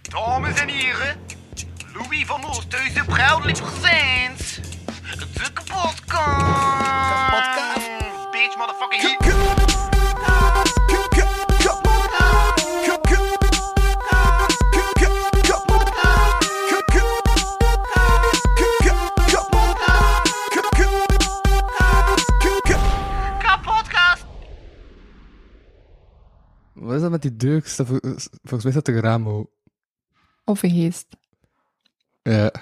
Dames en heren, Louis van Oosthuizen, proudly presents de kapotkast. Kapotkast. Bitch, motherfucking heat. Kapotkast. Wat is dat met die deur? Ik sta vol- Volgens mij staat er een raam open. Of een geest. Ja.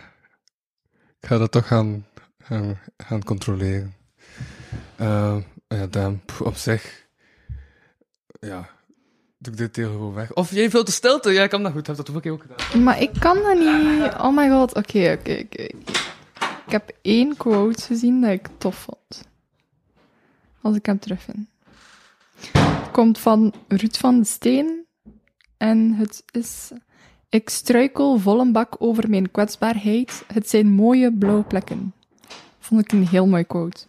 Ik ga dat toch gaan, gaan, gaan controleren. Eh, ja, dan pff, op zich. Ja. Doe ik dit deel gewoon weg. Of jij vult de stilte. Ja, ik kan dat goed. Ik heb dat hoeveel keer ook gedaan. Maar ik kan dat niet. Oh my god, oké, oké, oké. Ik heb één quote gezien dat ik tof vond. Als ik hem terugvind. Het komt van Ruud van de Steen. En het is... Ik struikel vol een bak over mijn kwetsbaarheid. Het zijn mooie blauwe plekken. Vond ik een heel mooi quote.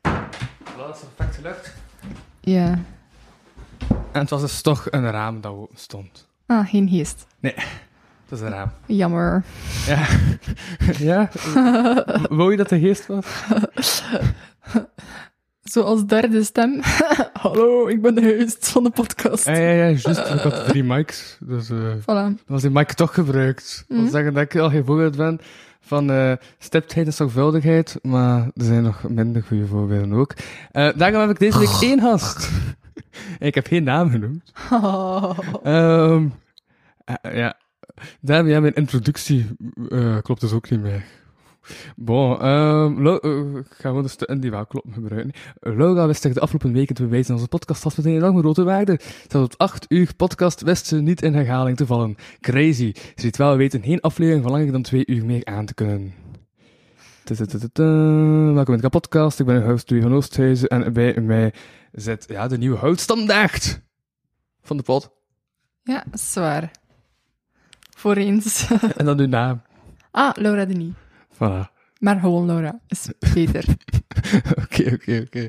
Dat is perfect gelukt. Ja. En het was dus toch een raam dat open stond. Ah, geen geest. Het is een raam. Jammer. Ja. ja? Wou je dat de geest was? Zoals derde stem. Hallo, ik ben de huist van de podcast. Ja, ja, ja. Juist. Ik had drie mics. Dus... eh, Voilà. Dan was die mic toch gebruikt. Dat wil Mhm. zeggen dat ik al geen voorbeeld ben van eh stiptheid en zorgvuldigheid, maar er zijn nog minder goede voorbeelden ook. Eh, daarom heb ik deze week één gast. ik heb geen naam genoemd. Ehm, eh, ja. Daarom, ja, mijn introductie eh, klopt dus ook niet meer. Bon, ehm Lau- eh, ik ga gewoon de stukken die wel kloppen gebruiken. Laura wist zich de afgelopen weken te bewijzen aan onze podcast vast meteen enorme grote waarde. Zelfs op 8 uur podcast wist ze niet in herhaling te vallen. Crazy. Ze liet wel weten geen aflevering van langer dan 2 uur meer aan te kunnen. Tudutudutu. Welkom in de podcast. Ik ben uw host Louis van Oosthuizen en bij mij zit ja, de nieuwe houtstandaard van de pot. Ja, zwaar. Voor eens. En dan uw naam. ah, Laura de Nie. Voilà. Maar gewoon Laura is beter. Oké, oké, oké.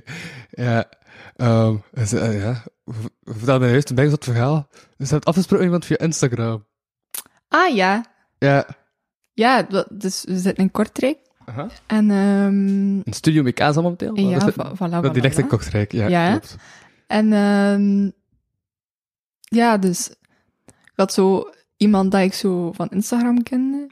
Ja, ehm, dus, eh, ja. v- Vertel mij juist een beetje dat verhaal. Dus je hebt afgesproken met iemand via Instagram. ah ja. Ja. Ja, dat- dus we zitten in Kortrijk. Aha. En ehm Een studio met kaas allemaal meteen? ja, dat is- va- voilà, dat- die voilà, ligt in voilà. Kortrijk, ja, Ja, hè? klopt. En ehm, ja, dus ik had zo iemand dat ik zo van Instagram kende.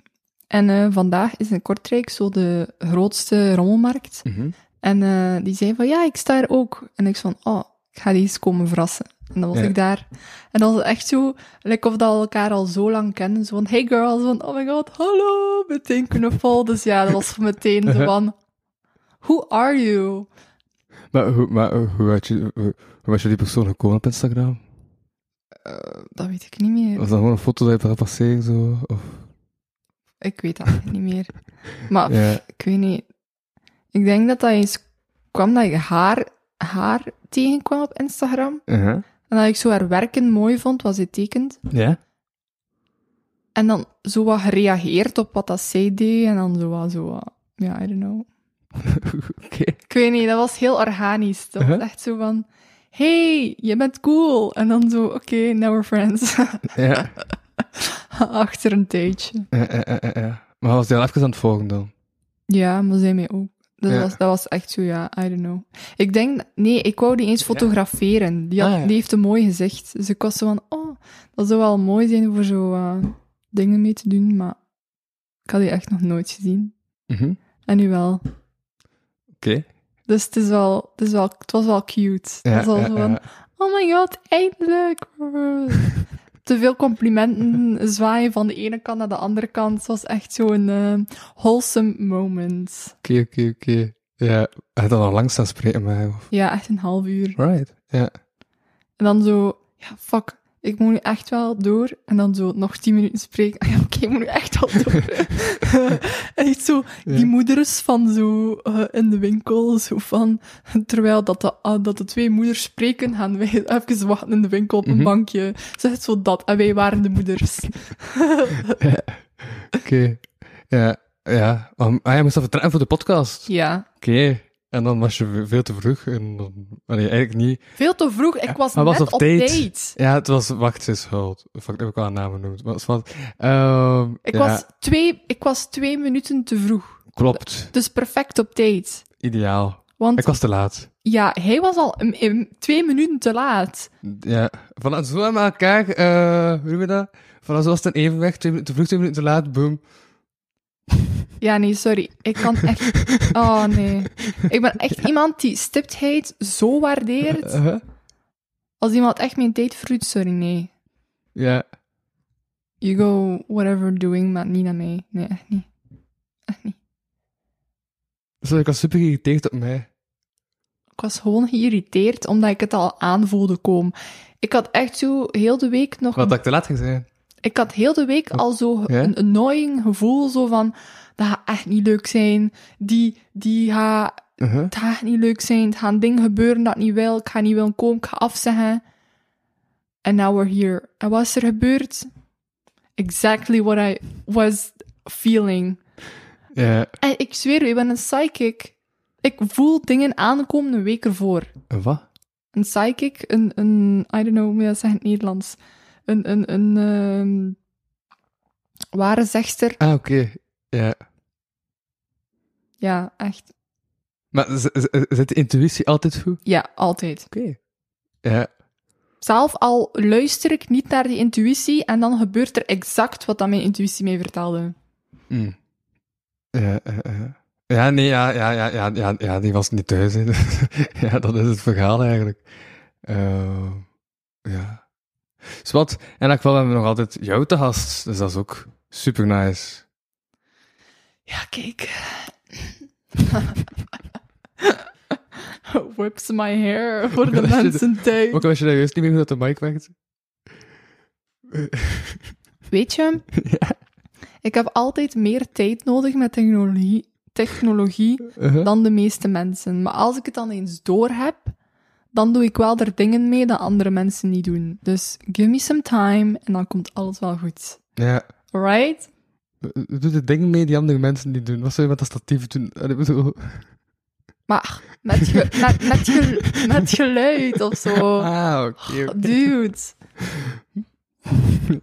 En eh, vandaag is in Kortrijk zo de grootste rommelmarkt. Mhm. En eh, die zei van, ja, ik sta er ook. En ik zei van, oh, ik ga die eens komen verrassen. En dan was Ja. ik daar. En dan was het echt zo, like of dat we elkaar al zo lang kennen. Zo van, hey girls, van, oh my god, hallo, meteen knuffel. Dus ja, dat was meteen zo van, who are you? Maar, hoe, maar hoe, hoe had je, hoe, hoe was je die persoon gekomen op Instagram? Dat weet ik niet meer. Was dat gewoon een foto dat je hebt passeren, zo? Of, Ik weet dat niet meer. Maar Ja. pff, ik weet niet. Ik denk dat dat eens kwam dat ik haar, haar tegenkwam op Instagram. Aha. En dat ik zo haar werken mooi vond, wat ze tekent. Uh-huh. Ja? En dan zo wat gereageerd op wat dat zij deed. En dan zo wat, zo wat. Ja, I don't know. Oké. Ik weet niet, dat was heel organisch. Dat Uh-huh. was echt zo van... Hey, je bent cool. En dan zo, oké, now we're friends. Ja. Achter een tijdje. Ja, ja, ja, ja, ja. Maar was die al even aan het volgen dan? Ja, maar zij mij ook. Dat, Ja. was, dat was echt zo, ja, I don't know. Ik denk... Nee, ik wou die eens fotograferen. Die, had, Ah, ja. die heeft een mooi gezicht. Dus ik was zo van... Oh, dat zou wel mooi zijn voor zo eh, dingen mee te doen. Maar ik had die echt nog nooit gezien. Mhm. En nu wel. Oké. Dus het, is wel, het, is wel, het was wel cute. Het Ja, was wel ja, zo ja. van, oh my god, eindelijk. Te veel complimenten, zwaaien van de ene kant naar de andere kant. Het was echt zo'n eh, wholesome moment. Oké, oké, oké. Ja, hij dan al lang staan spreken met hem, of... Ja, echt een half uur. Right. Ja. En dan zo, ja, fuck, ik moet nu echt wel door. En dan zo nog tien minuten spreken. Ah ja, oké, ik moet nu echt wel door. en echt zo, die Ja. moeders van zo eh, in de winkel, zo van, terwijl dat de, ah, dat de twee moeders spreken, gaan wij even wachten in de winkel op een Mhm. bankje. Ze het zo dat, en wij waren de moeders. Oké. Ja, ja. Om- ah, jij moest dat vertrekken voor de podcast. ja. Oké. Eh En dan was je veel te vroeg. En dan, allee, eigenlijk niet. Veel te vroeg, ik was Hij net was op, op date. date. Ja, het was. Wacht, ze is schuld. Fuck, heb ik al een naam genoemd. Maar het was, ehm, Ik, ja, was twee, ik was twee minuten te vroeg. Klopt. Dus perfect op date. Ideaal. Want Ik was te laat. ja, hij was al een- een- twee minuten te laat. Ja. Vanuit zo aan elkaar, eh hoe noem je dat? Vanuit zo was het een evenweg. Twee minuten te vroeg, twee minuten te laat, boom. Ja, nee, sorry. Ik kan echt... Oh, nee. Ik ben echt iemand die stiptheid zo waardeert. Eh, Als iemand echt mijn date vroeg, sorry, nee. Ja. You go whatever doing, maar niet naar mij. Nee, echt niet. Echt niet. Dus ik was super geïrriteerd op mij. Ik was gewoon geïrriteerd omdat ik het al aanvoelde komen. Ik had echt zo heel de week nog. Wat dat ik te laat ging zijn. Ik had heel de week al zo Ja? een annoying gevoel zo van. Dat gaat echt niet leuk zijn. Die, die gaat. Uh-huh. Het gaat echt niet leuk zijn. Het gaan dingen gebeuren dat ik niet wil. Ik ga niet willen komen. Ik ga afzeggen. And now we're here. En wat is er gebeurd? Exactly what I was feeling. Ja. En ik zweer u, ik ben een psychic. Ik voel dingen aankomen een week ervoor. En wat? Een psychic, een, een I don't know hoe moet je dat zeggen in het Nederlands. Een, een, een ehm, ware zegster. Ah, oké. Ja. Ja, echt. Maar z- z- zit de intuïtie altijd goed? Ja, altijd. Oké. Ja. Zelf al luister ik niet naar die intuïtie en dan gebeurt er exact wat dat mijn intuïtie mij vertelde. Mm. Ja, ja, ja. ja, nee, ja, ja, ja, ja, ja, ja, die was niet thuis. hè. ja, dat is het verhaal eigenlijk. Eh, ja. Dus wat, in elk geval hebben we nog altijd jou te gast, dus dat is ook super nice. Ja, kijk. Whips my hair voor Ook de al is het- mensen thuis. Ook al wist je dat juist niet meer hoe dat de mic werkt. Weet je, ik heb altijd meer tijd nodig met technologie, technologie Uh-huh. dan de meeste mensen. Maar als ik het dan eens door heb, dan doe ik wel er dingen mee dat andere mensen niet doen. Dus give me some time en dan komt alles wel goed. Ja. Alright? Doe de dingen mee die andere mensen niet doen. Wat zou je met dat statief doen? Allee, ik bedoel- Maar met, ge- met, met, ge- met geluid of zo. Ah, oké. Oh, oké. Dude.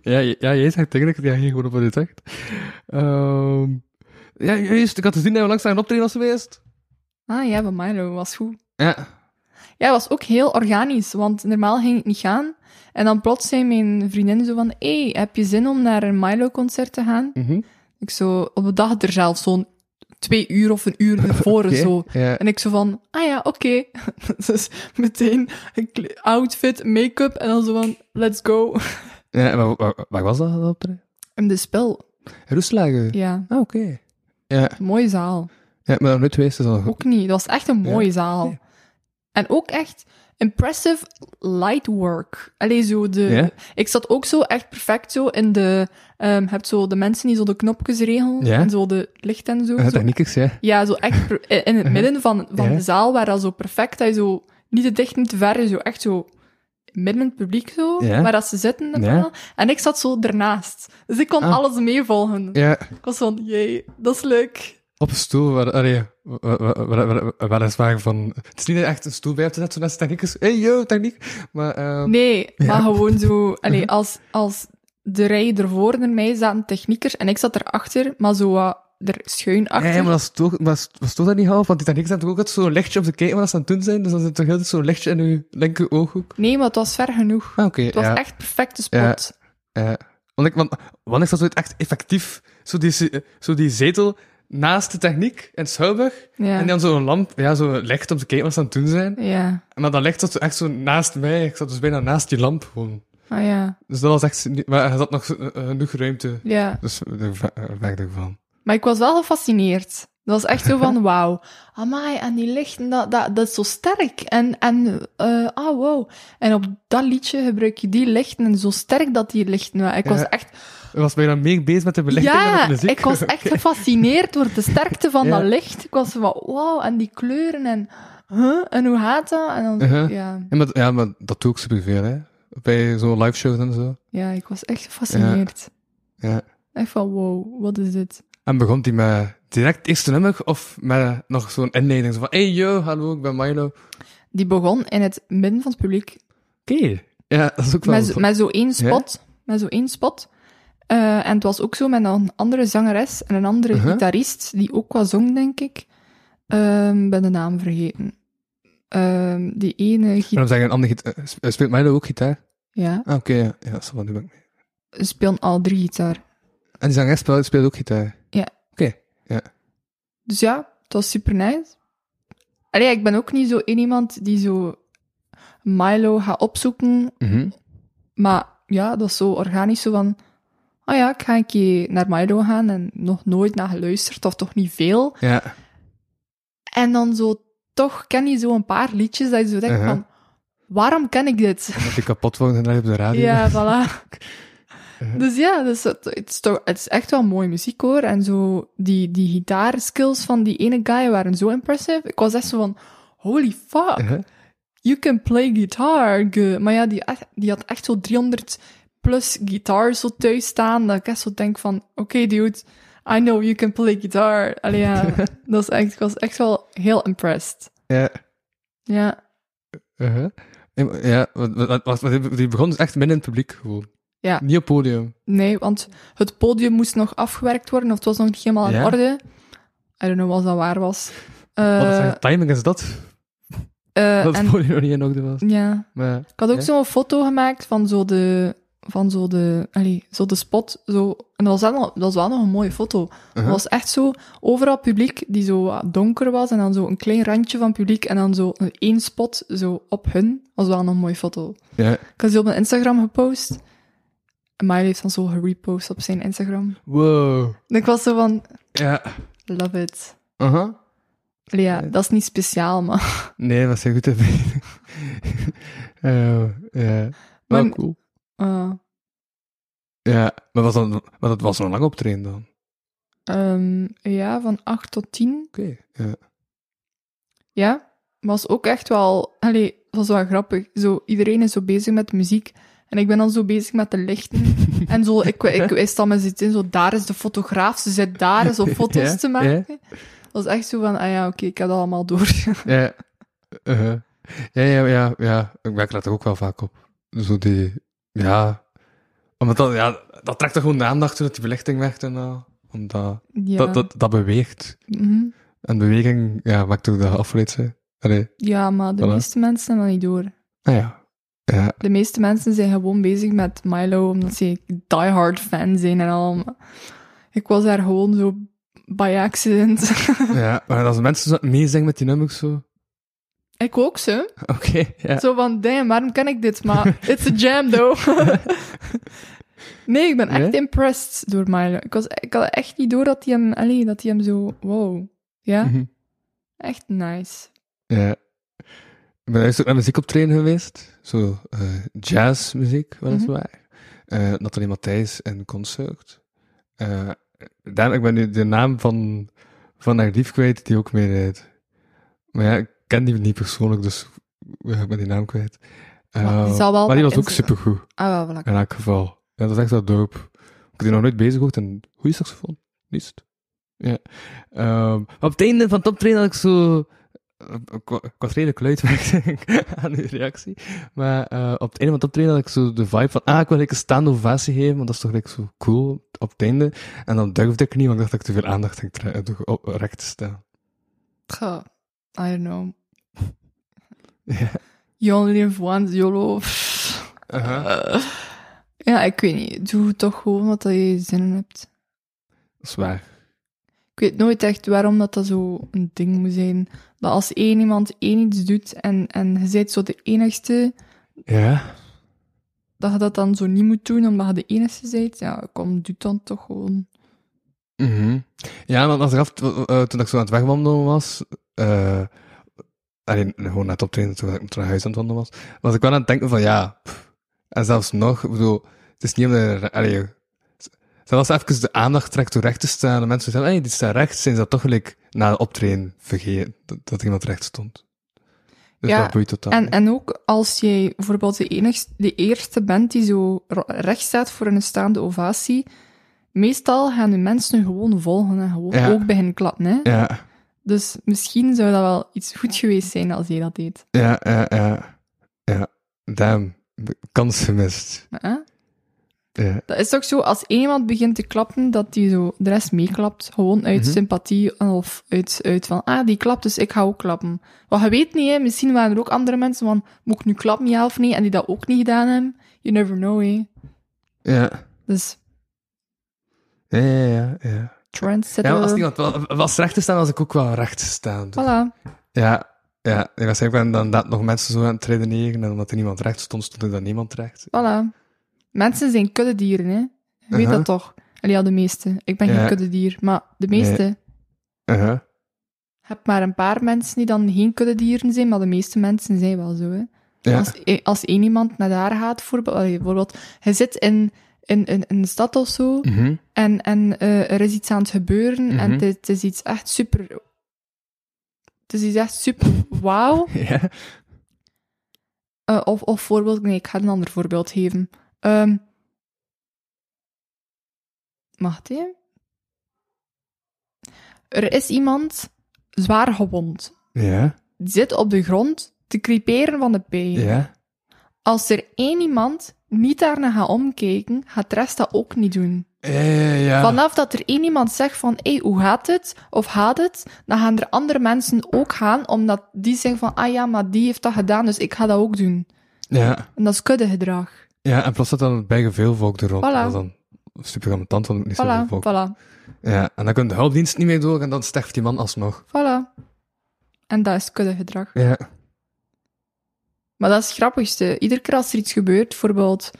Ja, j- ja, jij zegt eigenlijk, ja, hier gewoon op wat je zegt. Ehm, ja, juist, ik had te zien dat je langs naar een optreden was geweest. Ah ja, van Milo was goed. Ja. Ja, het was ook heel organisch, want normaal ging ik niet gaan. En dan plots zei mijn vriendin zo van, hey, heb je zin om naar een Milo-concert te gaan? Mhm. Ik zo, op de dag er zelf zo'n twee uur of een uur naar voren Oké, zo. Ja. En ik zo van, ah ja, oké. dus meteen een kle- outfit, make-up en dan zo van, let's go. ja maar waar, waar was dat, dat optreden? En de spel, Roeslagen. ja, Ah, oké. Ja. mooie zaal. ja, maar nog nooit geweest is al goed. Ook niet, dat was echt een mooie zaal. Ja. En ook echt impressive light work. Allee, zo de... Ja? Ik zat ook zo echt perfect zo in de... ehm hebt zo de mensen die zo de knopjes regelen Ja? en zo de licht en zo. Ja, zo techniekers, ja. Ja, zo echt per- in in het midden van, van Ja. de zaal, waar dat zo perfect, dat je zo niet te dicht, niet te ver, zo echt zo midden in het publiek zo, Ja. waar dat ze zitten. en Ja. allemaal. En ik zat zo ernaast. Dus ik kon Ah. alles meevolgen. Ja, Ik was van, jee, dat is leuk. op een stoel waar, allee, waar, waar, waar, waar- weliswaar van... Het is niet echt een stoel bij op te zetten, zodat ze techniekers... hey, yo, techniek! Maar, ehm, Nee, maar gewoon zo, allee, als, als de rij ervoor en mij zaten techniekers en ik zat erachter, maar zo wat er schuin achter. Ja, maar dat stoort, maar st- maar stoort dat niet half? Want die techniek staat toch ook altijd zo'n lichtje op te kijken wat ze aan het doen zijn? Dus dan zit toch altijd zo'n lichtje in uw linker ooghoek? Nee, maar het was ver genoeg. Ah, oké, Het was ja. echt perfecte spot. ja. Want ik, want, want ik zat zo echt effectief, zo die, ze- zo die zetel naast de techniek in het Schouwburg, Ja. en dan zo'n lamp, ja, zo'n licht om te kijken wat ze aan het doen zijn. ja. Maar dat licht zat zo echt zo naast mij, ik zat dus bijna naast die lamp gewoon. Ah ja, Dus dat was echt, niet- maar er zat nog zo- eh, genoeg ruimte, ja. dus daar va- eh, weg ervan. Maar ik was wel gefascineerd. Dat was echt zo van, wauw. Amai, en die lichten, dat, dat, dat is zo sterk. En, en eh, ah, wow. En op dat liedje gebruik je die lichten, en zo sterk dat die lichten waren. Ik was Ja. echt... Ik was bijna meer bezig met de belichting en met ja, de muziek. ik was echt gefascineerd door de sterkte van Ja. dat licht. Ik was zo van, wauw, en die kleuren, en... Huh? En hoe gaat dat? En dan, Uh-huh. ja, Ja, maar, ja, maar dat doe ik superveel, hè. Bij zo'n live shows en zo. ja, ik was echt gefascineerd. Ja. Echt van, wow, wat is dit? En begon die met direct het eerste nummer of met nog zo'n inleiding? Zo van, hey yo, hallo, ik ben Milo. Oké. Die begon in het midden van het publiek. Ja, dat is ook wel... Met, zo- met zo één spot. Met zo één spot. Eh, en het was ook zo met een andere zangeres en een andere Uh-huh. gitarist, die ook wat zong, denk ik. Ehm ben de naam vergeten. Ehm, die ene En gitaar... dan zeggen een andere gitaar... eh, sp- eh, Speelt Milo ook gitaar? Ja, Ah, oké, ja. Ja, dat is wel, nu ben ik mee. speelden al drie gitaar. En die zangeres speelt, speelt ook gitaar? Ja. Oké. Dus ja, het was super nice. Allee, ik ben ook niet zo in iemand die zo Milo gaat opzoeken. Mhm. Maar ja, dat was zo organisch, zo van... Oh ja, ik ga een keer naar Milo gaan en nog nooit naar geluisterd, of toch niet veel. Ja. En dan zo, toch ken je zo een paar liedjes dat je zo denkt Uh-huh. van... Waarom ken ik dit? Dat ik kapot wordt en dan op de radio. Ja, voilà. Ah, Eh. Dus ja, dus het, het, is toch, het is echt wel mooie muziek hoor. En zo, die, die gitaarskills van die ene guy waren zo impressive. Ik was echt zo van, holy fuck, Mhm. you can play guitar. ge- Maar ja, die, echt- die had echt zo 300 plus guitars zo thuis staan. Dat ik echt zo denk van, oké dude, I know you can play guitar. Allee, ja, dat is echt, ik was echt wel heel impressed. Ja. Ja, Uh-huh. En- Ja, wat- wat- wat- wat- die begon dus echt midden in het publiek gewoon. Ja. Niet op podium. Nee, want het podium moest nog afgewerkt worden, of het was nog niet helemaal in Ja? orde. I don't know wat dat waar was. Eh, Wat een timing is dat? eh, dat het en- podium nog niet in orde was. ja. Maar, Ik had ook Ja? zo'n foto gemaakt van zo de, van zo de, allee, zo de spot. Zo. En dat was, wel, nog- dat was wel nog een mooie foto. uh-huh. Het was echt zo, overal publiek die zo wat donker was, en dan zo een klein randje van publiek, en dan zo een- één spot zo op hun. Dat was wel een mooie foto. Ja. Ik had die op mijn Instagram gepost. En Miley heeft dan zo gerepost op zijn Instagram. Wow. En ik was zo van, Ja. Love it. Uh-huh. Allee, ja, Ja. dat is niet speciaal, maar... Nee, dat was heel goed. Eh, ja. Wel Maar- cool. eh, Ja, maar, was dan, maar dat was nog lang optreden dan. ehm, ja, van 8 tot 10. Oké. Ja. Ja, was ook echt wel... Allee, was wel grappig. Zo, iedereen is zo bezig met muziek. En ik ben dan zo bezig met de lichten. En zo, ik, ik wist dan met zit in, zo, daar is de fotograaf, ze zit daar, is om foto's Ja, te maken. Dat was echt zo van, ah ja, oké, ik heb dat allemaal door. Ja. Uh-huh. ja, ja, ja, ja. Ik merk dat er ook wel vaak op. Zo die, ja. Omdat dat, ja, dat trekt toch gewoon de aandacht toen dat die belichting werkt en al. Omdat ja. dat, dat, dat beweegt. Mhm. En beweging, ja, maakt ook dat je afgeleid zijn. Allee, ja, maar de Voilà. meeste mensen hebben dat niet door. nou ja. Ja, De meeste mensen zijn gewoon bezig met Milo, omdat ze diehard fan zijn en al. maar Ik was daar gewoon zo by accident. ja. Maar als mensen zo meezingen met die nummers zo. ik ook zo. Oké, ja. Zo van, damn, waarom ken ik dit? Maar it's a jam, though. nee, ik ben echt Ja? impressed door Milo. Ik, was, ik had echt niet door dat hij hem... Allee, dat hij hem zo... Wow. Ja, Mhm. echt nice. Ja. Eh, Ik ben eerst ook naar muziek op trainen geweest. Zo eh, jazzmuziek, Mhm. weliswaar. Eh Nathalie Matthijs en Concert. Eh daarom, ik ben nu de naam van, van haar lief kwijt, die ook meedeed. Maar ja, ik ken die niet persoonlijk, dus ja, ik ben die naam kwijt. Eh, Maar die zal wel maar die naar was ook Instagram- supergoed, Ah, wel, voilà. in elk geval. Ja, dat is echt wel dope. Ik heb die nog nooit bezig gehoord, en goede saxofoon. Liefst. Ja. Ehm, maar op het einde van het optreden had ik zo... eh, Ik wa- ik was redelijk luid, merkte ik, aan uw reactie. Maar eh, op het einde van het optreden had ik zo de vibe van... Ah, ik wil like, een staande ovatie geven, want dat is toch like, zo cool op het einde. En dan durfde ik niet, want ik dacht dat ik te veel aandacht ging tra- eh, door op- recht te staan. Tja, I don't know. Ja. You only live once, YOLO. Eh, ja, ik weet niet. Doe toch gewoon wat je zin in hebt. Zwaar. Ik weet nooit echt waarom dat, dat zo een ding moet zijn. Dat als één iemand één iets doet en, en je bent zo de enigste, Ja. dat je dat dan zo niet moet doen omdat je de enigste bent. Ja, kom, doe dan toch gewoon. Mhm. Ja, want achteraf, t- eh, toen ik zo aan het wegwandelen was, eh alleen gewoon net op trainen, toen ik naar huis aan het wandelen was, was ik wel aan het denken van ja, pff. en zelfs nog, ik bedoel, het is niet om de, allee, z- zelfs even de aandacht trekt door recht te staan, en mensen zeggen, hey, die staat recht, zijn ze dat toch gelijk na het optreden vergeten, dat, dat iemand recht stond. Dus Ja, dat boeit totaal En, niet. en ook als jij bijvoorbeeld de, enigste, de eerste bent die zo ra- recht staat voor een staande ovatie, Meestal gaan de mensen nu gewoon volgen en gewoon Ja. ook beginnen klappen. Hè? Ja, Dus misschien zou dat wel iets goed geweest zijn als hij dat deed. ja, ja, ja. Ja, damn. De kans gemist. Hè? Ja. Dat is toch zo, als iemand begint te klappen, dat die zo de rest meeklapt. Gewoon uit Mhm. sympathie of uit, uit van, ah, die klapt, dus ik ga ook klappen. Want je weet niet, hè, misschien waren er ook andere mensen van, moet ik nu klappen, ja of nee? En die dat ook niet gedaan hebben. You never know, hè. Ja, Dus, ja, ja, ja. ja. Ja, trendsetter. maar als iemand wel- was recht te staan, was ik ook wel recht te staan. Dus- Eh, Voilà. Ja, ja. En waarschijnlijk waren dan dat nog mensen zo aan het redeneren. En omdat er niemand recht stond, stond er dan niemand recht. Voilà. Mensen zijn kuddedieren, hè. Je weet Aha. dat toch? Allee, ja, de meeste. Ik ben Uh-huh. Ja. geen kuddedier, maar de meeste. Uh-huh. heb maar een paar mensen die dan geen kuddedieren zijn, maar de meeste mensen zijn wel zo, hè. Ja. Als, eh, als één iemand naar daar gaat, voorbeeld, allee, bijvoorbeeld, je zit in, in, in, in een stad of zo, Mhm. en, en eh, er is iets aan het gebeuren, Mhm. en het, is- het is iets echt super... Het is iets echt super wauw. Ja. Eh, of, of voorbeeld, nee, ik ga een ander voorbeeld geven. Ehm mag het, hè? Er is iemand zwaar gewond. Ja. zit op de grond te creperen van de pijn. Ja. Als er één iemand niet daarna gaat omkijken, gaat de rest dat ook niet doen. Ja, ja, ja. Vanaf dat er één iemand zegt van, hé, hoe gaat het? Of gaat het? Dan gaan er andere mensen ook gaan, omdat die zeggen van, ah ja, maar die heeft dat gedaan, dus ik ga dat ook doen. Ja. En dat is kuddegedrag. ja, en plots zat dan het bijgeveelvolk er rond. Voilà. En dat is dan super ambetant, want het is niet Voilà, zoveel volk. voilà, Ja, en dan kan de hulpdienst niet meer door en dan sterft die man alsnog. voilà. En dat is kuddegedrag. Ja. Maar dat is het grappigste. Iedere keer als er iets gebeurt, bijvoorbeeld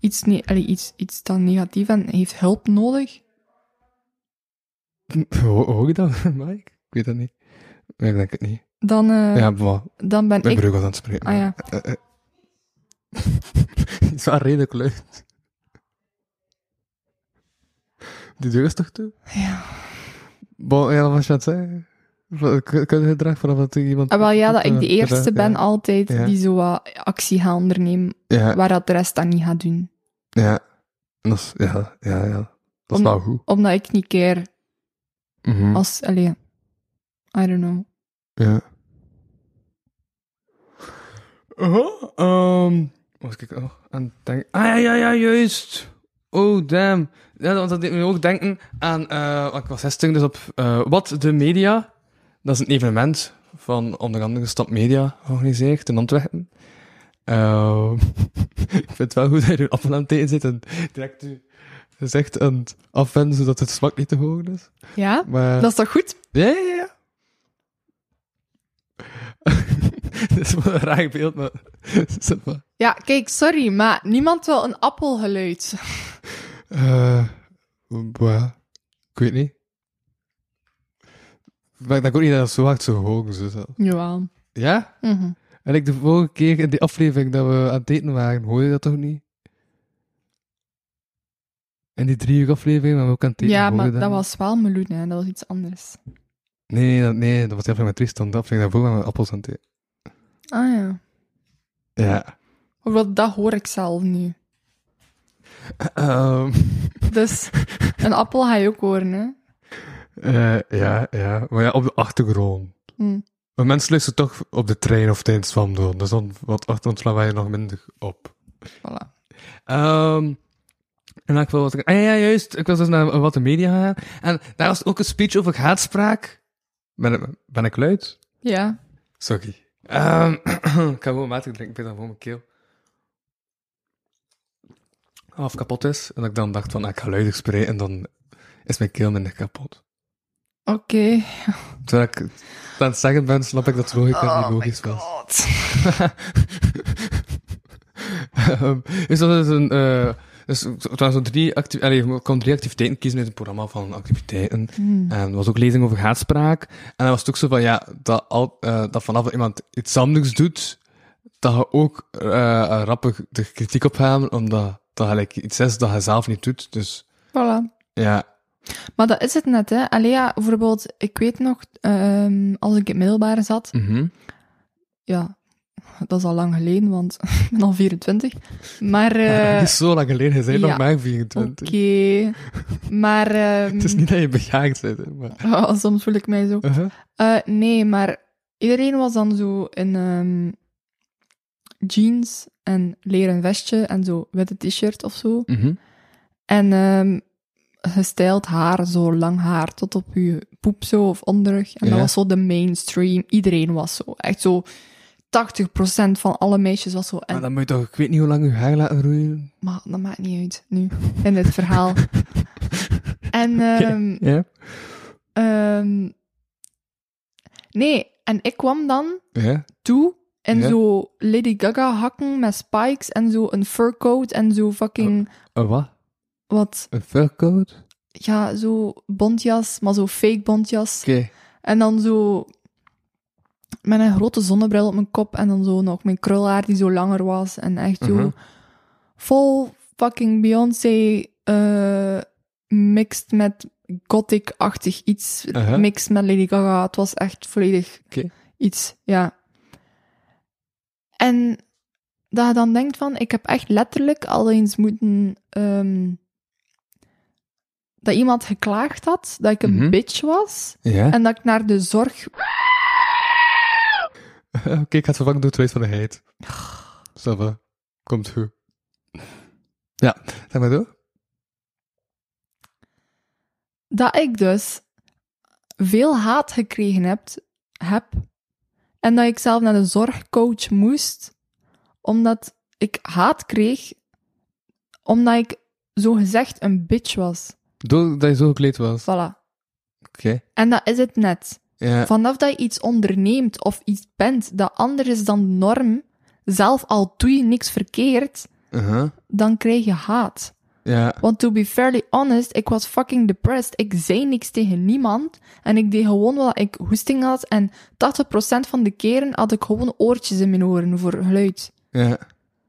iets, ne- allee, iets, iets dan negatief en heeft hulp nodig, Ho- Hoor je dat, Mike? Ik weet dat niet. Nee, ik denk het niet. dan, eh, Ja, boah. dan ben Ik ben ik... Brugel aan het spreken. Ah ja. Eh, eh. Het is wel redelijk luid. Die deur is toch toe? Ja. Bon, ja, wat was je aan het zeggen? Van- k- Kun je het dragen vanaf dat er iemand... Ah, wel ja, dat ik de Ja, eerste ben Ja, altijd Ja. die zo wat actie gaat ondernemen, ja. waar dat de rest dat niet gaat doen. ja. En Dat is, ja, ja, ja. Dat is Om- wel goed. Omdat ik niet keer Mhm. als... Allee, I don't know. Ja. Oh, ehm, was ik nog aan het denken? Ah ja, ja, ja, juist. Oh, damn. Ja, want dat deed me ook denken aan, eh, want ik was 16, dus op eh, Wat de Media. Dat is een evenement van onder andere Stad Media georganiseerd in Antwerpen. Ehm, ik vind het wel goed dat je er appel aan het eten zit en direct je gezicht aan het afwenden, zodat het smak niet te horen is. Ja? Maar... Dat is toch goed? Ja, ja, ja. Dat is wel een raar beeld, maar... Zeg maar. Ja, kijk, sorry, maar niemand wil een appelgeluid. Eh, bah, ik weet niet. Maar ik denk ook niet dat het zo hard zo hoog is. dus dat- Jawel. Ja? Mhm. En ik de vorige keer in die aflevering dat we aan het eten waren, hoorde je dat toch niet? In die drie uur aflevering waren we ook aan het eten. Ja, hoorde maar je dat niet? was wel meloen, hè. Dat was iets anders. Nee, nee, dat, nee, dat was die aflevering met Tristan. De aflevering daarvoor waren we appels aan het eten. Ah ja. Ja. Bijvoorbeeld, dat hoor ik zelf nu. Ehm. Dus een appel ga je ook horen, hè. Eh, ja, ja. Maar ja, op de achtergrond. Hm. Maar mensen luisteren toch op de trein of tijdens het wandelen. Dus dan wat achtergrond wij nog minder op. Voilà. Ehm en dan wil wat ik... Ah, ja, ja, juist. Ik was dus naar wat de media gegaan. En daar was ook een speech over haatspraak. Ben, ben ik luid? Ja. Sorry. Ehm, ik ga gewoon water drinken. Ik ben dan gewoon mijn keel. Half kapot is. En dat ik dan dacht van, ah, ik ga luider spreken. En dan is mijn keel minder kapot. Oké. Terwijl ik het aan het zeggen ben, snap ik dat de logica niet Oh my logisch was. god. Ehm, dus dat is een... eh dus het waren zo drie, acti- allee, je kon drie activiteiten kiezen uit het programma van activiteiten. Hm. En er was ook lezing over haatspraak. En dan was het ook zo van, ja, dat, al, eh, dat vanaf dat iemand iets anders doet, dat je ook eh rapper de kritiek op hem, omdat dat gelijk iets is dat je zelf niet doet. Dus Voilà. ja, Maar dat is het net, hè. Allee, ja, Mhm. bijvoorbeeld, ik weet nog, ehm, als ik in het middelbaar zat, mhm. ja, Dat is al lang geleden, want ik ben al 24. Maar, eh, Het is zo lang geleden, je bent ja. nog maar oké. 24. Maar, ehm, Het is niet dat je bejaagd bent, hè, maar... oh, soms voel ik mij zo. Uh-huh. Eh, nee, maar iedereen was dan zo in ehm, jeans en leren vestje en zo witte t-shirt of zo. Mhm. En ehm, gestyled haar, zo lang haar tot op je poep zo of onderrug. En Ja. dat was zo de mainstream. Iedereen was zo. Echt zo 80% van alle meisjes was zo. En, Maar dan moet je toch, ik weet niet hoe lang je haar laten roeien. Maar dat maakt niet uit nu in dit verhaal. en ehm, Ja? ehm, nee, en ik kwam dan Ja? toe in Ja. zo Lady Gaga hakken met spikes en zo een fur coat en zo fucking Een Eh, wat? wat Een furcoat? Oké. ja, zo bontjas, maar zo fake bontjas. En dan zo met een grote zonnebril op mijn kop en dan zo nog mijn krulhaar die zo langer was en echt zo Mhm. vol fucking Beyoncé eh, mixed met gothic-achtig iets, Aha. mixed met Lady Gaga. Het was echt volledig Oké. iets, ja. En dat je dan denkt van, ik heb echt letterlijk al eens moeten... ehm, dat iemand geklaagd had dat ik een Mhm. bitch was. Ja? En dat ik naar de zorg... Oké, ik ga het vervangen door twee van de heet. Stava, komt goed. Ja, zeg maar door. Dat ik dus veel haat gekregen heb, heb. En dat ik zelf naar de zorgcoach moest. Omdat ik haat kreeg. Omdat ik zogezegd een bitch was. Doordat je zo gekleed was. Oké. Voilà. En dat is het net. Ja. Vanaf dat je iets onderneemt of iets bent dat anders is dan de norm, zelf al doe je niks verkeerd, Uh-huh. dan krijg je haat. Ja. Want to be fairly honest, ik was fucking depressed. Ik zei niks tegen niemand. En ik deed gewoon wat ik hoesting had. En 80% van de keren had ik gewoon oortjes in mijn oren voor geluid. Ja.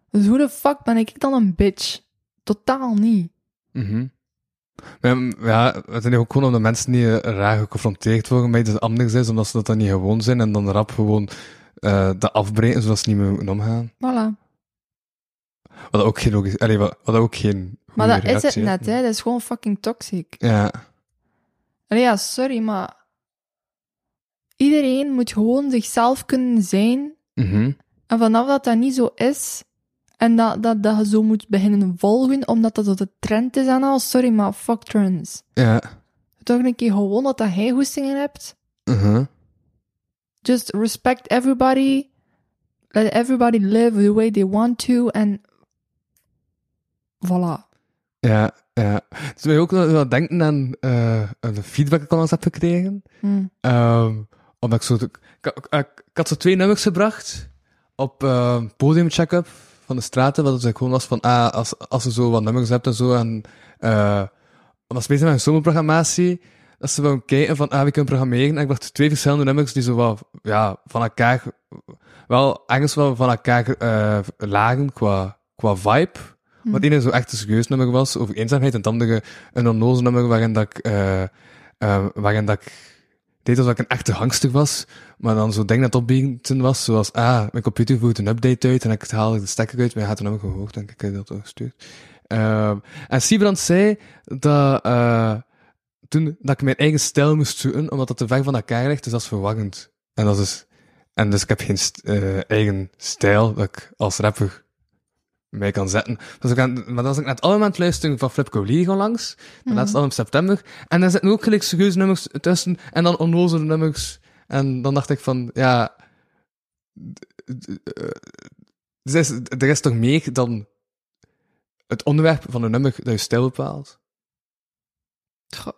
Dus hoe de fuck ben ik dan een bitch? Totaal niet. Mhm. Maar Ja, m- ja, het is ook gewoon omdat mensen niet eh, raar geconfronteerd worden met iets anders is, omdat ze dat dan niet gewoon zijn en dan rap gewoon eh dat afbreken zodat ze niet meer moeten omgaan. Voilà. Wat ook geen logisch, allee, wat, wat ook geen goede Maar dat is het reactie net, hè. Dat is gewoon fucking toxic. Ja. Allee, ja, sorry, maar... Iedereen moet gewoon zichzelf kunnen zijn Mhm. En vanaf dat dat niet zo is, en dat, dat, dat je zo moet beginnen volgen, omdat dat zo de trend is en al, sorry, maar fuck trends. Ja. Toch een keer gewoon dat dat jij hoestingen hebt. Mhm. Just respect everybody. Let everybody live the way they want to. En voilà. Ja, ja. Dus wij ook wel- wel denken aan eh, aan de feedback die ik al eens heb gekregen. Hm. Ehm, omdat ik zo... de- ik, ik, ik- ik had zo twee nummers gebracht op ehm podium check-up van de straten, wat ik gewoon was van, ah, als, als je zo wat nummers hebt en zo, en eh, omdat ze bezig zijn met een zomerprogrammatie, dat ze wel kijken van, ah, we kunnen programmeren. En ik bracht twee verschillende nummers die zo wel, ja, van elkaar, wel, ergens wel van elkaar eh, lagen qua, qua vibe. Want het ene zo echt een serieus nummer was over eenzaamheid, en het andere een onnozel nummer waarin dat ik, eh, eh, waarin dat ik deed alsof ik een echte hangster was, maar dan zo'n ding dat opbieden was, zoals, ah, mijn computer voert een update uit en ik haal de stekker uit, maar hij had een nummer gehoord en ik heb dat doorgestuurd. Ehm en Siebrand zei dat, eh, toen, dat ik mijn eigen stijl moest zoeken, omdat dat te ver van elkaar ligt, dus dat is verwarrend. En dat is, en dus ik heb geen st- eh, eigen stijl dat ik als rapper mij kan zetten. Dus ik aan, maar dat was ik net allemaal aan het luisteren van Flip Coligo langs, de laatste album september, en daar zitten ook gelijk serieuze nummers tussen en dan onnozele nummers. En dan dacht ik van, ja... d- d- eh, er is- Er is toch meer dan het onderwerp van een nummer dat je stijl bepaalt? Tja.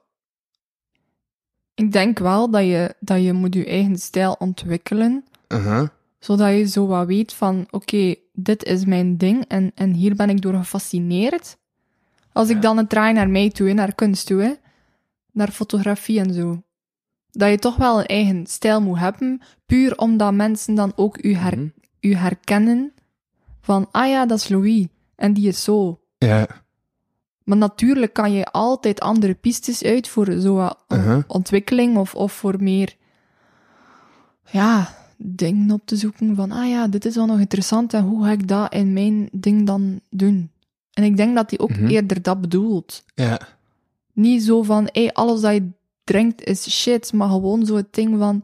Ik denk wel dat je, dat je moet je eigen stijl ontwikkelen. Uh-huh. Zodat je zo wat weet van, oké, dit is mijn ding en, en hier ben ik door gefascineerd. Als ik dan het draai naar mij toe, hè, naar kunst toe, hè, naar fotografie en zo. Dat je toch wel een eigen stijl moet hebben, puur omdat mensen dan ook u, her, Mhm. u herkennen van, ah ja, dat is Louis en die is zo. Ja. Maar natuurlijk kan je altijd andere pistes uit voor zo wat on- Uh-huh. ontwikkeling of, of voor meer ja, dingen op te zoeken van, ah ja, dit is wel nog interessant en hoe ga ik dat in mijn ding dan doen? En ik denk dat hij ook Mhm. eerder dat bedoelt. Ja. Niet zo van, hé, alles dat je drinkt is shit, maar gewoon zo het ding van,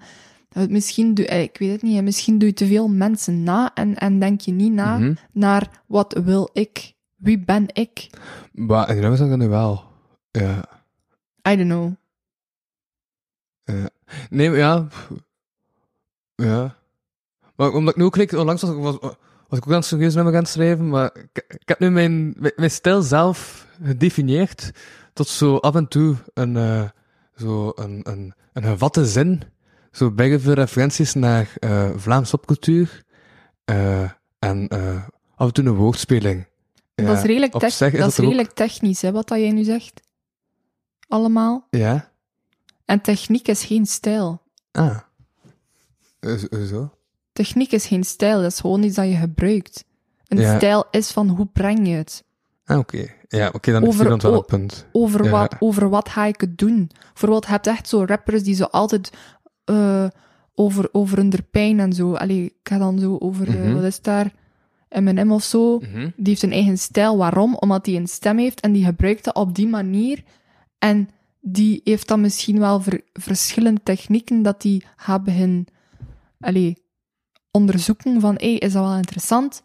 eh, misschien doe, eh, ik weet het niet, eh, misschien doe je te veel mensen na en, en denk je niet na Mhm. naar wat wil ik, wie ben ik? Maar in Remmers had ik dat nu wel. Ja. I don't know. Nee, maar ja. pff. Ja. Maar omdat ik nu ook kreeg, onlangs was, ik- was, was ik ook aan het serieus nummer aan het schrijven, maar ik, ik heb nu mijn, mijn, mijn stijl zelf gedefinieerd tot zo af en toe een, eh, zo een, een, een gevatte zin. Zo bijna veel referenties naar eh Vlaams popcultuur. eh, en eh, af en toe een woordspeling. dat is redelijk, op tech- zich is dat dat is er ook- redelijk technisch, hè, wat dat jij nu zegt. Allemaal. Ja? En techniek is geen stijl. Ah. Eh, zo- eh, Zo? Techniek is geen stijl, dat is gewoon iets dat je gebruikt. Een Ja. stijl is van hoe breng je het? Ah, oké. Ja, oké, dan is Over- hier dan wel o- een punt. Over, Ja. wat, over wat ga ik het doen? Bijvoorbeeld, je hebt echt zo rappers die zo altijd eh, over, over hun pijn en zo. Allee, ik ga dan zo over, eh, Mhm. wat is het daar? M&M of zo. Die heeft een eigen stijl. Waarom? Omdat hij een stem heeft en die gebruikt dat op die manier. En die heeft dan misschien wel ver- verschillende technieken dat die gaat beginnen allee, onderzoeken van, hey, is dat wel interessant?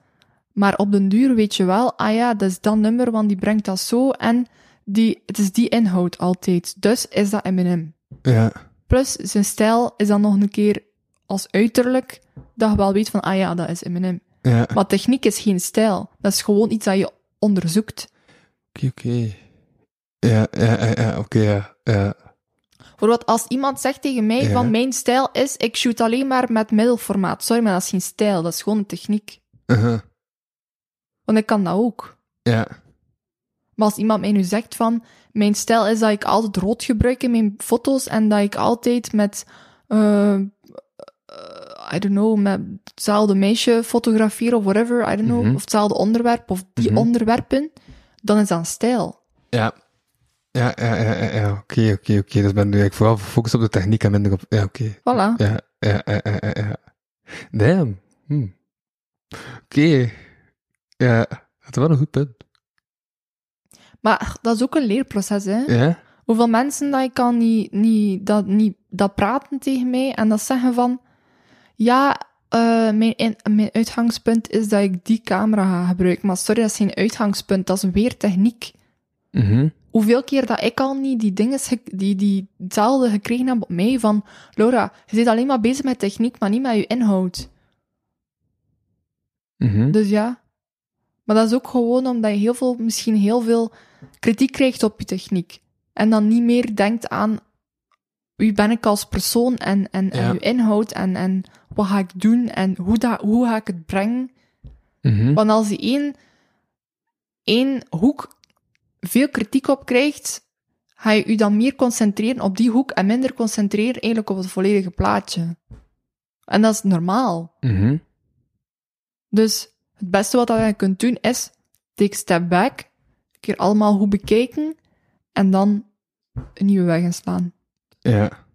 Maar op den duur weet je wel, ah ja, dat is dat nummer, want die brengt dat zo en die, het is die inhoud altijd. Dus is dat M&M. Ja. Plus, zijn stijl is dan nog een keer als uiterlijk dat je wel weet van, ah ja, dat is M&M. Ja, oké, Maar techniek is geen stijl. Dat is gewoon iets dat je onderzoekt. oké. Ja, ja, ja, ja, oké, ja, ja. Bijvoorbeeld, als iemand zegt tegen mij Ja. van mijn stijl is, ik shoot alleen maar met middelformaat. Sorry, maar dat is geen stijl, dat is gewoon een techniek. Uh-huh. Want ik kan dat ook. Ja, Maar als iemand mij nu zegt van, mijn stijl is dat ik altijd rood gebruik in mijn foto's en dat ik altijd met, eh, eh, I don't know, met hetzelfde meisje fotografeer of whatever, I don't know, Mhm. of hetzelfde onderwerp of die Mhm. onderwerpen, dan is dat een stijl. ja. Ja, ja, ja, ja, ja, oké, oké, oké. Dus ben ik vooral gefocust op de techniek en minder op... Ja, oké. Voilà. Ja, ja, ja, ja, ja, ja. Damn. Hm. Oké. Ja, dat was wel een goed punt. Maar dat is ook een leerproces, hè. Ja? Hoeveel mensen dat ik kan niet, niet, dat, niet, dat praten tegen mij en dat zeggen van, ja, eh, mijn, in- mijn uitgangspunt is dat ik die camera ga gebruiken. Maar sorry, dat is geen uitgangspunt, dat is weer techniek. Mhm. Hoeveel keer dat ik al niet die dingen, ge- die, die hetzelfde gekregen heb op mij, van, Laura, je zit alleen maar bezig met techniek, maar niet met je inhoud. Mhm. Dus ja. Maar dat is ook gewoon omdat je heel veel, misschien heel veel kritiek krijgt op je techniek. En dan niet meer denkt aan wie ben ik als persoon en, en, Ja. en je inhoud en, en wat ga ik doen en hoe, dat, hoe ga ik het brengen. Mhm. Want als je één, één hoek veel kritiek op krijgt, ga je je dan meer concentreren op die hoek en minder concentreren eigenlijk op het volledige plaatje. En dat is normaal. Mhm. Dus het beste wat dat je kunt doen is, take a step back, een keer allemaal goed bekijken en dan een nieuwe weg inslaan, Ja.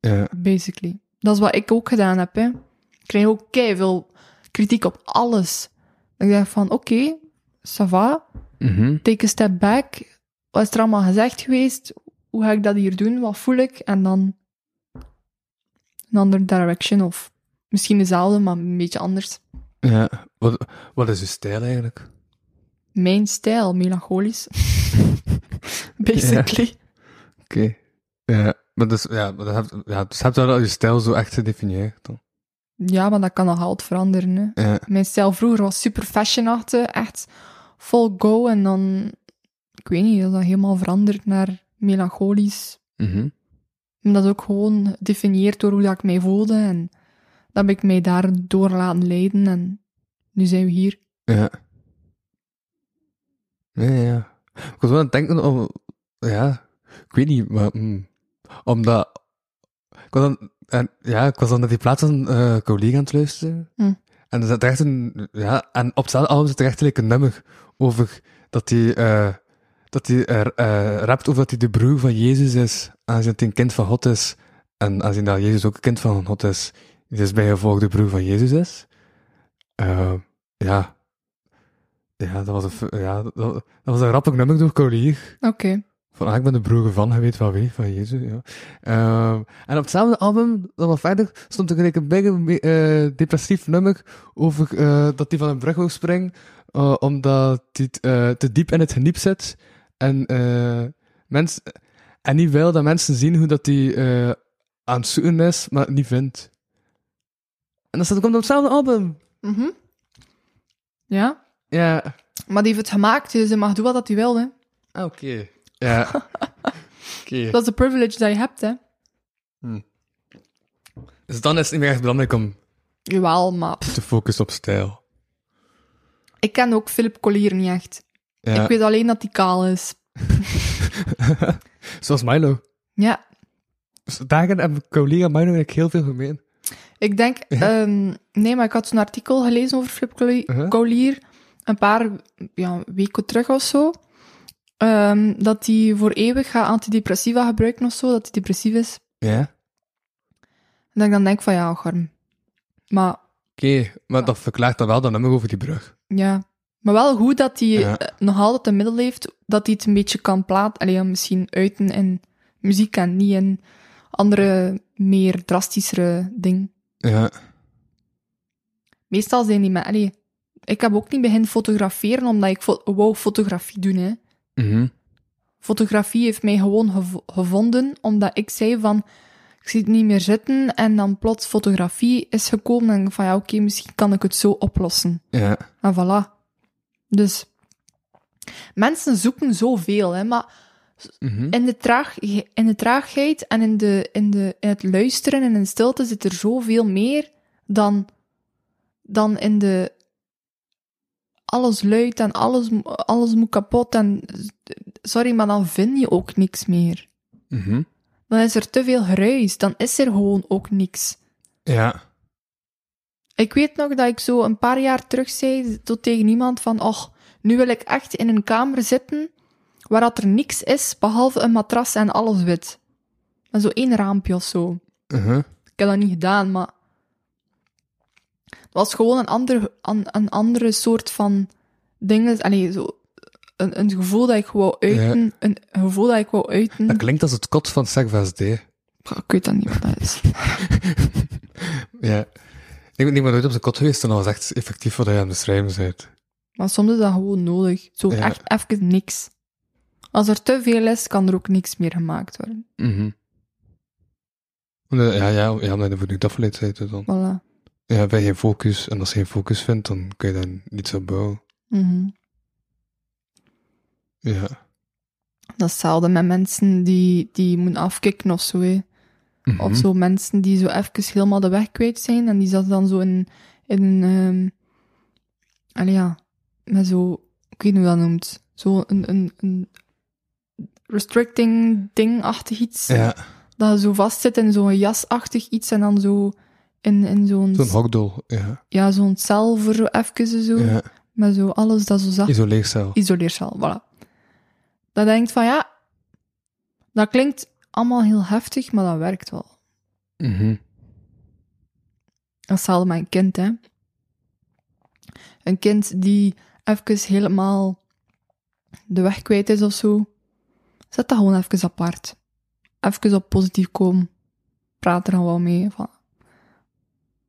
Ja. basically. Dat is wat ik ook gedaan heb. Hè. Ik kreeg ook veel kritiek op alles. Ik dacht van, oké, ça va, Mhm. take a step back. Wat is er allemaal gezegd geweest? Hoe ga ik dat hier doen? Wat voel ik? En dan een andere direction of misschien dezelfde, maar een beetje anders. Ja. Wat, wat is uw stijl eigenlijk? mijn stijl, melancholisch. Basically. Oké. Ja, maar dus, ja, maar dat heb, ja, dus heb je al je stijl zo echt gedefinieerd dan? Ja. maar dat kan nog altijd veranderen. Hè. Ja. Mijn stijl vroeger was super fashionachtig, echt full go. En dan, ik weet niet, is dat helemaal veranderd naar melancholisch. Mhm. Maar dat is ook gewoon gedefinieerd door hoe dat ik mij voelde. En dat heb ik mij daardoor laten leiden. En nu zijn we hier. Ja. Ja, ja. Ik was wel aan het denken om... Ja, ik weet niet, maar... mm, omdat... Ik was dan... En, ja, ik was dan naar die plaat van eh collega aan het luisteren. Hm. En er zat echt een... Ja, en op hetzelfde album zit er echt like, een nummer over dat hij... eh dat hij eh eh, rapt over dat hij de broer van Jezus is, aangezien dat hij een kind van God is. En aangezien dat Jezus ook een kind van God is, dus bij gevolg de broer van Jezus is. Eh, ja. Ja, dat was een, fu- ja, dat, dat was een rappig nummer door Colier. Oké. Van, ah, ik ben de broer van, hij weet van wie, van Jezus, ja. Ehm, en op hetzelfde album, dan wat verder, stond er gelijk een big me- eh, depressief nummer over eh, dat hij van een brug wil springen, eh, omdat hij t- eh, te diep in het geniep zit. En, eh mens, en niet wil dat mensen zien hoe dat hij eh, aan het zoeken is, maar het niet vindt. En dat staat ook op hetzelfde album. Mhm. Ja. Ja. Maar die heeft het gemaakt, dus hij mag doen wat hij wil. Hè. Oké. Ja. Oké. Dat is de privilege die je hebt. Hè. Dus dan is het niet meer echt belangrijk om Jawel, maar pff, te focussen op stijl. ik ken ook Philip Collier niet echt. Ja. Ik weet alleen dat hij kaal is. Zoals Milo. Ja. Dus daarin hebben collega Milo en ik heel veel gemeen. Ik denk, ehm, nee, maar ik had zo'n artikel gelezen over Flip Colli- Uh-huh. Collier een paar ja, weken terug of zo. Ehm, dat hij voor eeuwig gaat antidepressiva gebruiken of zo, dat hij depressief is. Ja. Oké, En dat ik dan denk van ja, garm. Maar maar dat verklaart dan wel dat nummer over die brug. ja. Maar wel goed dat hij Ja. eh, nog altijd een middel heeft, dat hij het een beetje kan plaat, alleen misschien uiten in muziek en niet in andere, meer drastischere dingen. Ja. Meestal zijn die maar... Allee, ik heb ook niet beginnen fotograferen, omdat ik fo- wou fotografie doen. Hè. Mhm. Fotografie heeft mij gewoon gev- gevonden, omdat ik zei van... Ik zie het niet meer zitten. En dan plots fotografie is gekomen. En ik van, ja, oké, misschien kan ik het zo oplossen. Ja. En voilà. Dus... Mensen zoeken zoveel, hè, maar Mhm. in de, traag, in de traagheid en in, de, in, de, in het luisteren en in de stilte zit er zoveel meer dan, dan in de. Alles luid en alles, mo- alles moet kapot. En, sorry, maar dan vind je ook niks meer. Mhm. Dan is er te veel geruis. Dan is er gewoon ook niks. Ja. Ik weet nog dat ik zo een paar jaar terug zei tot tegen iemand van, och, nu wil ik echt in een kamer zitten waar dat er niks is behalve een matras en alles wit. En zo één raampje of zo. Mhm. Ik heb dat niet gedaan, maar het was gewoon een, ander, een, een andere soort van dingen. Allee, zo, een, een gevoel dat ik wou uiten. Een gevoel dat ik wou uiten. Dat klinkt als het kot van Servas D. Pff, Ik weet dat niet wat dat is. Ja. Ik ben niet meer nooit op zijn kot geweest en dat was echt effectief wat hij aan het schrijven bent. Maar soms is dat gewoon nodig. Zo Ja. echt even niks. Als er te veel is, kan er ook niks meer gemaakt worden. Mhm. Omdat- Ja, ja, ja, omdat je voldoende afgeleid bent dus dan. Voilà. Ja, ben je geen focus. En als je geen focus vindt, dan kun je daar niets aan bouwen. Mhm. Ja. Dat is hetzelfde met mensen die, die moeten afkicken of zo. hè. Mhm. Of zo mensen die zo even helemaal de weg kwijt zijn en die zat dan zo in, in een... ehm, allee ja, met zo... Ik weet niet hoe dat noemt. Zo een, een, een restricting ding-achtig iets. Ja, Dat je zo vastzit in zo'n jasachtig iets en dan zo in, in zo'n... zo'n hokdol. Ja. ja, zo'n cel voor zo even zo. ja. Met zo alles dat zo zacht Isoleercel. isoleercel, voilà. Dat denkt van ja, dat klinkt allemaal heel heftig, maar dat werkt wel. Mhm. Dat is hetzelfde met een kind, hè. Een kind die even helemaal de weg kwijt is of zo. Zet dat gewoon even apart. Even op positief komen. Praat er dan wel mee. Van.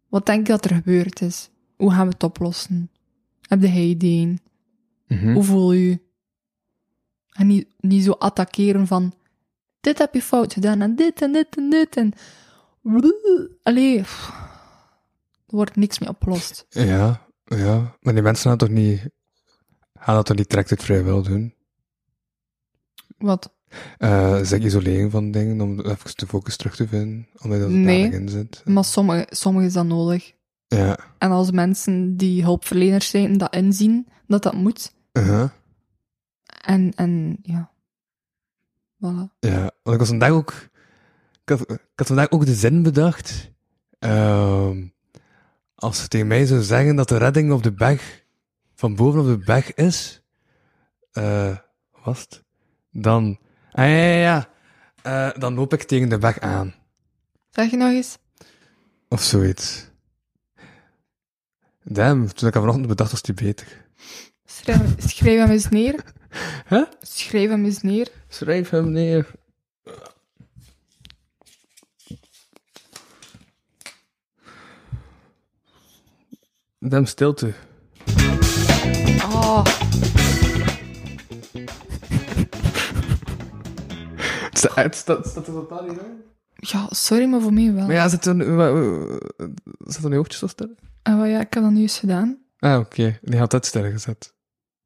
Wat denk je dat er gebeurd is? Hoe gaan we het oplossen? Heb jij ideeën? Mhm. Hoe voel je je? En niet, niet zo attackeren van... Dit heb je fout gedaan, en dit, en dit, en dit, en... Allee... pff. Er wordt niks mee opgelost. Ja, ja. Maar die mensen gaan toch niet... Gaan dat toch niet direct het vrijwel doen? Wat? Eh zeg isoleren van dingen om even de focus terug te vinden. Omdat dat Nee. er in zit. Maar sommige, sommige is dat nodig. Ja. En als mensen die hulpverleners zijn, dat inzien, dat dat moet. Uh-huh. En, en ja... Voilà. Ja, want ik was vandaag ook... Ik had, ik had vandaag ook de zin bedacht. Ehm, als ze tegen mij zou zeggen dat de redding op de berg... Van boven op de berg is... eh, was het? Dan... Ah, ja, ja, ja. Eh, dan loop ik tegen de weg aan. Zeg je nog eens? Want Of zoiets. Damn, toen ik hem vanochtend bedacht, was die beter. Schrijf, schrijf hem eens neer. Huh? Schrijf hem eens neer. Schrijf hem neer. Damn stilte. Ah, Het staat- Het staat staat er totaal niet in. ja, sorry, maar voor mij wel. Maar ja, zit er, wa- wa- zit er nu oogjes zo sterren? Ah, wel ja, ik heb dat nu eens gedaan. Ah, oké. Die had dat sterren gezet.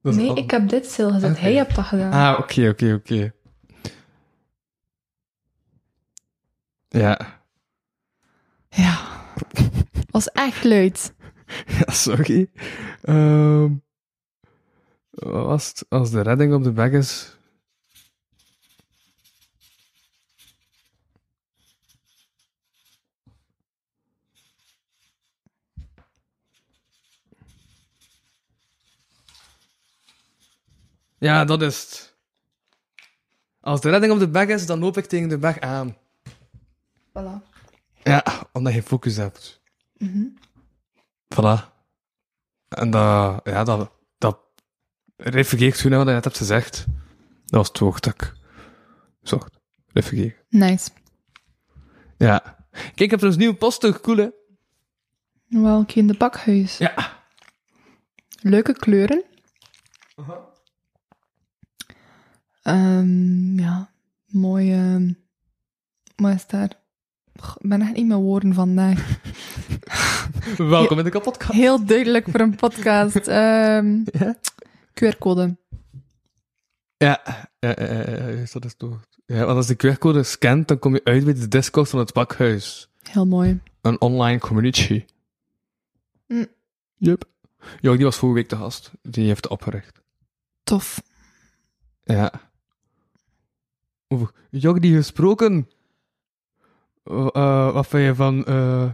Dat is Nee, al- ik heb dit stil gezet. Oké. Hij hebt dat gedaan. Ah, oké, oké, oké. Ja. Ja. Was echt luid. ja, sorry. Ehm, wat was het? Als de redding op de weg is... Ja, dat is het. Als de redding op de weg is, dan loop ik tegen de weg aan. Voilà. Ja, omdat je focus hebt. Voilà. En dat, ja, dat, dat refereert toen naar wat je net hebt gezegd. Dat was het woord dat ik zocht. Refereer. Nice. Ja. Kijk, ik heb dus nieuwe poster. Cool, hè? Welke in de bakhuis. Ja. Leuke kleuren. Ehm, ja, mooi. ehm, wat is daar? Och, Ik ben echt niet mijn woorden vandaag. Welkom in de podcast. Heel duidelijk voor een podcast. Ehm, Ja. QR-code. Ja, ja, ja, ja, ja, juist, dat is het woord. Ja, want als de QR-code scant, dan kom je uit bij de Discord van het bakhuis. Heel mooi. Een online community. Mm. Yep. Jok, die was vorige week de gast. Die heeft het opgericht. Tof. Ja. Over Jok die gesproken. W- eh, wat vind je van eh,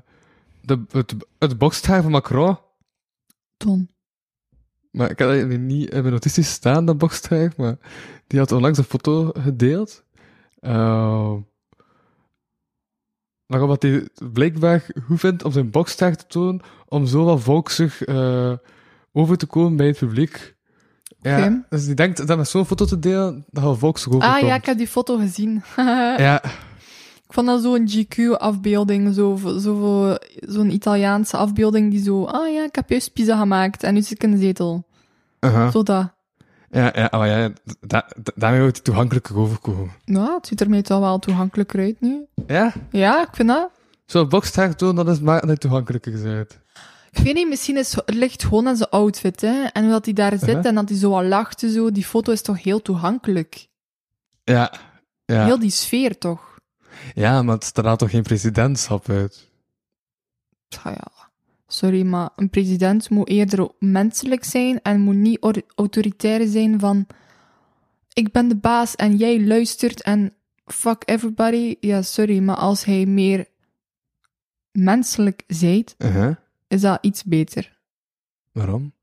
de, het, het bokshaar van Macron? Ton. Maar ik had dat eigenlijk niet in mijn notities staan, dat bokshaar. Maar die had onlangs een foto gedeeld. Eh, waarop dat hij het blijkbaar goed vindt om zijn bokshaar te tonen. Om zo wat volksig eh, over te komen bij het publiek. Ja, Oké. Dus die denkt dat met zo'n foto te delen, dat wel volksig overkomt. Ah ja, ik heb die foto gezien. Ja, Ik vond dat zo'n GQ-afbeelding, zo'n zo, zo, zo'n Italiaanse afbeelding die zo... Ah ja, ik heb juist pizza gemaakt en nu zit ik in de zetel. aha. Zo dat. Uh-huh. ja, ja, maar ja da, da- daarmee wordt het toegankelijker overkomen. Nou, het ziet er mij toch wel toegankelijker uit nu. Ja? Ja, ik vind dat... Zo'n boxtag doen, dat is maar dat het toegankelijker zijn. Ik weet niet, misschien is, het ligt gewoon aan zijn outfit, hè. En hoe dat hij daar zit Uh-huh. en dat hij zo wat lacht en zo. Die foto is toch heel toegankelijk. Ja. Ja. Heel die sfeer, toch? ja, maar het straalt toch geen presidentschap uit? Ah Ja, ja. Sorry, maar een president moet eerder menselijk zijn en moet niet or- autoritair zijn van... Ik ben de baas en jij luistert en fuck everybody. Ja, sorry, maar als hij meer menselijk zijt, Uh-huh. is dat iets beter. Waarom?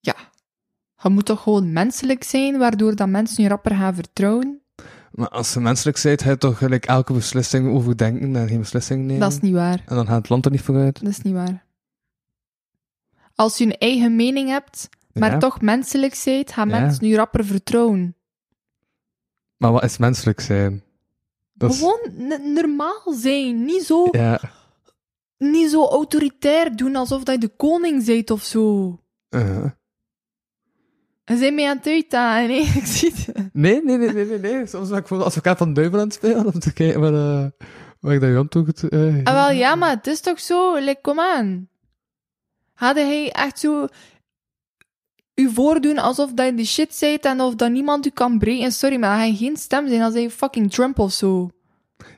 Je moet toch gewoon menselijk zijn, waardoor dat mensen je rapper gaan vertrouwen? Maar als ze menselijk zijn, ga je toch gelijk elke beslissing overdenken en geen beslissing nemen? Dat is niet waar. En dan gaat het land er niet vooruit. Dat is niet waar. Als je een eigen mening hebt, maar Ja. toch menselijk zijt, gaan Ja. mensen je rapper vertrouwen. Maar wat is menselijk zijn? Dat is... Gewoon n- normaal zijn. Niet zo, Ja. niet zo autoritair doen alsof dat je de koning bent of zo. uh-huh. Ze zijn mij aan het uitdagen, hè. Ik zie het. Nee, nee, nee, nee, nee, nee. Soms ben ik bijvoorbeeld advocaat van Duivel aan het spelen om te kijken waar, eh, waar ik dat Jan toe goed... eh, Ah, wel, ja, maar het is toch zo? Like, kom aan. Hadden hij echt zo... U voordoen alsof dat je de shit zijt en of dat niemand u kan breken. Sorry, maar hij geen stem zijn als hij fucking Trump of zo.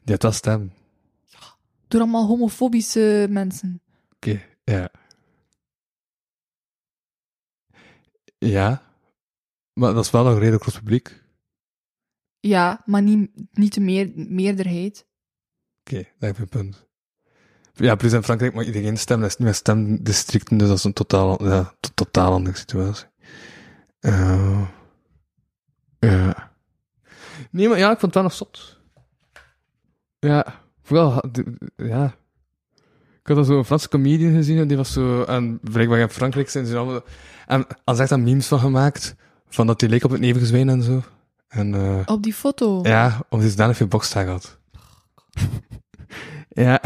Ja, dat is stem. Door allemaal homofobische mensen. Oké, ja. Ja, maar dat is wel een redelijk groot publiek. Oké, Ja, maar niet, niet de meer, meerderheid. daar heb je een punt. Ja, plus in Frankrijk mag iedereen stemmen, dat is niet meer stemdistricten, dus dat is een totaal, ja, to- totaal andere situatie. Eh, ja. Nee, maar ja, ik vond het wel nog zot. Ja, vooral, ha- de- ja. Ik had al zo'n Franse comedian gezien en die was zo... En blijkbaar in Frankrijk zijn ze allemaal... En als echt daar memes van gemaakt, van dat die leek op het nevengezwijn en zo. En eh Op die foto. ja, omdat hij zodanig veel bokstaak had. ja.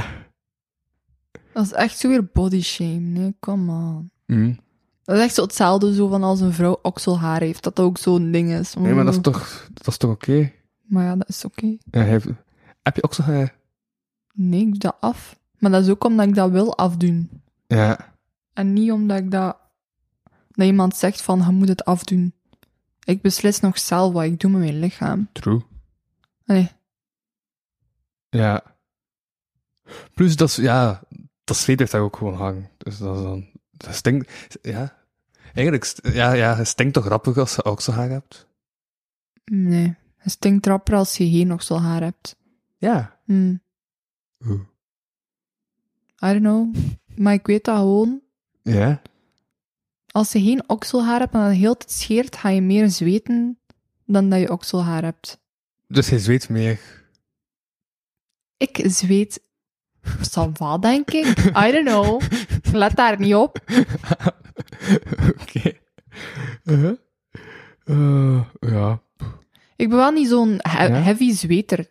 Dat is echt zo weer body shame. Nee, come on. Mm. Dat is echt zo hetzelfde zo van als een vrouw okselhaar heeft. Dat dat ook zo'n ding is. Nee, maar dat is toch, dat is toch oké? Maar ja, dat is oké. Ja, hij heeft- heb je ook zo... eh, Nee, ik doe dat af. Maar dat is ook omdat ik dat wil afdoen. ja. En niet omdat ik dat... Dat iemand zegt van, je moet het afdoen. Ik beslis nog zelf wat ik doe met mijn lichaam. True. Nee. Ja. Plus, dat, is- ja, dat zweet blijft daar ook gewoon hangen. Dus dat is dan... Dat stinkt... Ja. Eigenlijk, st- ja, ja, het stinkt toch rapper als je ook zo haar hebt? Nee. Het stinkt rapper als je geen okselhaar hebt. Ja. Hm. I don't know. Maar ik weet dat gewoon. Ja? Als je geen okselhaar hebt en dat heel tijd scheert, ga je meer zweten dan dat je okselhaar hebt. Dus hij zweet meer. Ik zweet. Samva, denk ik. I don't know. Let daar niet op. Oké. Eh, eh, ja. Ik ben wel niet zo'n he- Ja? heavy zweter.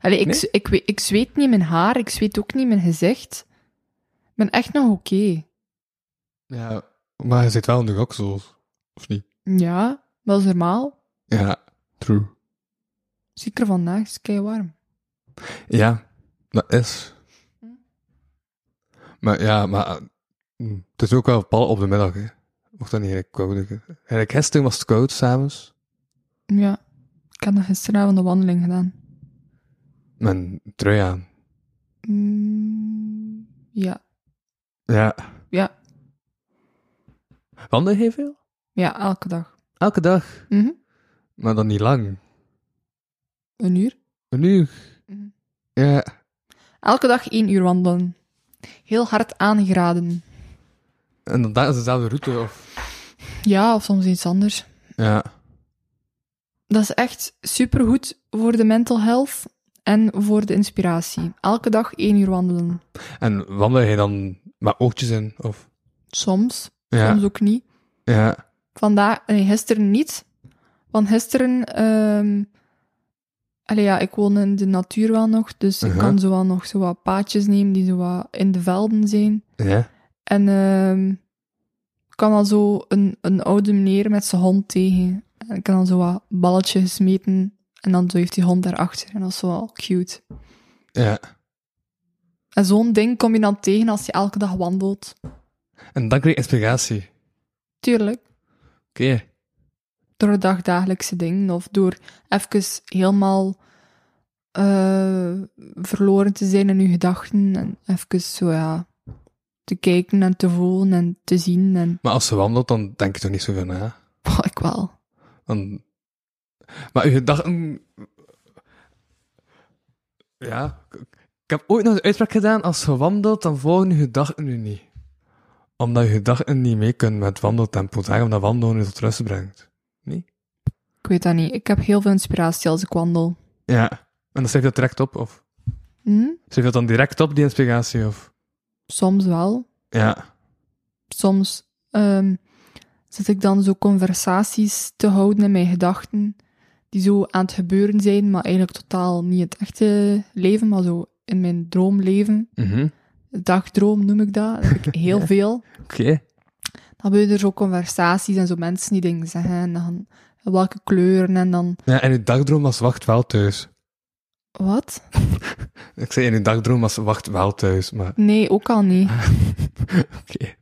Allee, ik, Nee? z- ik, we- ik zweet niet mijn haar, ik zweet ook niet mijn gezicht. Ik ben echt nog oké. Ja. Maar hij zit wel in de roksels. Of niet? Ja, dat is normaal. Ja. True. Zeker vandaag, het is kei warm. Ja, dat is. Maar ja, maar eh, hm, het is ook wel pal op de middag, hè. Mocht dat niet eigenlijk koud hè. Eigenlijk gisteren was het koud, s'avonds. Ja, ik heb nog gisteravond een wandeling gedaan. Met een trui aan. Mm, ja, Ja. ja, Wandel je veel? ja, elke dag. Elke dag. Mhm. Maar dan niet lang. Een uur? Een uur. Mhm. Ja. Elke dag één uur wandelen. Heel hard aangeraden. En dan daar is dezelfde route, of... Ja, of soms iets anders. Ja. Dat is echt supergoed voor de mental health en voor de inspiratie. Elke dag één uur wandelen. En wandel je dan met oogjes in, of... Soms, Ja. soms ook niet. Ja. Vandaag, nee, gisteren niet. Want gisteren, ehm allee ja, ik woon in de natuur wel nog, dus Uh-huh. ik kan zo wel nog zo wat paadjes nemen die zo wat in de velden zijn. Ja. En ehm, ik kan dan zo een, een oude meneer met zijn hond tegen. En ik kan dan zo wat balletjes smeten. En dan zo heeft die hond daarachter. En dat is zo wel cute. Ja. En zo'n ding kom je dan tegen als je elke dag wandelt. En dan krijg je inspiratie. Tuurlijk. Oké. Door de dagdagelijkse dingen. Of door even helemaal eh, verloren te zijn in je gedachten. En even zo, ja, te kijken en te voelen en te zien. En Maar als ze wandelt, dan denk je toch niet zoveel na? Pah, ik wel. Dan... Maar uw gedachten... Ja, ik ik heb ooit nog een uitspraak gedaan, als je wandelt, dan volgen je gedachten nu niet. Omdat je gedachten niet mee kunnen met wandeltempo. Daarom dat wandelen je tot rust brengt. Ik weet dat niet. Ik heb heel veel inspiratie als ik wandel. Ja. En dan schrijf je dat direct op, of? Hm? Schrijf je dat dan direct op, die inspiratie, of? Soms wel. Ja. Soms ehm, zit ik dan zo conversaties te houden in mijn gedachten, die zo aan het gebeuren zijn, maar eigenlijk totaal niet het echte leven, maar zo in mijn droomleven. Mhm. Dagdroom noem ik dat. Dat heb ik heel veel. Oké. Dan hebben er zo conversaties en zo mensen die dingen zeggen. En dan welke kleuren en dan... Ja, en uw dagdroom was wacht wel thuis. Wat? Ik zei, en uw dagdroom was wacht wel thuis, maar... Nee, ook al niet. Oké.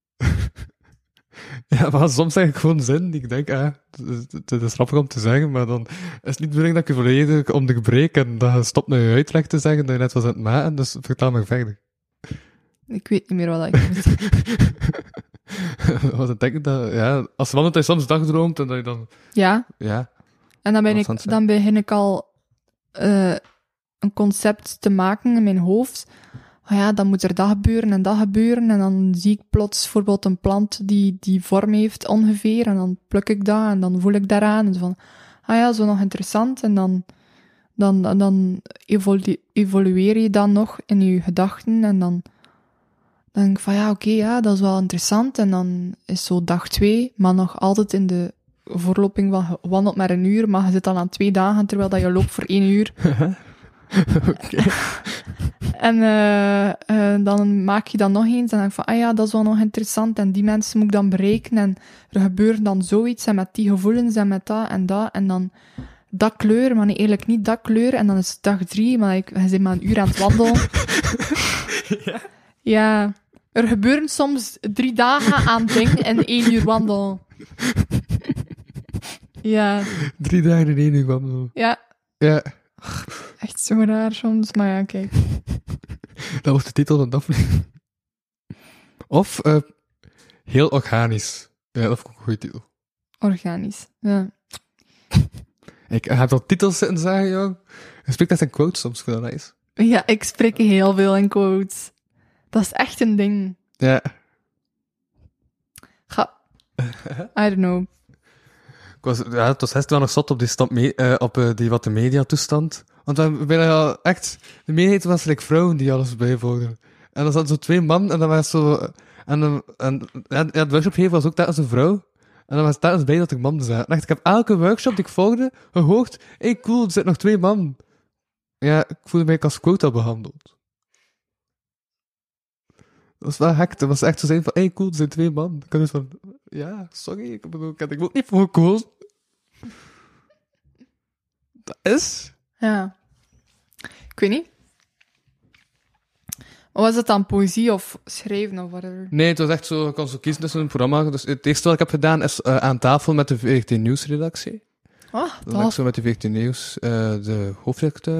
ja, maar soms zeg ik gewoon zin die ik denk, ah, het- het het is grappig om te zeggen, maar dan is het niet de bedoeling dat ik je volledig om de gebrek en dat je stopt met je uitleg te zeggen dat je net was aan het maken, dus vertel maar verder. Ik weet niet meer wat ik... Want ik denk dat, ja, als man dat hij soms dagdroomt en dat je dan, Ja? ja, En dan, ben Interessant, ik, hè? dan begin ik al eh, een concept te maken in mijn hoofd. Oh ja, dan moet er dat gebeuren en dat gebeuren. En dan zie ik plots bijvoorbeeld een plant die die vorm heeft ongeveer. En dan pluk ik dat en dan voel ik daaraan. En zo van, ah ja, zo nog interessant. En dan dan, dan- dan evolu- evolueer je dan nog in je gedachten en dan dan denk ik van ja, oké, ja, dat is wel interessant. En dan is zo dag twee, maar nog altijd in de voorloping van je wandelt maar een uur, maar je zit al aan twee dagen, terwijl dat je loopt voor één uur. En eh, eh, dan maak je dat nog eens en denk van, ah ja, dat is wel nog interessant en die mensen moet ik dan berekenen en er gebeurt dan zoiets en met die gevoelens en met dat en dat en dan dat kleur, maar nee, eerlijk niet dat kleur en dan is het dag drie, maar ik, je zit maar een uur aan het wandelen. ja, er gebeuren soms drie dagen aan dingen en één uur wandelen. ja, Drie dagen in één uur kwam zo. ja, Ja, echt zo raar soms, maar ja, kijk. dat was de titel van de aflevering. Of eh, heel organisch. Ja, dat vond ik een goede titel. Organisch, ja. Ik heb dat titels zitten zeggen, joh. Ik spreek dat zijn quotes soms, ik vind dat nice. Ja, ik spreek heel veel in quotes. Dat is echt een ding. Ja. Ga. I don't know. Ik was, ja, het was best wel nog zot op die, stand mee, eh, op, eh, die wat de media toestand. Want dan ben je al echt... De meerderheid was like, vrouwen die alles bijvoerden. En dan zaten zo twee man en dan was zo... eh, En, dan- en, en ja, het workshopgever was ook telkens een vrouw. En dan was het telkens bij dat ik man zat. En echt, ik heb elke workshop die ik volgde gehoord... Hé, hey, cool, er zitten nog twee man. Ja, ik voelde mij als quota behandeld. Dat was wel hek. Dat was echt zo zijn van... Hé, hey, cool, er zijn twee man. Ik had dus van... Ja, sorry, ik bedoel, ik had ik ook niet voor gekozen. Dat is? Ja. Ik weet niet. Was het dan poëzie of schrijven of whatever? Nee, het was echt zo, ik kon zo kiezen tussen een programma. Dus het eerste wat ik heb gedaan is eh, aan tafel met de VRT Nieuwsredactie. Ah, Dan ben ik dat. zo met de VRT Nieuws, eh, de hoofdredacteur.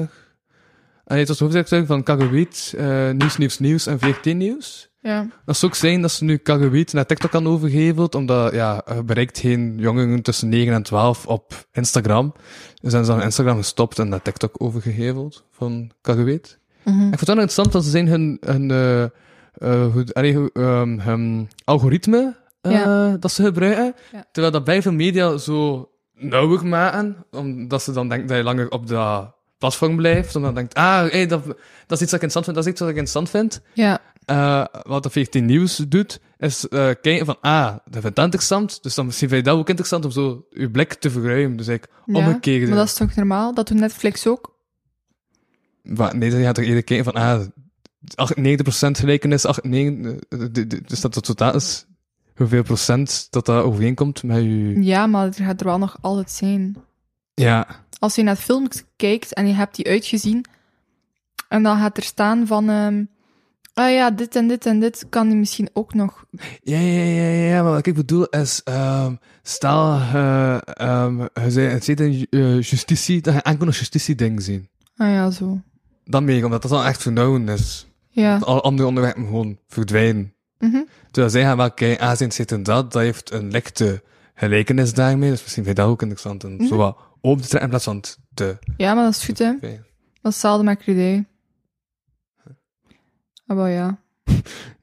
En nee, het was de hoofdredacteur van Kaggewiet, eh, Nieuws, Nieuws, Nieuws en VRT Nieuws. Ja. Dat zou ook zijn dat ze nu Kaggewiet naar TikTok kan overgeheveld, omdat, ja, er bereikt geen jongeren tussen 9 en 12 op Instagram. Dus zijn ze aan Instagram gestopt en naar TikTok overgeheveld van Kaggewiet. Mhm. Ik vond het wel interessant dat ze zijn hun, hun, eh, eh, hoe- allee, hoe, ehm, hun algoritme eh, dat ze gebruiken. Ja. Terwijl dat bij veel media zo nauwer maken, omdat ze dan denken dat je langer op dat platform blijft. En dan denkt, ah, hey, dat, dat is iets dat ik interessant vind, dat is iets dat ik interessant vind. Ja. Eh, wat de 14 Nieuws doet, is eh, kijken van, ah, dat vindt dat interessant, dus dan misschien vind je dat ook interessant om zo je blik te verruimen. Dus ik ja. omgekeerd. Maar dat is toch normaal? Dat doet Netflix ook? Maar nee, dan gaat toch eerder kijken van, ah, 98% gelijkenis, 8, 9, eh, de- de- dus dat het totaal is hoeveel procent dat dat overeenkomt met je... Ja, maar het gaat er wel nog altijd zijn. Ja. Als je naar films kijkt en je hebt die uitgezien, en dan gaat er staan van... ehm ah ja, dit en dit en dit kan die misschien ook nog Ja, ja, ja, ja, maar wat ik bedoel is, ehm stel, eh ehm je zei- het zit in ju- eh, justitie, dat je enkel nog justitie-ding zien. Ah ja, zo. Dan meer, omdat dat dan echt vernauwen is. Ja. Alle andere onderwerpen gewoon verdwijnen. Mhm. Terwijl zij gaan wel kijken, aanzien zit in dat, dat heeft een lichte gelijkenis daarmee, dus misschien vind je dat ook interessant. Mhm. En zo wat op te trekken in plaats van te... Ja, maar dat is goed, hè. Dat te- is hetzelfde met Crudé. Ah, wel ja.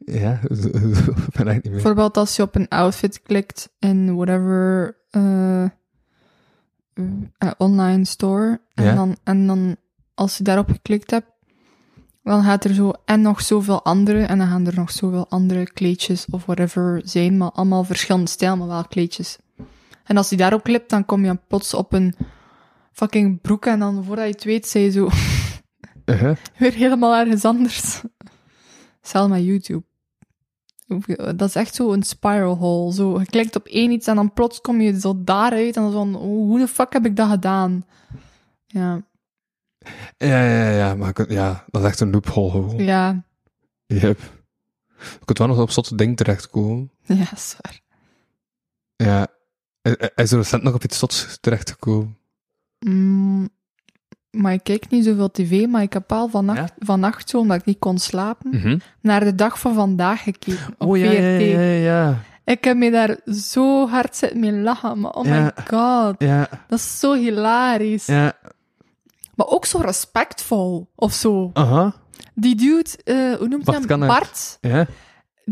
Ja, zo- zo- ik ben eigenlijk niet meer. Bijvoorbeeld als je op een outfit klikt in whatever eh, eh, online store. En, Ja. dan, en dan als je daarop geklikt hebt, dan gaat er zo en nog zoveel andere. En dan gaan er nog zoveel andere kleedjes of whatever zijn. Maar allemaal verschillende stijl, maar wel kleedjes. En als je daarop klikt, dan kom je plots op een fucking broek. En dan voordat je het weet, zei je zo... Uh-huh. weer helemaal ergens anders. Zelfs met YouTube. Dat is echt zo een spiral hole. Zo, je klikt op één iets en dan plots kom je zo daaruit en dan zo van, oh, hoe de fuck heb ik dat gedaan? Ja, Ja, ja, ja, maar ik- ja, dat is echt een loophole gewoon. ja, Yep. Je kunt wel nog op zotte ding terechtkomen. ja, is waar. Ja. Hij hij is er recent nog op iets zots terechtgekomen. Mm, maar ik kijk niet zoveel tv, maar ik heb al vannacht, vannacht zo, omdat ik niet kon slapen, Hm. Mhm. naar de dag van vandaag gekeken. Op VRT. Oh, ja. Ik heb me daar zo hard zitten mee lachen, maar oh Ja. my god, Ja, dat is zo hilarisch. ja. Maar ook zo respectvol, of zo. Aha. Die dude, eh, hoe noemt hij Bart hem? Kannaert. Bart. Uh-huh. Ja.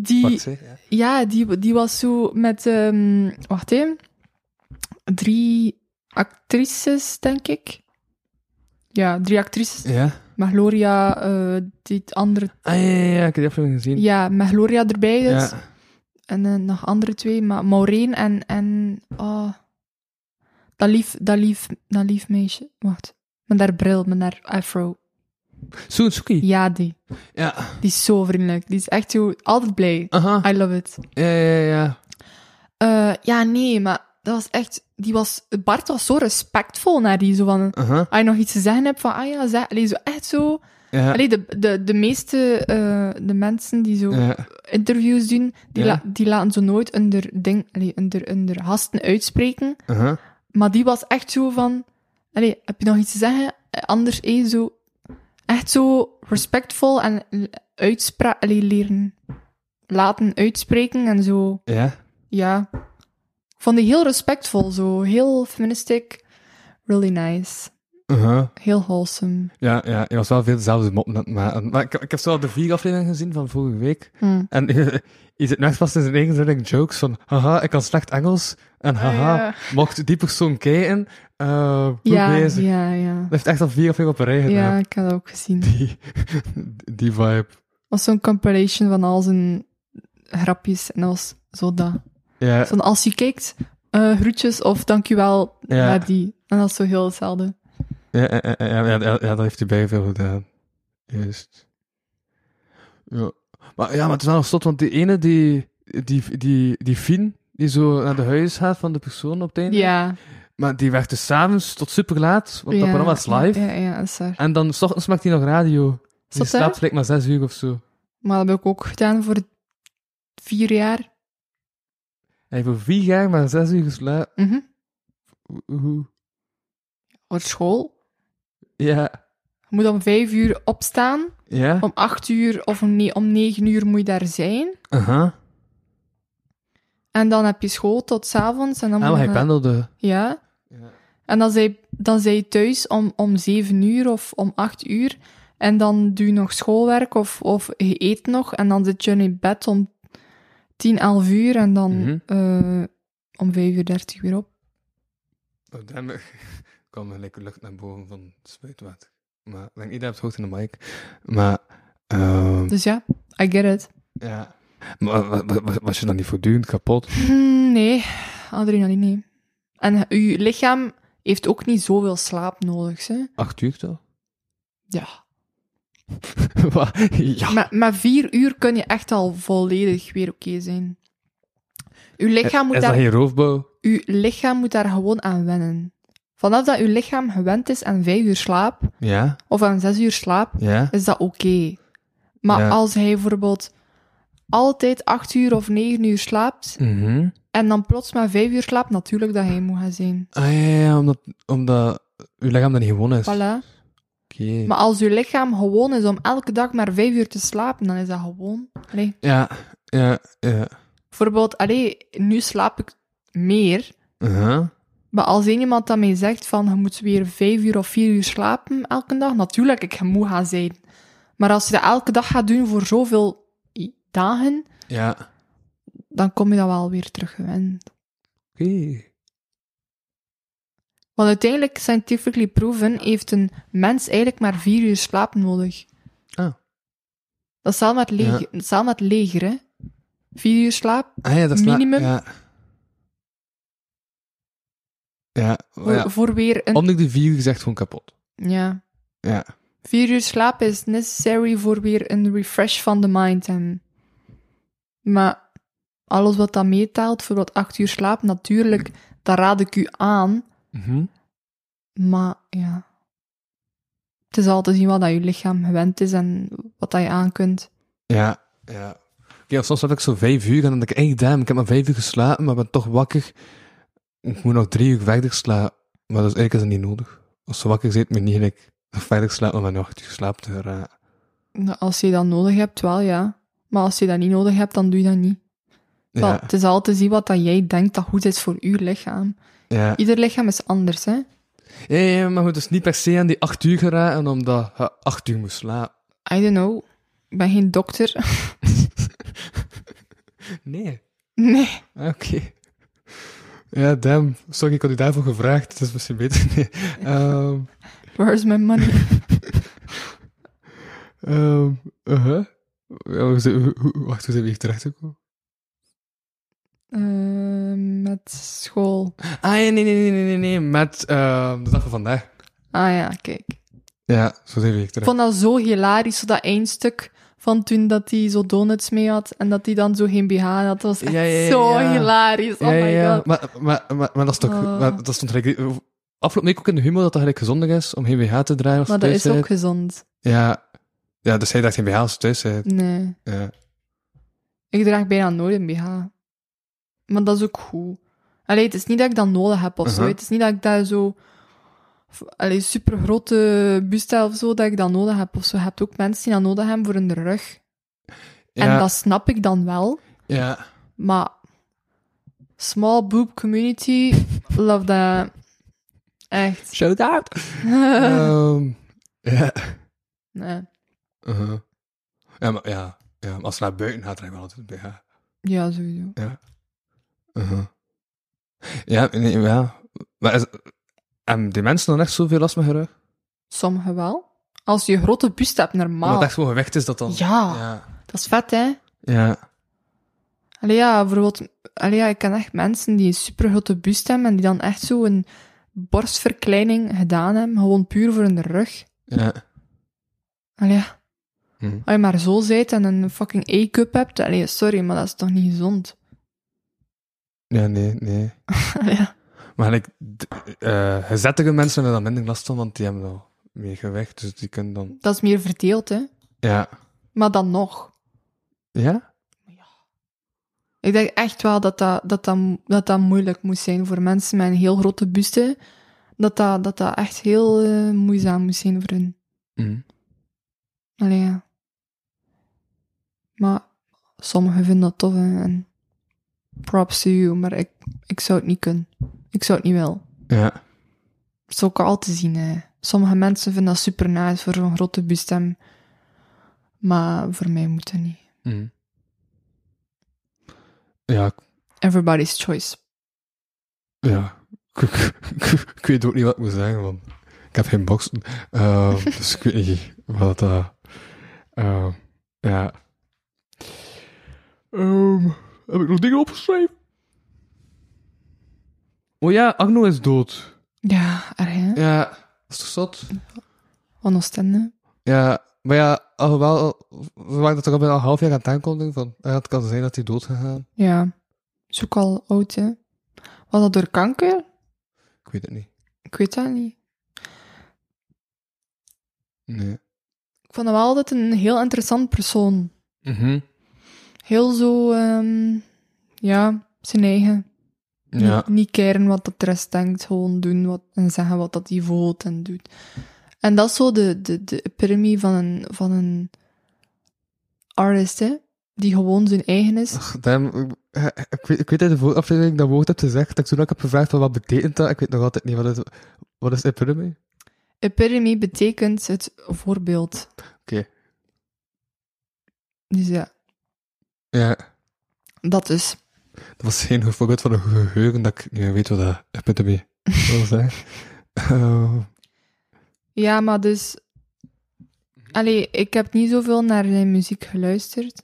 Die, Wacht, hè. Ja. ja, die, die was zo met, ehm, wacht even, drie actrices, denk ik. Ja, drie actrices. Ja? Met Gloria, eh, die andere... Ah, ja, ja, ja, ik heb die aflevering gezien. Ja, met Gloria erbij dus. Ja. En eh, nog andere twee, maar Maureen en... en oh, dat, lief, dat, lief, dat lief meisje. Wacht. Met haar bril, met haar afro. Soensuki. Ja, die. Ja. Die is zo vriendelijk. Die is echt zo... Altijd blij. Aha. I love it. Ja, ja, ja. Eh, ja, nee, maar dat was echt... Die was, Bart was zo respectvol naar die. Zo van, Aha. als je nog iets te zeggen hebt, van ah ja, zeg... Allee, zo echt zo... Ja. Allee, de, de, de meeste eh, de mensen die zo Ja. interviews doen, die, Ja. la- die laten zo nooit onder, ding, allee, onder, onder gasten uitspreken. Aha. Maar die was echt zo van... Allee, heb je nog iets te zeggen? Eh, Anders eh, zo... Echt zo respectvol en l- uitspra... Allee, leren... Laten uitspreken en zo... Ja. Ja. Ik vond die heel respectvol, zo. Heel feministic. Really nice. Aha. Heel wholesome. Ja, ja. Je was wel veel dezelfde moppen aan het maken. Maar ik, ik heb zo al de vier afleveringen gezien van vorige week. Hm. En je zit nachts vast in zijn eigen zin jokes van haha, ik kan slecht Engels. En haha, Ah, ja. mocht die persoon kijken, eh goed Ja, bezig. ja, ja. Dat heeft echt al vier of vijf op een rij gedaan. Ja, ik had dat ook gezien. Die, die vibe. was zo'n compilation van al zijn grapjes. En dat was zo dat. Ja, Zo van, als je kijkt, eh, groetjes of dankjewel Ja. naar die. En dat is zo heel hetzelfde. ja, ja, ja, ja, ja, ja, dat heeft hij bij veel gedaan. Juist. Ja. Maar ja, maar het is wel nog slot, want die ene, die, die, die, die Fien, die zo naar de huis gaat van de persoon op het einde. Ja. Maar die werkte s'avonds tot super laat, want dat ja, programma is live. Ja, ja, dat is waar. En dan, s ochtends maakt hij nog radio. Is dat die slaapt daar? gelijk maar zes uur of zo. Maar dat heb ik ook gedaan voor vier jaar. Hij heeft voor vier jaar maar zes uur geslapen. Mhm. Hoe- hoe- Voor school. Ja. Je moet om vijf uur opstaan. Ja? Om acht uur of om, ne- om negen uur moet je daar zijn. Aha. En dan heb je school tot 's avonds En dan Ah, moet maar je hij gaan- pendelde. Ja. En dan zij, dan zij thuis om, om zeven uur of om acht uur. En dan doe je nog schoolwerk of, of je eet nog. En dan zit je in bed om tien, elf uur. En dan Mhm. eh, om vijf uur dertig weer op. Oh, damn. kwam er lekker lucht naar boven van het spuitwater. Maar ik denk niet dat het hoort in de mic. Maar, ehm, Dus ja, I get it. ja. Maar wa- wa- wa- was je dan niet voortdurend kapot? Hmm, nee, adrenaline. nee. En je lichaam heeft ook niet zoveel slaap nodig. Hè? Acht uur toch? Ja. Wat? ja. Maar, maar vier uur kun je echt al volledig weer oké zijn. Uw lichaam, moet Eh, Is dat daar, geen roofbouw? uw lichaam moet daar gewoon aan wennen. Vanaf dat uw lichaam gewend is aan vijf uur slaap, Ja. of aan zes uur slaap, Ja. is dat oké. Maar Ja. als hij bijvoorbeeld altijd acht uur of negen uur slaapt, Mhm. en dan plots maar vijf uur slaapt, natuurlijk dat hij moet gaan zijn. Ah, ja, ja, ja, omdat, omdat uw lichaam dat niet gewonnen is. Voilà. Oké. Maar als uw lichaam gewoon is om elke dag maar vijf uur te slapen, dan is dat gewoon... Allee. Ja, ja, ja. Bijvoorbeeld, allee, nu slaap ik meer, Uh-huh. Maar als één iemand dat mij zegt van je moet weer vijf uur of vier uur slapen elke dag, natuurlijk, ik ga moe gaan zijn. Maar als je dat elke dag gaat doen voor zoveel i- dagen, Ja. dan kom je dat wel weer terug gewend. Oké. Want uiteindelijk, scientifically proven, heeft een mens eigenlijk maar vier uur slaap nodig. Ah. Dat is hetzelfde met, het leger- Ja. hetzelfde met het leger, hè. Vier uur slaap Ah ja, dat is na- Minimum. Ja. Ja, maar voor, ja. voor weer een... Omdat ik de vier gezegd gewoon kapot. Ja. Ja. Vier uur slaap is necessary voor weer een refresh van de mind. En... Maar alles wat dat meetelt, voor wat acht uur slaap, natuurlijk, dat raad ik u aan. Maar ja, het is al te zien wat dat je lichaam gewend is en wat dat je aan kunt. Ja, ja. Oké, of soms heb ik zo vijf uur en dan denk ik, hey, damn, ik heb maar vijf uur geslapen, maar ben toch wakker. Ik moet nog drie uur verder slapen. Maar dat is eigenlijk is dat niet nodig. Als ze wakker zit, moet je niet gelijk nog verder slapen, maar nog acht uur geslapen te geraken. Als je dat nodig hebt, wel ja. Maar als je dat niet nodig hebt, dan doe je dat niet. Wel, Ja, het is al te zien wat dat jij denkt dat goed is voor je lichaam. ja. Ieder lichaam is anders, hè? Ja, ja, maar goed, dus niet per se aan die acht uur geraken, omdat je acht uur moet slapen. I don't know. Ik ben geen dokter. Nee. nee. Ah, Oké. dus Ja, damn. Sorry, ik had u daarvoor gevraagd. Het is misschien beter. Nee. Ehm, Where's my money? Ehm, uh-huh. Ja, we zijn- hoe- hoe- Wacht, hoe zijn we hier terechtgekomen? Eh, met school. Ah, ja, nee, nee, nee, nee, nee, nee, met ehm, de dag van vandaag. Ah ja, kijk. Ja, zo zijn we hier Ik terecht. vond dat zo hilarisch, zo dat één stuk van toen dat hij zo donuts mee had en dat hij dan zo geen BH had. Dat was echt Ja, ja, ja, zo ja. hilarisch. Oh ja, my ja, ja. god. Maar, maar, maar, maar dat is toch... Ah. maar dat stond gelijk... Afgelopen week ook in de humor dat dat gelijk gezonder is om geen BH te draaien als Maar je dat thuis is ook bent. gezond. Ja. ja, dus hij dacht geen BH als je thuis bent. Nee. Ja. Ik draag bijna nooit een BH. Maar dat is ook goed. Allee, het is niet dat ik dat nodig heb of zo. Mhm. Het is niet dat ik daar zo... f- Allee, super grote buste of zo, dat ik dat nodig heb of zo. Je hebt ook mensen die dat nodig hebben voor hun rug. Ja, En dat snap ik dan wel. ja. Maar small boob community, love that. Echt. Shout out! Ehm, ja. nee. Uh-huh. Ja, maar ja. ja. maar Als ze naar buiten gaat, draag ik wel altijd een BH. Ja, sowieso. Uh-huh. Ja, nee, ja. Maar is, hebben die mensen dan echt zoveel last met hun rug? Sommigen wel. Als je grote buste hebt, Omdat normaal. het echt gewoon gewicht is dat dan... Ja, Ja. dat is vet, hè? Ja. Allee, ja, bijvoorbeeld... Allee, ja, ik ken echt mensen die een supergrote buste hebben en die dan echt zo een borstverkleining gedaan hebben, gewoon puur voor hun rug. Ja. Allee, ja. Hm. Als je maar zo zijt en een fucking A-cup hebt, allee, sorry, maar dat is toch niet gezond? Ja, nee, nee. Allee, ja. Maar like, d- eh, gezettige mensen hebben daar minder last van, want die hebben al meer gewicht, dus die kunnen dan... dat is meer verdeeld, hè? Ja. Maar dan nog. Ja? Ik denk echt wel dat dat, dat, dat, dat, dat moeilijk moest zijn voor mensen met een heel grote buste. Dat dat, dat, dat echt heel eh, moeizaam moest zijn voor hun. Mm. Allee, ja. Maar sommigen vinden dat tof hè, en props to you, maar ik, ik zou het niet kunnen. Ik zou het niet willen. Ja. Dat is ook al te zien. Hè. Sommige mensen vinden dat super nice voor zo'n grote bustem. Maar voor mij moet dat niet. Ja, ik- Everybody's choice. ja. Ik, ik- ik weet ook niet wat ik moet zeggen, want ik heb geen boxen. Ehm, dus ik weet niet wat dat... ehm, ja. Ehm, heb ik nog dingen opgeschreven? Oh ja, Agno is dood. Ja, erg hè? Ja. Dat is toch zot? Van Oostende. Ja, maar ja, alhoewel, we waren dat toch al bijna een half jaar aan het aankondigen van, ja, het kan zijn dat hij dood gaat gaan. Ja, is ook al oud, hè. Was dat door kanker? Ik weet het niet. Ik weet dat niet. Nee. Ik vond hem wel altijd een heel interessant persoon. Mhm. Heel zo, ehm, ja, zijn eigen. Ja. Niet, niet keren wat dat de rest denkt, gewoon doen wat, en zeggen wat dat hij voelt en doet. En dat is zo de, de, de epitome van een, van een artist, hè. Die gewoon zijn eigen is. Damn, ik, eh, ik weet, ik weet uit de vorige aflevering dat woord hebt gezegd, dat ik toen ook heb gevraagd van wat betekent dat, ik weet nog altijd niet wat het, wat is epidemie? Epitome betekent het voorbeeld. Oké. Dus ja, Ja, dat is. dat was geen goed voorbeeld van een geheugen dat ik niet meer weet wat dat epidemie wil zeggen. Eh, Ja, maar dus... Allee, ik heb niet zoveel naar zijn muziek geluisterd.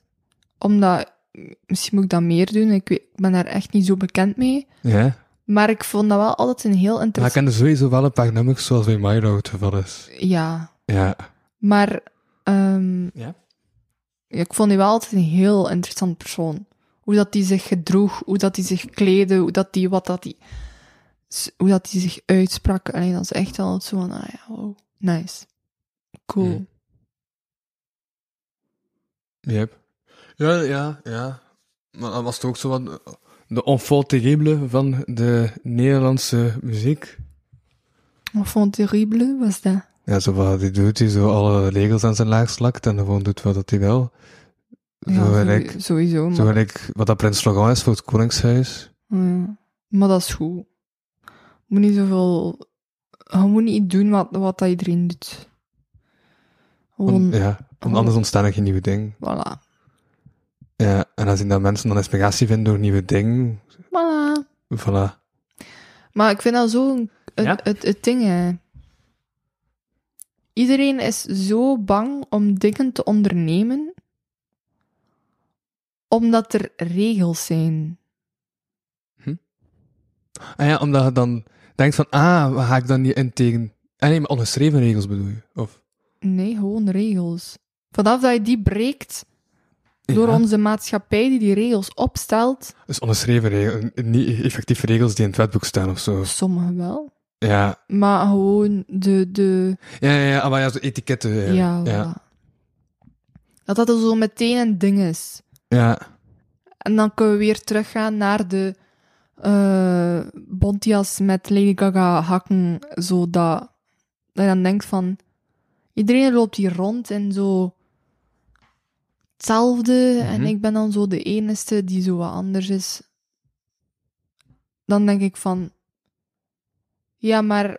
Omdat... Misschien moet ik dat meer doen. Ik, weet, ik ben daar echt niet zo bekend mee. ja, Maar ik vond dat wel altijd een heel maar ik interessant... kende sowieso wel een paar nummers zoals bij Milo het geval is. Ja, Ja. maar... ehm, Ja? ja, ik vond die wel altijd een heel interessant persoon. Hoe dat die zich gedroeg, hoe dat die zich kleedde, hoe dat die... Wat dat die s- hoe dat die zich uitsprak. Allee, dat is echt altijd zo van... Ah ja, wow. Nice. Cool. Hmm. Yep. Ja, ja, ja. Maar dat was toch ook zo wat de enfant terrible van de Nederlandse muziek. Enfant terrible was dat. Ja, zo wat hij doet, die zo alle regels aan zijn laag slakt en gewoon doet wat dat hij wil. Ja, zo sowie- gelijk, sowieso. Maar, zo gelijk wat dat Prins Laurent is voor het Koningshuis. Ja. maar dat is goed. Je moet niet zoveel... Je moet niet doen wat, wat dat iedereen doet. Gewoon, Want, eh, ja, want on- anders ontstaan er geen nieuwe dingen. voilà. Ja, en als dat mensen dan inspiratie vinden door nieuwe dingen, Voilà. voilà. Maar ik vind dat zo een- het, Ja? het, het ding, hè. Iedereen is zo bang om dingen te ondernemen, omdat er regels zijn. Ah ja, omdat je dan denkt van, ah, wat ga ik dan niet in tegen... Ah nee, maar ongeschreven regels bedoel je? Of... Nee, gewoon regels. Vanaf dat je die breekt door Ja. onze maatschappij die die regels opstelt, Dus ongeschreven regels, niet effectief regels die in het wetboek staan of zo. sommigen wel, Ja, maar gewoon de, de, ja, ja, ja, ah, maar ja, zo etiketten. Ja, ja, ja. voilà. Dat dat zo meteen een ding is. ja. En dan kunnen we weer teruggaan naar de eh Bontias met Lady Gaga hakken, zodat dat je dan denkt van... Iedereen loopt hier rond en zo hetzelfde, en Mhm. ik ben dan zo de enige die zo wat anders is. Dan denk ik van... Ja, maar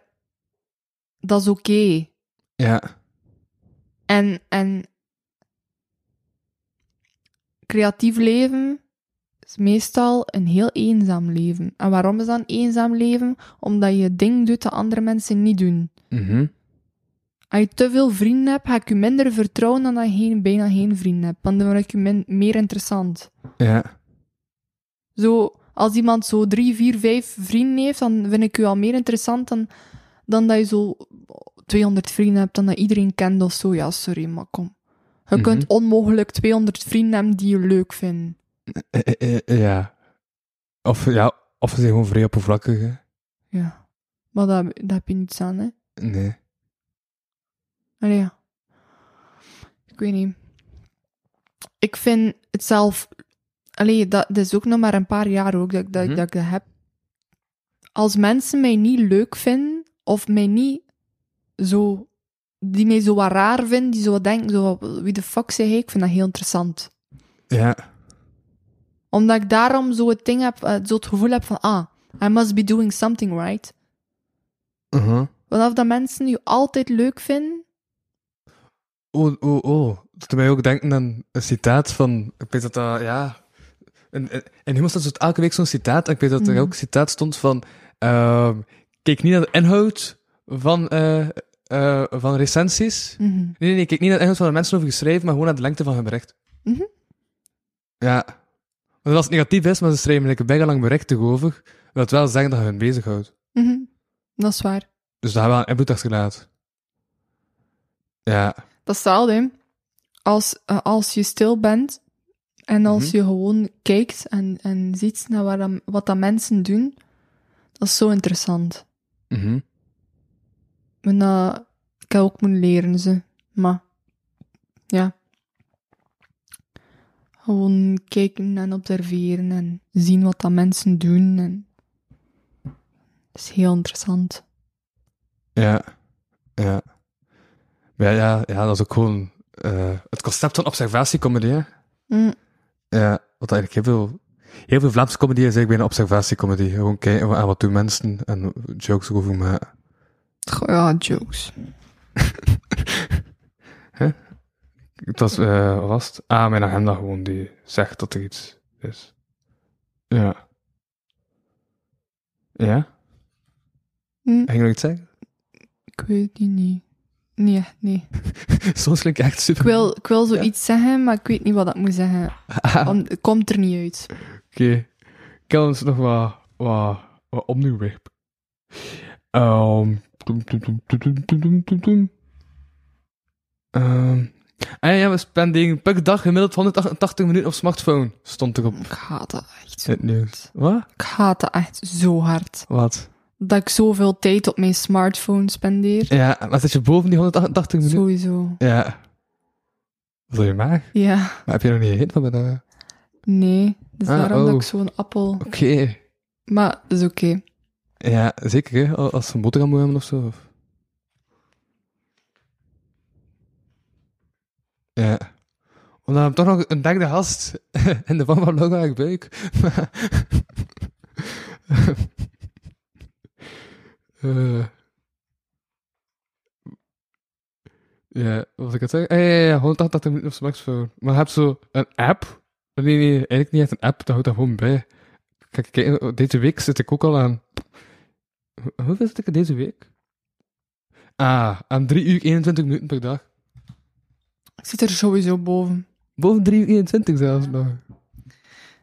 dat is oké. ja. En, en creatief leven is meestal een heel eenzaam leven. En waarom is dat een eenzaam leven? Omdat je ding doet dat andere mensen niet doen. Mhm. Als je te veel vrienden hebt, ga ik je minder vertrouwen dan dat je geen, bijna geen vrienden hebt. Want dan word ik je min- meer interessant. Ja. Zo, als iemand zo drie, vier, vijf vrienden heeft, dan vind ik je al meer interessant dan, dan dat je zo 200 vrienden hebt, dan dat iedereen kent of zo. Ja, sorry, maar kom. Je Mhm. kunt onmogelijk 200 vrienden hebben die je leuk vinden. Eh, eh, eh, ja. Of, ja, of ze zijn gewoon vrij oppervlakkig, hè. Ja. Maar daar, daar heb je niets aan, hè. Nee. Allee, ja. Ik weet niet. Ik vind het zelf... Allee, dat, dat is ook nog maar een paar jaar ook dat, ik- dat, ik- Mhm. dat ik dat heb. Als mensen mij niet leuk vinden, of mij niet zo... Die mij zo wat raar vinden, die zo wat denken, zo, wat- wie de fuck zeg ik? Ik vind dat heel interessant. Ja. Omdat ik daarom zo het ding heb, eh, zo het gevoel heb van, ah, I must be doing something right. Uh-huh. Vanaf dat mensen je altijd leuk vinden, Oh, oh, oh. Dat doet mij ook denken aan een citaat van... Ik weet dat dat, ja... In, in, in Human staat zo elke week zo'n citaat. En ik weet dat er Mhm. ook een citaat stond van... ehm, kijk niet naar de inhoud van, eh, eh, van recensies. mhm. Nee, nee, nee. Kijk niet naar de inhoud van de mensen over geschreven, maar gewoon naar de lengte van hun bericht. Mhm. Ja. Want als het negatief is, maar ze schrijven lekker bijna lang berichten over, wil het wel zeggen dat je hun bezighoudt. Mhm. dat is waar. Dus daar hebben we aan invloed achtergelaten. Ja. Dat is hetzelfde. hè. Als, eh, als je stil bent en als Mhm. je gewoon kijkt en, en ziet naar waar dan- wat dat mensen doen, dat is zo interessant. Mhm. Maar dat, ik heb ook moeten leren, ze. Maar, ja. Gewoon kijken en observeren en zien wat dat mensen doen. En... Dat is heel interessant. Ja, ja. Ja, ja, ja, dat is ook gewoon eh, het concept van observatiecomedy. hè. Mm, Ja, wat eigenlijk heel veel, heel veel Vlaamse comedy is eigenlijk bijna observatiecomedy. Gewoon kijken aan wat doen mensen en jokes over maken. goh, ja, jokes. Het was, eh, wat was het? Ah, mijn agenda gewoon die zegt dat er iets is. Ja. Ja? Hm. Ging je nog iets zeggen? Ik weet die niet. Nee, nee. Soms klinkt echt super... Ik wil, ik wil zoiets zeggen, maar ik weet niet wat ik moet zeggen. Ah, Want het komt er niet uit. Oké. Ik heb ons nog wat, wat, wat onderwerp. Ehm, toem, toem, toem, toem, toem, toem, toem, toem, toem. Ehm, en ja, we spenderen per dag gemiddeld 188 minuten op smartphone. Stond erop Ik haat dat echt zo. het nieuws. Wat? Ik haat dat echt zo hard. Wat? Dat ik zoveel tijd op mijn smartphone spendeer. Ja, maar zit je boven die 188 minuten? Sowieso. Ja. Wat doe je maar? Ja, Maar heb je nog niet gegeten van vandaag? nee. Dus Ah, daarom oh. dat ik zo'n appel... Oké. Maar dat is oké. Ja, zeker hè? Al- Als ze een boterham moet hebben of zo. Of... Ja. Want dan heb ik toch nog een derde gast in de vorm van Laura Buik. Maar... Eh. Ja, wat was ik het zeggen? Ah, ja, ja, ja, 188 minuten op smartphone. Maar je hebt zo een app. Nee, nee, eigenlijk niet echt een app, dat houdt daar gewoon bij. Kijk, kijk, deze week zit ik ook al aan. Ho- Hoeveel zit ik er deze week? Ah, aan 3 uur 21 minuten per dag. Ik zit er sowieso boven. Boven 3 uur 21 zelfs nog.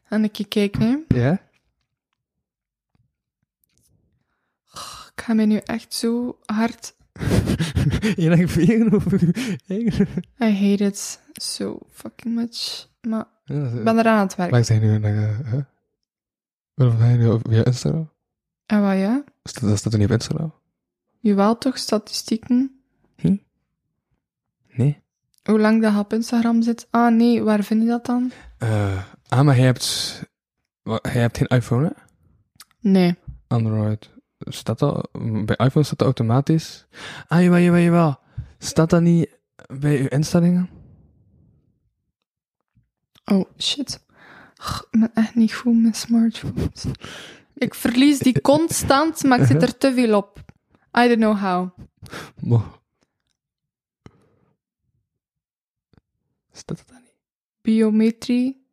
En ik kijk nu. Ja? Ik ga mij nu echt zo hard... Je denkt vegen over je eigen... I hate it so fucking much. Maar Ja, dat is- ik ben eraan aan het werk. Waar zijn nu naar... eh, hè? Waarom ga je nu op via Instagram? En wat ja? Staat- Dat staat er niet op Instagram? Jawel toch, statistieken. Nee. Hoe lang dat je op Instagram zit. Ah nee, waar vind je dat dan? Eh, ah, maar jij hebt... Wat, jij hebt geen iPhone, hè? Nee. Android. Staat dat... Bij iPhone staat dat automatisch. Ah, jawel, jawel, jawel. Staat dat niet bij je instellingen? Oh shit. Ugh, Ik ben echt niet goed met smartphones. Ik verlies die constant, maar ik zit er te veel op. I don't know how. Mo. Staat dat daar niet? Biometrie,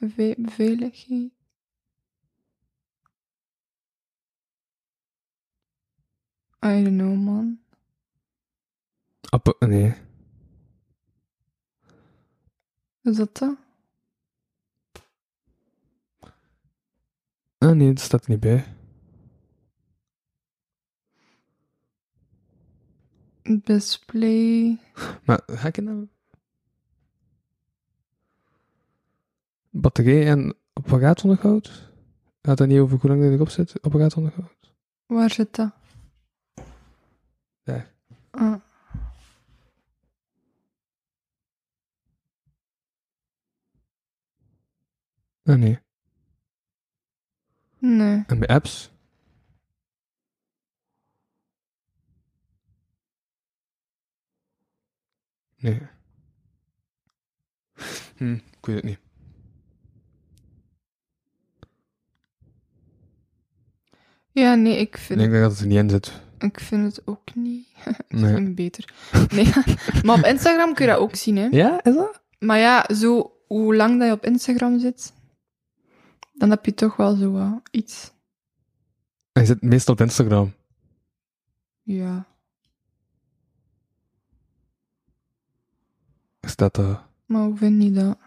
ve- veiligheid. I don't know, man. App nee. Is dat dat? Ah, nee, dat staat er niet bij. Display. Maar ga ik het nou? Batterij en apparaatonderhoud? Gaat dat niet over hoe lang dat erop zit? Apparaatonderhoud? Waar zit dat? Daar. Ah. Ah, nee. Nee. En bij apps? Nee. Hm, ik weet het niet. Ja, nee, ik vind, Ik denk dat het er niet in zit. ik vind het ook niet. Nee. vind ik beter. Nee, maar op Instagram kun je dat ook zien, hè. Ja, is dat? Maar ja, zo, hoe lang dat je op Instagram zit, dan heb je toch wel zo wat iets. Hij zit meestal op Instagram. Ja. Staat dat... eh? Maar hoe vind je dat?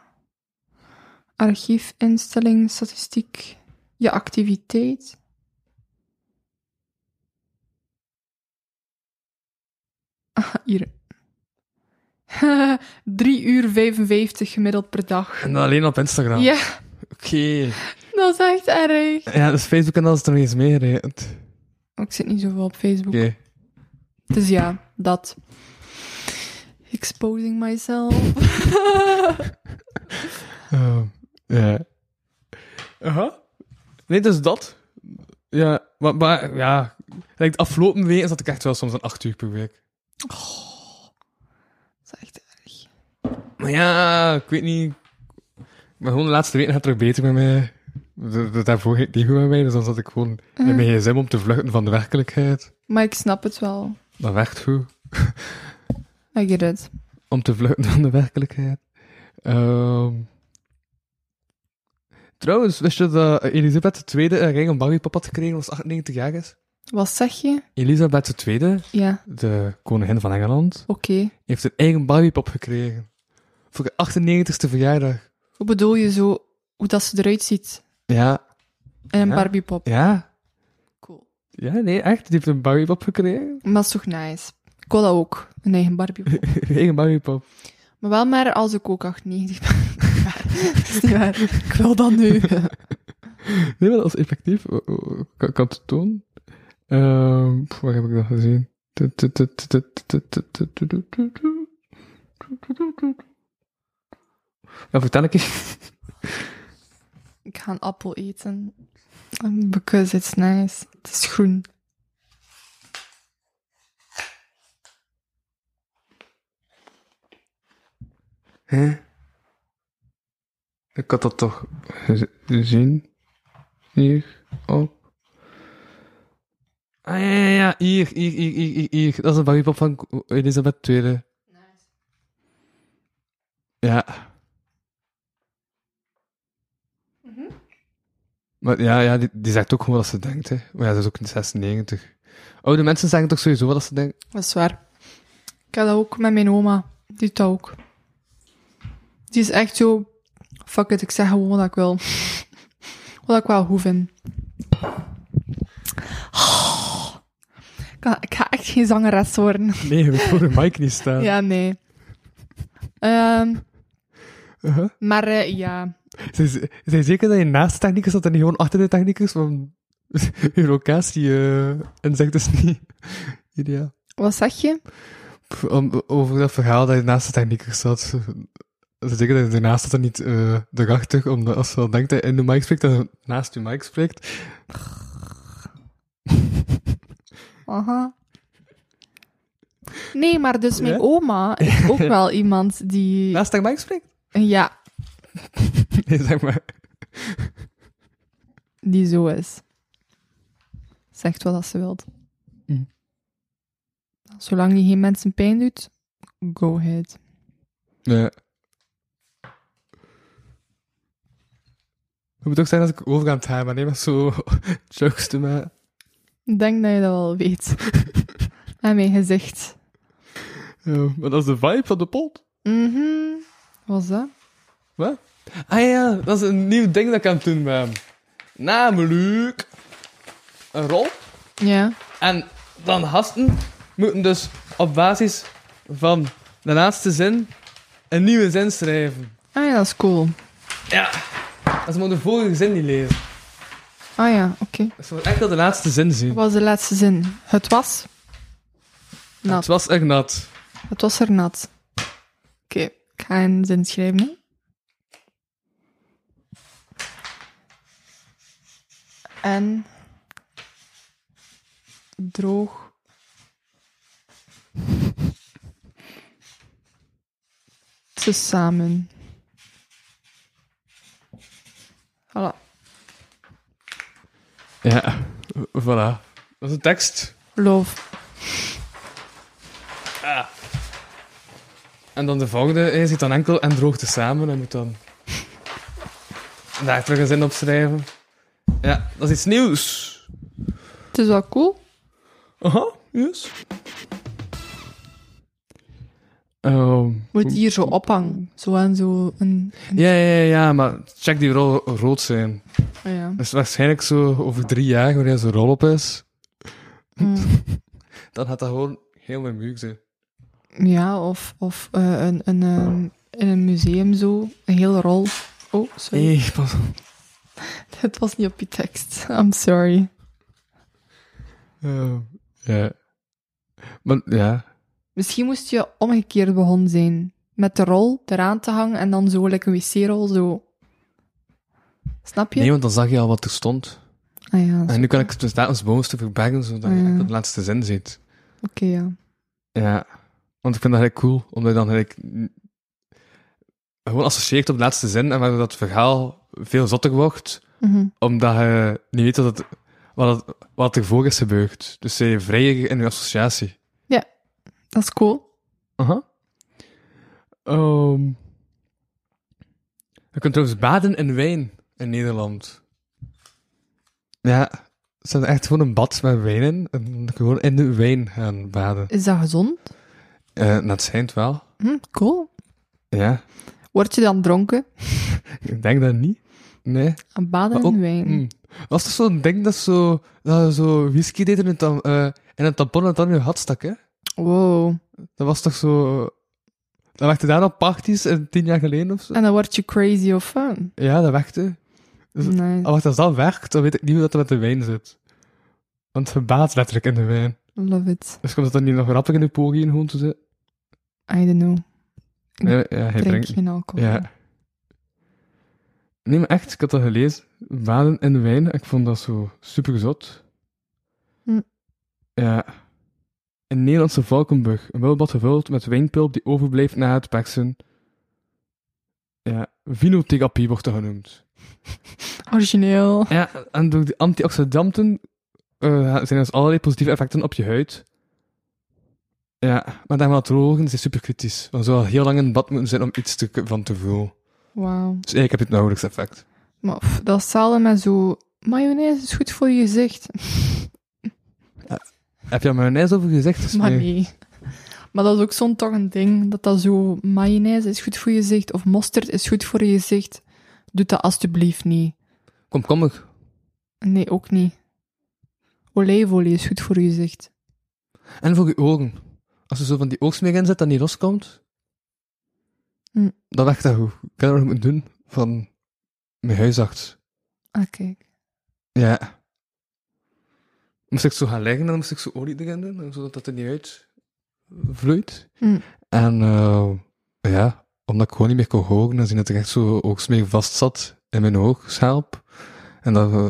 Archief, instelling, statistiek, je activiteit. Ah, hier. 3 uur 55 gemiddeld per dag. En dan alleen op Instagram? Ja, Oké. dat is echt erg. Ja, dus Facebook en dat is er nog eens meegerekend. Oh, ik zit niet zoveel op Facebook. Oké. Dus ja, dat. Exposing myself. Ehm, ja. Aha. Nee, dus dat. Ja, maar, maar ja. Like, de afgelopen weken zat ik echt wel soms aan 8 uur per week. dat is echt erg. Maar ja, ik weet niet. Maar gewoon de laatste weken gaat het terug beter met mij. Da- da- Daarvoor ging het niet goed met mij, dus dan zat ik gewoon met mijn gsm om te vluchten van de werkelijkheid. Maar ik snap het wel. Dat werkt goed. I get it. om te vluchten van de werkelijkheid. Ehm. trouwens, wist je dat Elisabeth II een ring om Barbiepap had gekregen als ze 98 jaar is? Wat zeg je? Elisabeth II, Ja, de koningin van Engeland, oké. heeft een eigen Barbiepap gekregen. Voor de 98ste verjaardag. Hoe bedoel je zo hoe dat ze eruit ziet? Ja, In een Ja. Barbiepop. ja. Cool. Ja, nee, echt. Die heeft een Barbiepap gekregen. Maar dat is toch nice? Ik wil dat ook, een eigen Barbiepop. Een eigen Barbiepap. maar wel maar als ik ook 98 ben. dat is niet waar. Ik wil dat nu. Nee, maar dat is effectief. Oh, oh, oh, Kan, kan het doen. Ehm, pff, waar heb ik dat gezien? Ja, vertel ik je. ik ga een appel eten. Because it's nice. Het is groen. Ik had dat toch gez- gezien. Hier, op. Ah, ja, ja, ja. Hier, hier, hier, hier, hier, hier. Dat is een barbiepop van Ko- Elisabeth II. Ja. Mhm. Maar ja, ja die, die zegt ook gewoon wat ze denkt, hè. Maar ja, ze is ook 96. Oude mensen zeggen toch sowieso wel dat ze denken... Dat is waar. Ik had dat ook met mijn oma. Die doet dat ook. Die is echt zo... Fuck it, ik zeg gewoon wat ik wil. Wat ik wel goed vind. Ik ga- Ik ga echt geen zangeres worden. Nee, we voor de mic niet staan. Ja, nee. Ehm, Uh-huh. maar eh, ja... Zijn, ze- zijn zeker dat je naast de technicus zat en niet gewoon achter de technicus? Want je locatie eh, en zegt dus niet ideaal. Wat zeg je? Pff, om- Over dat verhaal dat je naast de technicus zat. Zijn zeker dat je ernaast zat en niet eh erachter? Omdat als je dan denkt dat je in de mic spreekt, dat je naast je mic spreekt. Aha. Nee, maar dus mijn Ja? oma is ook wel iemand die... Naast de mic spreekt? Ja, Nee, zeg maar. die zo is. Zegt wat als ze wilt. Mm. Zolang die geen mensen pijn doet, go ahead. Nee. Het moet ook zijn dat ik over aan het haar ben, nee, maar zo jokes te maken. Ik denk dat je dat wel weet. en mijn gezicht. Ja, maar dat is de vibe van de pot. Mhm. Wat was dat? Wat? Ah ja, dat is een nieuw ding dat ik aan het doen ben. Namelijk een rol. Ja. En dan gasten moeten dus op basis van de laatste zin een nieuwe zin schrijven. Ah ja, dat is cool. Ja. En ze moeten de vorige zin niet lezen. Ah ja, oké. Dus ze moeten echt wel de laatste zin zien. Wat was de laatste zin? Het was... En Het was echt nat. Het was er nat. Oké, ik ga een zin schrijven. hè. En droog. Tezamen. Voilà. Ja, voilà. Dat is een tekst. Love. En dan de volgende, je ziet dan enkel en droogt samen en moet dan daar terug een zin op schrijven. Ja, dat is iets nieuws. Het is wel cool. Aha, yes. Ehm, Moet je hier zo ophangen. Zo en zo. Een, een- ja, ja, ja, maar check die rol rood zijn. ja. Dus waarschijnlijk zo over drie jaar, wanneer zo'n rol op is, Mm. dan gaat dat gewoon heel mijn muziek zijn. Ja, of, of eh, een, een, ehm, in een museum zo, een hele rol. Oh, sorry. Hé, pas op. Het was niet op je tekst. I'm sorry. Ehm, ja. Maar ja, Misschien moest je omgekeerd begonnen zijn. Met de rol eraan te hangen en dan zo, like een wc-rol, zo. Snap je? nee, want dan zag je al wat er stond. Ah ja, En zo- nu kan ik het dus daar als bovenste verbergen, zodat Ah, je ja. echt dat laatste zin ziet. oké, ja. Ja, want ik vind dat heel cool, omdat je dan eigenlijk n- gewoon associeert op de laatste zin en waardoor dat verhaal veel zotter wordt, Mhm. omdat je niet weet wat, het, wat, het, wat ervoor is gebeurd. Dus je bent vrijer in je associatie. Dat is cool. Aha. Ehm, je kunt trouwens baden in wijn in Nederland. Ja, ze hebben echt gewoon een bad met wijn in. En dan kun je gewoon in de wijn gaan baden. Is dat gezond? Eh dat schijnt wel. Hm, cool. Ja. Word je dan dronken? Ik denk dat niet. Nee. Aan baden Maar en ook- wijn. Mm. Was toch zo'n ding dat zo, dat je zo whisky deed in het, tam, eh, in een tampon en dan in je had stak, hè? Wow. Dat was toch zo... Dat werkte daar op parties eh, tien jaar geleden of zo? En dan word je crazy of fun. Ja, dat werkte. Dus- Nee. Oh, wacht, als dat werkt, dan weet ik niet hoe dat er met de wijn zit. Want je baat letterlijk in de wijn. Love it. Dus komt dat dan niet nog rapper in de poging gewoon te zitten? I don't know. Nee, ja, hij Drink drinkt geen alcohol. Ja. Nee, maar echt, ik had dat gelezen. Baden in de wijn, ik vond dat zo super gezot. Hm. Ja. Een Nederlandse Valkenburg, een welbad gevuld met wijnpulp die overblijft na het persen. Ja, vinotherapie wordt dat genoemd. Origineel. Ja, en door die antioxidanten eh, zijn er dus allerlei positieve effecten op je huid. Ja, maar dermatologen zijn super kritisch. Want ze zou heel lang in het bad moeten zijn om iets te, van te voelen. Wauw. Dus ik heb je het nauwelijks effect. Maar pff, dat is hetzelfde met zo... Mayonaise is goed voor je gezicht. Heb je al mayonaise over je gezicht Maar gesmeerd? nee. Maar dat is ook zo'n toch een ding, dat dat zo, mayonaise is goed voor je gezicht, of mosterd is goed voor je gezicht. Doe dat alstublieft niet. Kom, kom ik. Nee, ook niet. Olijfolie is goed voor je gezicht. En voor je ogen. Als er zo van die oogsmeer in zit dat niet loskomt, Hm. dan werkt dat goed. Ik heb dat nog moeten doen van mijn huisarts. Ah, kijk. Ja. Moest ik zo gaan liggen en dan moest ik zo olie erin doen, zodat het er niet uit vloeit. Hm. En eh, ja, omdat ik gewoon niet meer kon horen, dan zie je dat er echt zo oogsmeer vast zat in mijn oogschelp. En dan eh,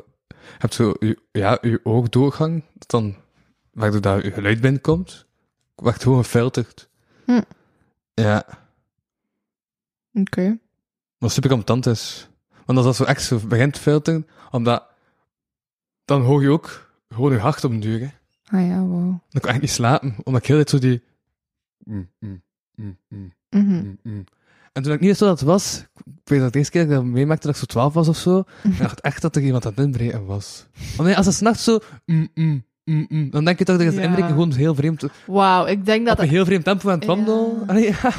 heb je zo je, ja, je oogdoorgang, dat dan waardoor daar je geluid binnenkomt, werd gewoon gefilterd. Hm. Ja, Oké. wat super ambetant is. Want als dat zo echt zo begint te filteren, omdat dan hoor je ook gewoon je hart op een duur, hè. Ah ja, wow. Dan kan ik niet slapen, omdat ik heel de tijd zo die... Mm, mm, mm, mm. Mhm. Mm, mm. En toen ik niet wist wat dat was, ik weet dat de eerste keer dat ik dat meemaakte dat ik zo 12 was of zo, en dacht echt dat er iemand aan het inbreken was. Want nee, als het s'nachts zo, mm, mm, mm, mm, dan denk je toch dat het Ja. inbreken gewoon heel vreemd, op Wauw, ik denk dat een heel vreemd tempo aan het Ja. wandelen. Allee, ja.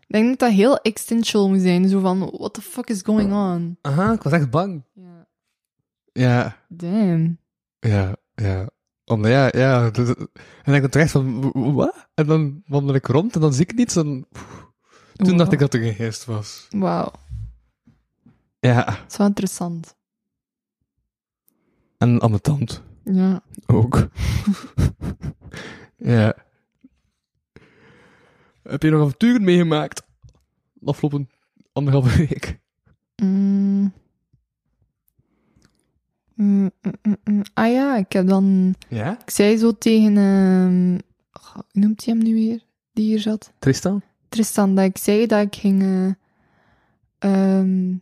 Ik denk dat dat heel existential moet zijn. Zo van, what the fuck is going on? Aha, ik was echt bang. Ja. Ja, Damn. ja, ja. Omdat ja, ja. dus- en ik dacht echt van, w- w- wat? En dan wandel ik rond en dan zie ik niets. En toen dacht ik dat er geen geest was. Wauw, Ja, dat is wel interessant. en aan mijn tand. Ja. Ook. ja. Heb je nog avonturen meegemaakt? De afgelopen anderhalve week. Mm. Mm, mm, mm, mm. Ah ja, ik heb dan... Ja? Ik zei zo tegen... ehm, goh, hoe noemt hij hem nu weer? Die hier zat. Tristan? Tristan, dat ik zei dat ik ging... eh, ehm,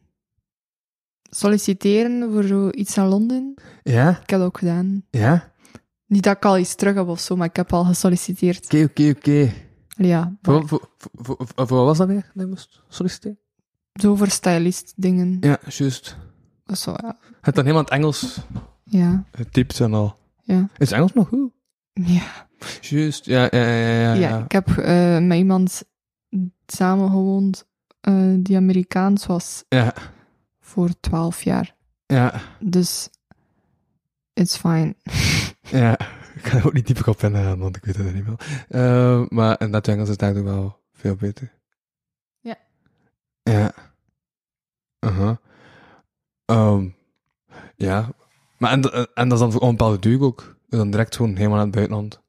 solliciteren voor zoiets in Londen. Ja? Ik heb dat ook gedaan. Ja? Niet dat ik al iets terug heb of zo, maar ik heb al gesolliciteerd. Oké, oké, oké. Allee, Ja, Voor wat- voor- voor- voor- voor wat was dat weer? Dat je moest solliciteren? zo voor stylist dingen. Ja, juist. Zo, ja. Je hebt dan helemaal in het Engels Ja. getypt en al. Ja. Is Engels nog goed? Ja. Juist, ja, ja, ja, ja. ja, ik heb eh, met iemand samen gewoond eh, die Amerikaans was Ja, voor 12 jaar. ja, Dus it's fine. ja. Ik ga er ook niet dieper op ingaan, want ik weet het niet meer. Eh, maar in dat Engels is daardoor wel veel beter. Ja. Ja. Aha. Ehm, ja. Maar en, en dat is dan voor een bepaalde duur ook. Dus dan direct gewoon helemaal naar het buitenland.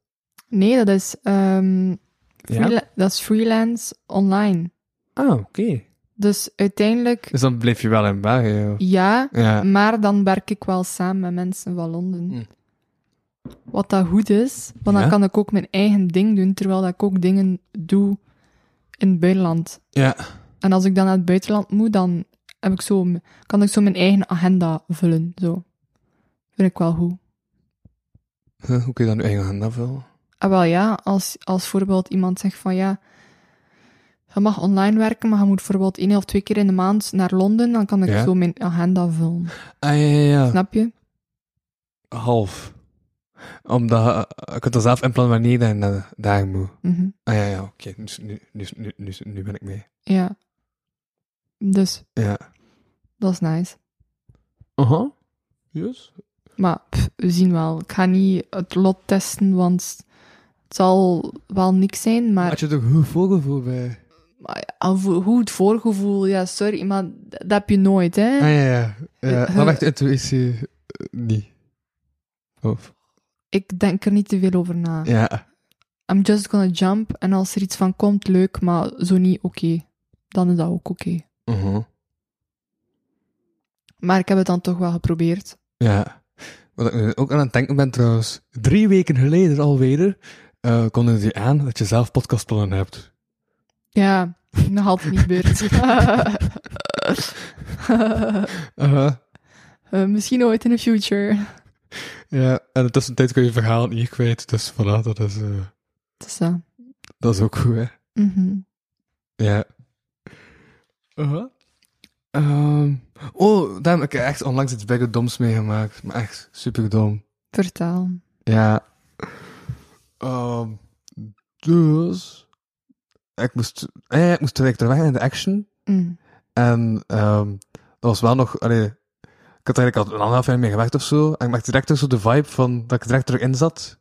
Nee, dat is, ehm, freela- dat is freelance online. Ah, oké. Dus uiteindelijk Dus dan bleef je wel in België. joh. ja, Ja. maar dan werk ik wel samen met mensen van Londen. Hm. Wat dat goed is, want Ja. dan kan ik ook mijn eigen ding doen, terwijl dat ik ook dingen doe in het buitenland. Ja. En als ik dan naar het buitenland moet, dan heb ik zo, m- kan ik zo mijn eigen agenda vullen. Zo. Vind ik wel goed. Huh, Hoe kun je dat nu eigenlijk aan afvullen? En Ah, wel ja, als, als bijvoorbeeld iemand zegt van ja, je mag online werken, maar je moet bijvoorbeeld één of twee keer in de maand naar Londen, dan kan ik Ja. zo mijn agenda vullen. Ah, ja, ja, ja. Snap je? Half. Omdat eh, ik het dan zelf inplannen wanneer je naar daar moet. Mhm. Ah ja, ja, oké. Dus Nu, nu, nu, nu, nu ben ik mee. Ja. Dus, Ja. dat is nice. Aha. Yes. Maar pff, we zien wel. Ik ga niet het lot testen, want het zal wel niks zijn, maar... Had je toch goed voorgevoel bij? Maar ja, hoe hoe het voorgevoel, ja, sorry, maar d- dat heb je nooit, hè? Ah ja, ja. ja. Eh, Dan werkt de intuïtie eh, niet. Of? Ik denk er niet te veel over na. Ja. I'm just gonna jump en als er iets van komt, leuk, maar zo niet, oké. Dan is dat ook oké. Mhm. Maar ik heb het dan toch wel geprobeerd. Ja. Wat ik nu ook aan het denken ben trouwens. Drie weken geleden alweer eh kondigde je aan dat je zelf podcastplannen hebt. Ja, nog altijd niet gebeurd. Aha. Eh, misschien ooit in de future. Ja. En in de tussentijd kun je je verhaal niet kwijt. Dus voilà, dat is, eh, Het is dat. dat is ook goed, hè. Mhm. Ja. Aha. Ehm, oh, daar heb ik echt onlangs iets bijgedoms meegemaakt. Maar echt superdom. Vertel. Ja. ehm, dus... Ik moest, eh, ik moest direct weg in de action. Mm. En ehm dat was wel nog... Allee, ik had eigenlijk al een anderhalf jaar mee gewerkt of zo. En ik merkte direct ook zo de vibe van dat ik direct terug in zat.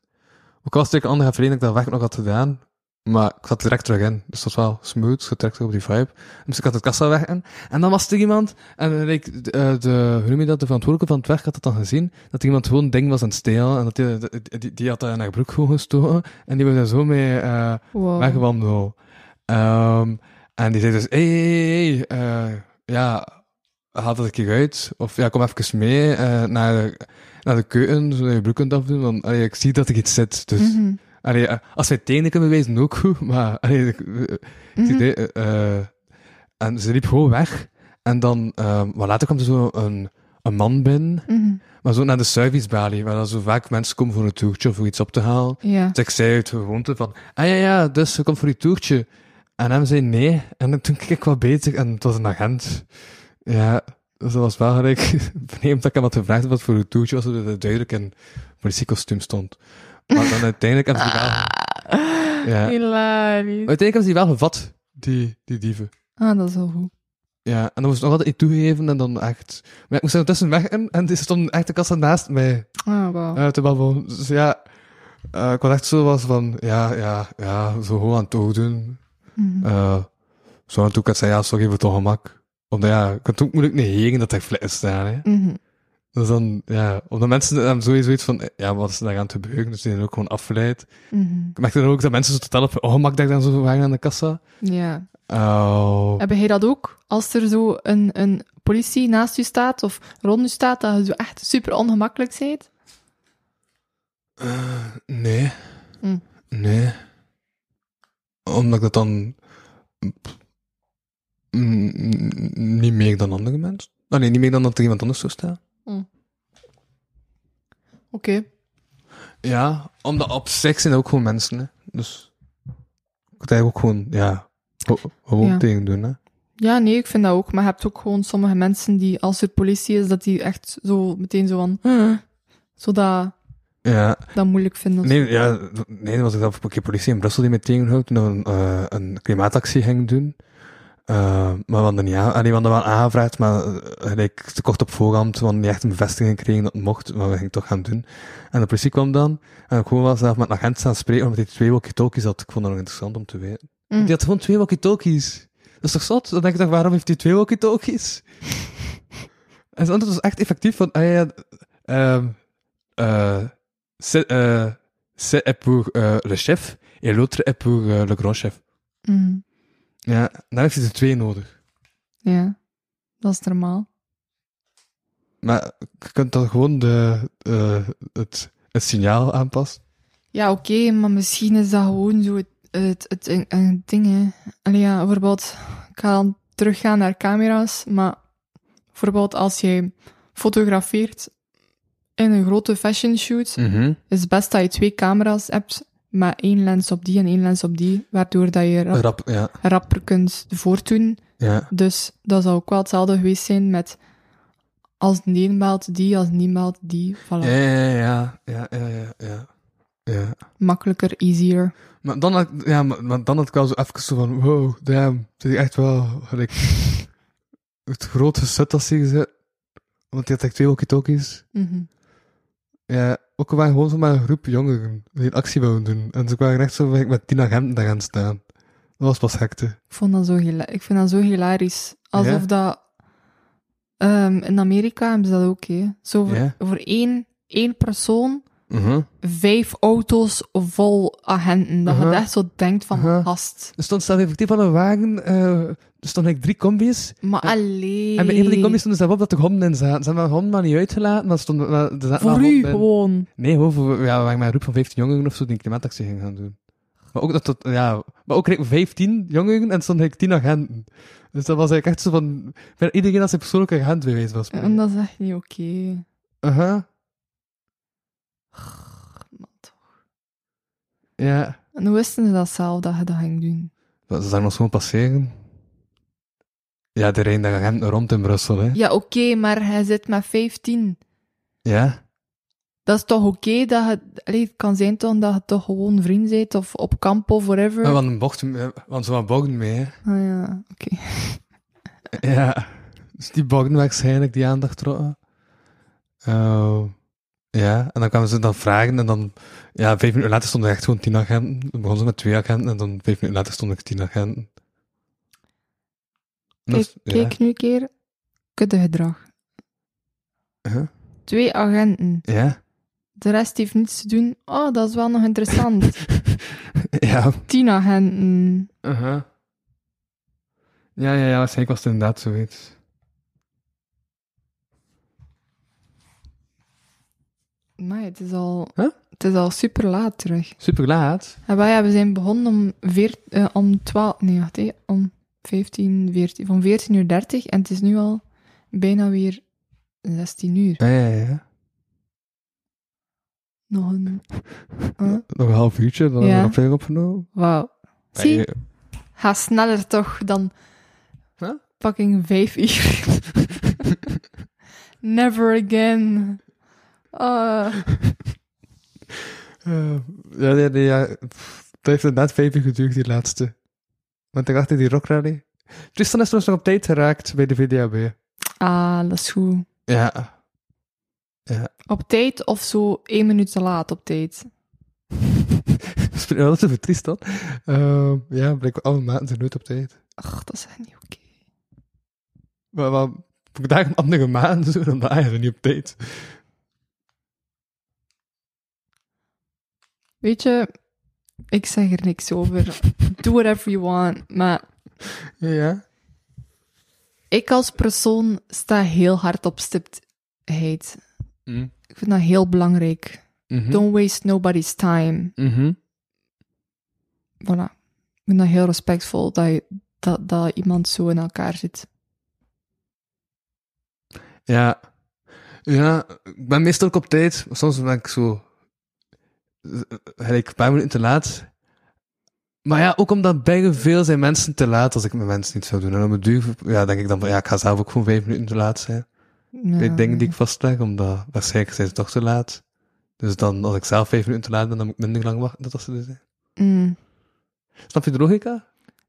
Ook al was het eigenlijk anderhalf jaar dat ik dat werk nog had gedaan. Maar ik zat direct terug in. Dus dat was wel smooth. Ik zat direct terug op die vibe. Dus ik had het kassa weg in. En dan was er iemand... En eigenlijk, de, eh, de, hoe noem je dat, de verantwoordelijke van het werk had dat dan gezien. Dat er iemand gewoon een ding was aan het stelen. En dat die, die, die, die had dat in haar broek gewoon gestoken. En die was daar zo mee... eh, Wow. wegwandel. Ehm, en die zei dus, hé, hey, hey, eh, ja, haal dat een keer uit. Of ja, kom even mee eh, naar, de, naar de keuken, zodat je broek kunt afdoen. Want allee, ik zie dat ik iets zit. Dus Mhm. allee, eh, als wij tegen kunnen wijzen, ook goed. Maar allee, ik, eh, het Mhm. idee, eh, eh, en ze liep gewoon weg. En dan, ehm, maar later kwam er zo een, een man binnen. Mhm. Maar zo naar de servicebalie, waar dan zo vaak mensen komen voor een toertje of voor iets op te halen. Ja. Dus ik zei uit gewoonte van, ah ja, ja, dus ze komt voor die toertje. En hem zei nee. En toen keek ik wat bezig en het was een agent. Ja, dus dat was wel gelijk vreemd dat ik hem had gevraagd wat voor een toertje was, zodat het duidelijk in politiekostuum stond. Maar dan uiteindelijk hebben ze die wel... Ja. Hilarisch. Uiteindelijk hebben ze die wel gevat, die, die dieven. Ah, dat is wel goed. Ja, en dan moest ik nog altijd iets toegeven en dan echt... Maar ik moest er tussen weg in en er stond echt de kassa naast mij. Ah, wauw. uit te babbelen. Dus ja, eh, ik was echt zo was van, ja, ja, ja, zo gewoon aan het doen. Mhm. Eh, zo aan toe kan zeggen, ja, sorry voor het ongemak. Omdat ja, ik kan het ook moeilijk negeren dat er flikken staan, hè. Mhm. Dus dan, ja, omdat mensen hebben sowieso iets van, eh, ja, wat is er daar aan te beuken? Dus die zijn ook gewoon afgeleid. Mhm. Ik merkte dan ook dat mensen zo totaal op hun ongemak denken dan zo vragen aan de kassa. Ja. Oh. Heb jij dat ook? Als er zo een, een politie naast je staat of rond je staat, dat je zo echt super ongemakkelijk bent? Eh, nee. Hm. Nee. Omdat ik dat dan... Pff. Mm, mm, niet meer dan andere mensen. Ah, nee, niet meer dan dat er iemand anders zou staan. Oké. Ja, omdat op zich zijn dat ook gewoon mensen, hè. Dus... Ik moet eigenlijk ook gewoon, ja... ge- Gewoon Ja. tegen doen, hè. Ja, nee, ik vind dat ook. Maar je hebt ook gewoon sommige mensen die, als er politie is, dat die echt zo meteen zo van... "Huh?" zo dat, Ja, dat moeilijk vinden. nee, ja, nee, er was ik dan een keer politie in Brussel die me tegenhoudt toen we een, eh, een klimaatactie gingen doen. Eh, maar we hadden niet aan, allee, we hadden wel aangevraagd, maar eh, gelijk te kort op voorhand, want niet echt een bevestiging kregen dat het mocht, maar we gingen het toch gaan doen. En de politie kwam dan, en ik gewoon wel zelf met een agent staan spreken, omdat hij twee walkie-talkies had. Ik vond dat nog interessant om te weten. Mm. Die had gewoon twee walkie-talkies. Dat is toch zot? Dan denk ik toch, waarom heeft hij twee walkie-talkies? en zijn antwoord was echt effectief van, ah ja, ehm, eh, c'est, eh, c'est pour eh, le chef, en l'autre est pour eh, le grand chef. Mhm. Ja, dan heeft hij er twee nodig. Ja, dat is normaal. Maar je kunt dan gewoon de, eh, het, het signaal aanpassen. Ja, oké, maar misschien is dat gewoon zo het, het, het, een- een ding, hè. Allee, ja, bijvoorbeeld, ik ga dan teruggaan naar camera's, maar bijvoorbeeld als jij fotografeert in een grote fashion shoot, Hm. Mhm. is het best dat je twee camera's hebt, maar één lens op die en één lens op die, waardoor dat je rap, Rap, ja. rapper kunt voortdoen. ja. Dus dat zou ook wel hetzelfde geweest zijn met als de een belt die, als de een belt die, voilà. Ja, ja, ja, ja, ja, ja, ja. ja. Makkelijker, easier. Maar dan had, ja, maar, maar dan had ik wel zo even zo van, wow, damn, dit is echt wel, gelijk, het grote set als hij gezet. Want die had echt twee walkie-talkies. Mhm. Ja, ook al waren gewoon zomaar een groep jongeren die een actie wilden doen. En ze kwamen echt zo gelijk met tien agenten daar gaan staan. Dat was pas hekte. Ik, vond dat zo hila- ik vind dat zo hilarisch. Alsof Ja? dat... ehm, in Amerika hebben ze dat ook, hè. Zo voor, Ja. voor één, één persoon, vijf auto's vol agenten. Dat Mhm. je echt zo denkt van, Mhm. gast. Er stond zelf effectief aan een wagen, eh, er stonden like, drie combi's. Maar Ja. alleen... En bij een van die combi's stonden ze op dat er honden in zaten. Ze hebben de honden maar niet uitgelaten, maar, stonden, maar er zaten Voor Ah, wel u honden in. gewoon. Nee, gewoon voor, ja, we waren maar een groep van 15 jongeren of zo die een klimaatactie gingen gaan doen. Maar ook dat, dat ja, maar ook gelijk 15 jongeren en stond 10 agenten. Dus dat was eigenlijk echt zo van, bijna iedereen als zijn persoonlijke agent bewezen was. En dat is echt niet oké. Uh-huh, Man, toch. ja. En hoe wisten ze dat zelf, dat je dat ging doen? Dat ze zagen ons gewoon passeren. Ja, er rijden daar agenten rond in Brussel, hè. Ja, oké, maar hij zit met 15. Ja. Dat is toch oké dat je... Allee, het kan zijn toch dat je toch gewoon vriend bent of op kamp of whatever. Ja, want, een bocht, eh, want ze waren bochten mee, hè. Ah ja, oké. Ja. Dus die bochten waarschijnlijk die aandacht trokken. Eh, ja, en dan kwamen ze dan vragen en dan... Ja, vijf minuten later stonden er echt gewoon tien agenten. Dan begonnen ze met twee agenten en dan vijf minuten later stonden er tien agenten. Kijk, Dus, ja. kijk nu een keer. Kudde gedrag. Huh? Twee agenten. Ja. De rest heeft niets te doen. Oh, dat is wel nog interessant. Ja. Tien agenten. Uh-huh. Ja, ja, ja, waarschijnlijk was het inderdaad zoiets. Maar het is al... Huh? Het is al super laat terug. Super laat. En wij hebben zijn begonnen om, veer, eh, om 12... Nee, wacht, hè, om 15, 14... Van 14.30 uur en het is nu al bijna weer 16 uur. Ja, ja, ja. Nog een... Nog een half uurtje, dan Ja. hebben we nog verder opgenomen. Wauw. Zie, Ja, ga sneller toch dan Huh? fucking 5 uur. Never again. Ah. Eh, ja, ja, nee, ja. Pff, Dat heeft inderdaad vijf uur geduurd, die laatste. Want ik dacht in die rockrally. Tristan is trouwens nog op tijd geraakt bij de VDAB. ah, dat is goed. Ja. Op tijd of zo één minuut te laat op tijd. Spreek wel eens over Tristan. Eh, ja, blijkbaar alle maten zijn nooit op tijd. Ach, dat is echt niet oké. Maar, maar vandaag een andere maand, zo, dan waren ze niet op tijd. Weet je, ik zeg er niks over. Do whatever you want. Maar Ja. ik als persoon sta heel hard op stiptheid. Ik vind dat heel belangrijk. Hm? Don't waste nobody's time. Voilà. Ik vind dat heel respectvol dat, je- dat, dat iemand zo in elkaar zit. Ja. Ja, ik ben meestal ook op tijd. maar Soms ben ik zo... eh, Gelijk een paar minuten te laat. Maar ja, ook omdat bijna veel zijn mensen te laat als ik mijn mensen niet zou doen. En om het duur ja, denk ik dan van, ja, ik ga zelf ook gewoon vijf minuten te laat zijn. Ja, Bij dingen die ik vastleg, omdat waarschijnlijk zijn ze toch te laat. Dus dan, als ik zelf vijf minuten te laat ben, dan moet ik minder lang wachten tot ze er zijn. Mm. Snap je de logica?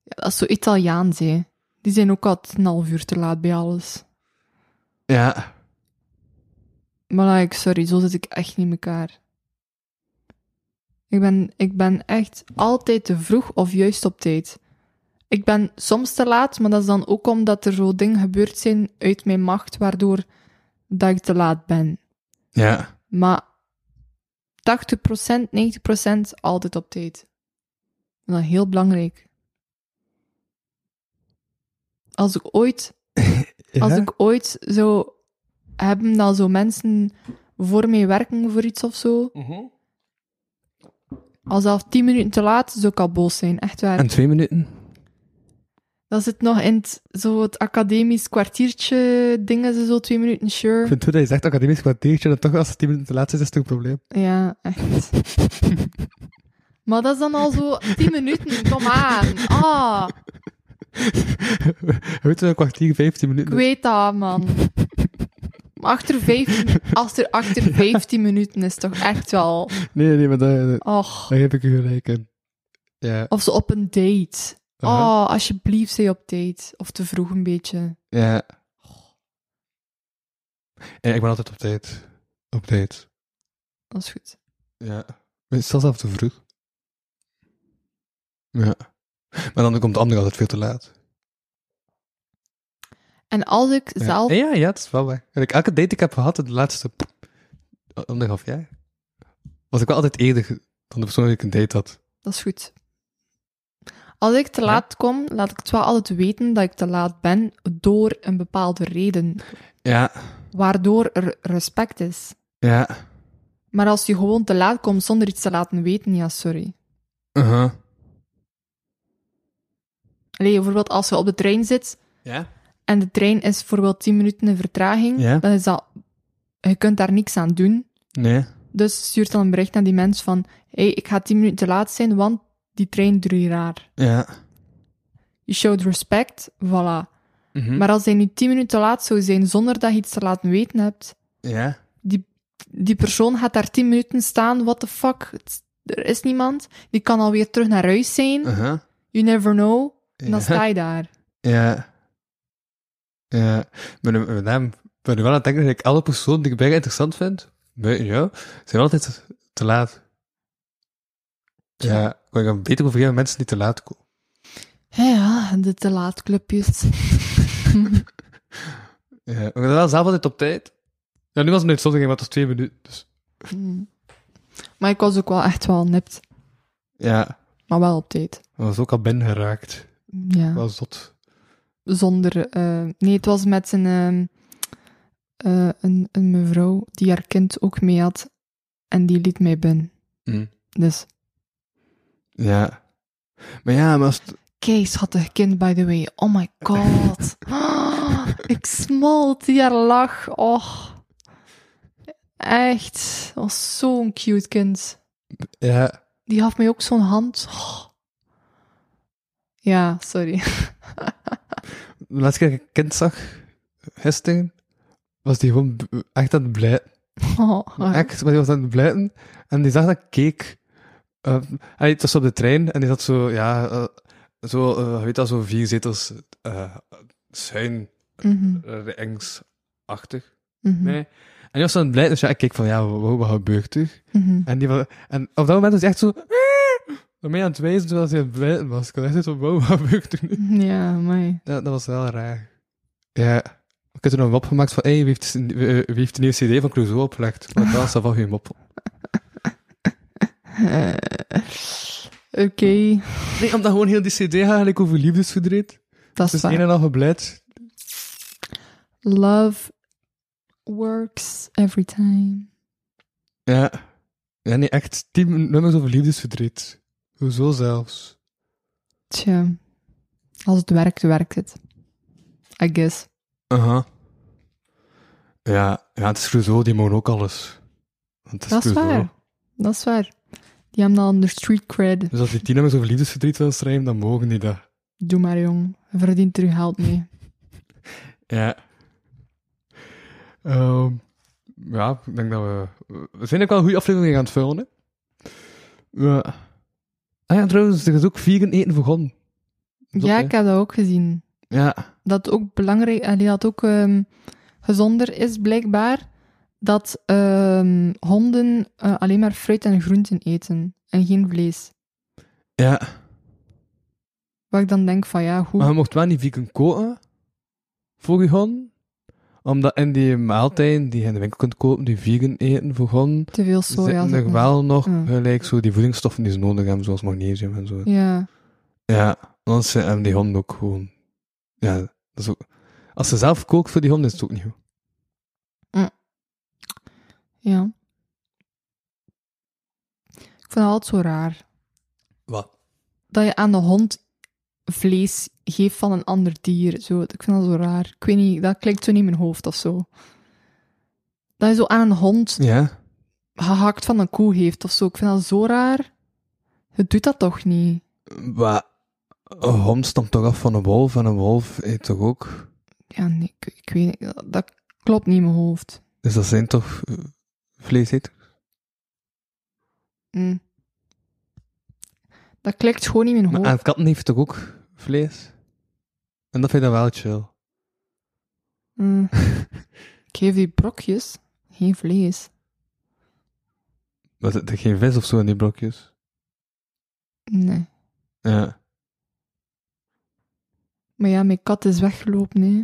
Ja, dat is zo Italiaans, hè. Die zijn ook altijd een half uur te laat bij alles. Ja. Maar like, sorry, zo zit ik echt niet in elkaar. Ik ben, ik ben echt altijd te vroeg of juist op tijd. Ik ben soms te laat, maar dat is dan ook omdat er zo dingen gebeurd zijn uit mijn macht, waardoor dat ik te laat ben. Ja. Maar 80%, 90% altijd op tijd. En Dat is heel belangrijk. Als ik ooit als ik ooit zou hebben dat zo mensen voor mij werken voor iets of zo, als dat tien minuten te laat, zou ik al boos zijn, echt waar. En twee minuten? Dat zit nog in het, zo het academisch kwartiertje dingen, ze zo twee minuten, Ik sure. vind het goed dat je zegt academisch kwartiertje, en toch als het tien minuten te laat is, is het een probleem. Ja, echt. maar dat is dan al zo tien minuten, kom aan. Ah, Weet je, een kwartier, 15 ik minuten. weet dat, man. Maar achter vijf, als er achter vijftien minuten is, toch echt wel... Nee, nee, maar daar, daar- Och. daar heb ik u gelijk in. Ja. Of zo op een date. Aha. Oh, alsjeblieft, zij op date. Of te vroeg een beetje. Ja. ja. Ik ben altijd op tijd. Op tijd. Dat is goed. Ja. Zelfs af te vroeg. Ja. Maar dan komt de ander altijd veel te laat. En als ik Ja. zelf... Ja, ja, het is wel waar. En ik- Elke date die ik heb gehad, in de laatste anderhalf jaar, was ik wel altijd eerder ge- dan de persoon die ik een date had. Dat is goed. Als ik te laat kom, laat ik het wel altijd weten dat ik te laat ben door een bepaalde reden. Ja. Waardoor er respect is. Ja. Maar als je gewoon te laat komt zonder iets te laten weten, ja, sorry. Uh-huh. Allee, bijvoorbeeld als je op de trein zit Ja? en de trein is bijvoorbeeld 10 minuten in vertraging, Ja. dan is dat... Je kunt daar niks aan doen. Nee. Dus stuurt dan een bericht naar die mens van... hey, ik ga 10 minuten te laat zijn, want die trein duurt hier raar. Ja. Je showed respect, voilà. Mhm. Hm. Maar als hij nu 10 minuten te laat zou zijn zonder dat je iets te laten weten hebt... Ja. Die die persoon gaat daar 10 minuten staan, what the fuck, het- er is niemand. Die kan alweer terug naar huis zijn. Uh-huh. You never know. En dan Ja. sta je daar. Ja. Ja. Maar nu- met hem ben ik wel aan het denken dat ik alle persoon die ik bijna interessant vind, buiten jou, zijn altijd te laat. Ja, ik kan beter proberen met mensen die te laat komen. Ja, Ja, de te laat clubjes. Ja, maar ik ben wel zelf altijd op tijd. Ja, nu was het een uitzondering, want het was twee minuten. Dus. Hmm. Maar ik was ook wel echt wel nipt. Ja, Maar wel op tijd. dat was ook al binnen geraakt. Ja. Mm. Wel zot. Zonder... eh, nee, het was met een, ehm, eh, een, een mevrouw die haar kind ook mee had. En die liet mij binnen. Hmm. Dus, Ja. Maar ja, maar als het- kei schattig kind, by the way. Oh my god. Ah, ik smolt die haar lach. Och. Echt. Dat was zo'n cute kind. Ja. Die gaf mij ook zo'n hand. Oh. Ja, sorry. De laatste keer dat ik een kind zag, gisteren, was die gewoon b- echt aan het blijten. Oh, Echt, maar die was aan het blijten. En die zag dat ik keek. Ehm, hij het was op de trein en die zat zo, ja, eh, zo, eh, je weet dat, zo vier zetels eh schuin, Mhm, eh, engsachtig. mhm, Nee. En die was zo aan het blijten, dus ja, ik keek van, ja, wat, wat gebeurt er? mhm. En, die, wa- en op dat moment was hij echt zo... Daarmee aan het wijzen terwijl hij aan het blijten was. Ik had echt zo van, wow, wat gebeurt er nu? Ja, mij. Ja, dat was wel raar. Ja. Ik heb er nog een mop gemaakt van, hé, hey, wie, heeft- wie eh, wie heeft de nieuwe cd van Clouseau opgelegd? Maar dat is wel geen mop. Eh, Oké, Nee, omdat gewoon heel die cd eigenlijk over liefdesverdriet. dat Het is is een waar. en al gebleid. Love works every time. Ja. Ja, nee, echt tien nummers over liefdesverdriet. Hoezo zelfs? Tja, als het werkt, werkt het. I guess. Aha. ja, ja, het is Clouseau, die mogen ook alles. Want het Dat is Clouseau. waar. Dat is waar. Die hebben dan de street cred. Dus als die tien nummers over liefdesverdriet wil schrijven, dan mogen die dat. Doe maar, jong. Verdient er je geld mee. Ja. Ehm, ja, ik denk dat we... We zijn ook wel een goede aflevering aan het vullen, hè? Ja. Ah ja, trouwens, er is ook vegan eten begonnen. Zot, ja, hè? ik heb dat ook gezien. Ja. Dat ook belangrijk... Allee, dat ook ehm, gezonder is, blijkbaar, dat ehm, honden eh, alleen maar fruit en groenten eten. En geen vlees. Ja. Waar ik dan denk van, ja, goed. Maar je mocht wel niet vegan koken voor je honden. Omdat in die maaltijden die je in de winkel kunt kopen, die vegan eten voor honden, te veel soja. zitten zit er nog. wel nog Ja. gelijk zo die voedingsstoffen die ze nodig hebben, zoals magnesium en zo. Ja. Ja, anders hebben die honden ook gewoon... Ja, dat is ook... Als ze zelf kookt voor die honden, is het ook niet goed. Ja. Ik vind het altijd zo raar. Wat? Dat je aan de hond vlees geeft van een ander dier. Zo, ik vind dat zo raar. Ik weet niet, dat klinkt zo niet in mijn hoofd of zo. Dat je zo aan een hond Ja. gehakt van een koe heeft of zo. Ik vind dat zo raar. Het doet dat toch niet? Maar een hond stamt toch af van een wolf en een wolf eet toch ook... Ja, nee, ik, ik weet niet. Dat, dat klopt niet in mijn hoofd. Dus dat zijn toch eh, vleeseters? Mm. Dat klikt gewoon niet in mijn Maar hoofd. aan katten heeft toch ook vlees? En dat vind ik dan wel chill. Mm. ik geef die brokjes geen vlees. Maar er is geen vis of zo in die brokjes. Nee. Ja. Maar ja, mijn kat is weggelopen, hè.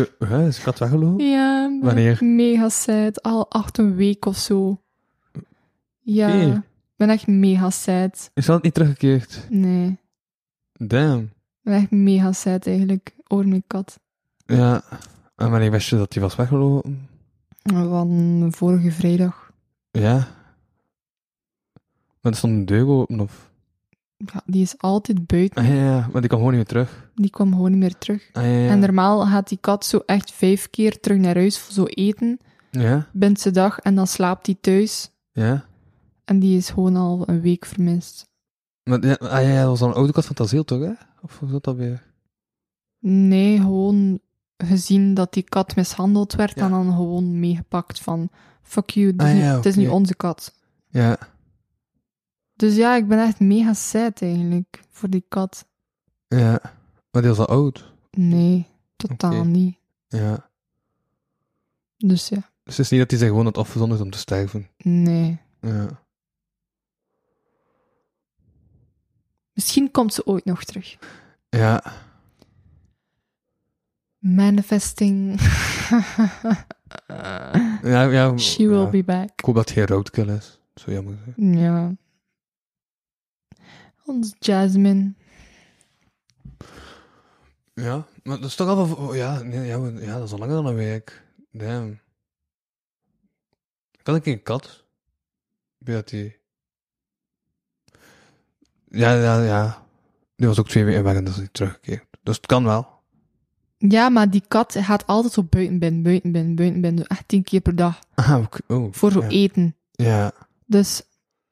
Eh, hè, is de kat weggelopen? Ja, maar Wanneer? mega sad. Al acht een week of zo. Ja, Oké. ik ben echt mega sad. Is dat niet teruggekeerd? Nee, ik Damn. ben echt mega sad eigenlijk over mijn kat. Ja. En wanneer wist je dat die was weggelopen? Van vorige vrijdag. Ja. Maar er stond een deur open of... Ja, die is altijd buiten. Ah, ja, ja, maar die kwam gewoon niet meer terug. Die kwam gewoon niet meer terug. Ah, ja, ja. En normaal gaat die kat zo echt vijf keer terug naar huis voor zo eten. Ja, Bindt ze dag en dan slaapt die thuis. ja. En die is gewoon al een week vermist. Maar, ja, ah, ja, ja, dat was dan een oude kat van het asiel, toch, hè? Of hoe zat dat weer? Nee, gewoon gezien dat die kat mishandeld werd Ja. en dan gewoon meegepakt van Fuck you, het is, Ah, nu, ja, het is oké. nu onze kat. Ja. Dus ja, ik ben echt mega sad eigenlijk voor die kat. Ja. Maar die was al oud. Nee, totaal Oké. niet. Ja. Dus ja, Dus het is niet dat hij zich gewoon had afgezonderd om te sterven. nee. Ja. Misschien komt ze ooit nog terug. Ja. Manifesting. Ja, ja. She will ja. be back. Ik hoop dat hij roodkill is. Zo jammer. zijn. Ja. Ons Jasmine. Ja. Maar dat is toch al wel... oh, ja, nee, ja, maar- ja, dat is al langer dan een week. Damn. Kan ik een kat? Ik weet dat die... Ja, ja, ja. Die was ook twee weken weg en dat is niet teruggekeerd. Dus het kan wel. Ja, maar die kat gaat altijd zo buiten binnen, buiten binnen, buiten binnen. Echt tien keer per dag. Ah, ook- oh. Voor e- zo ja. eten. Ja. Dus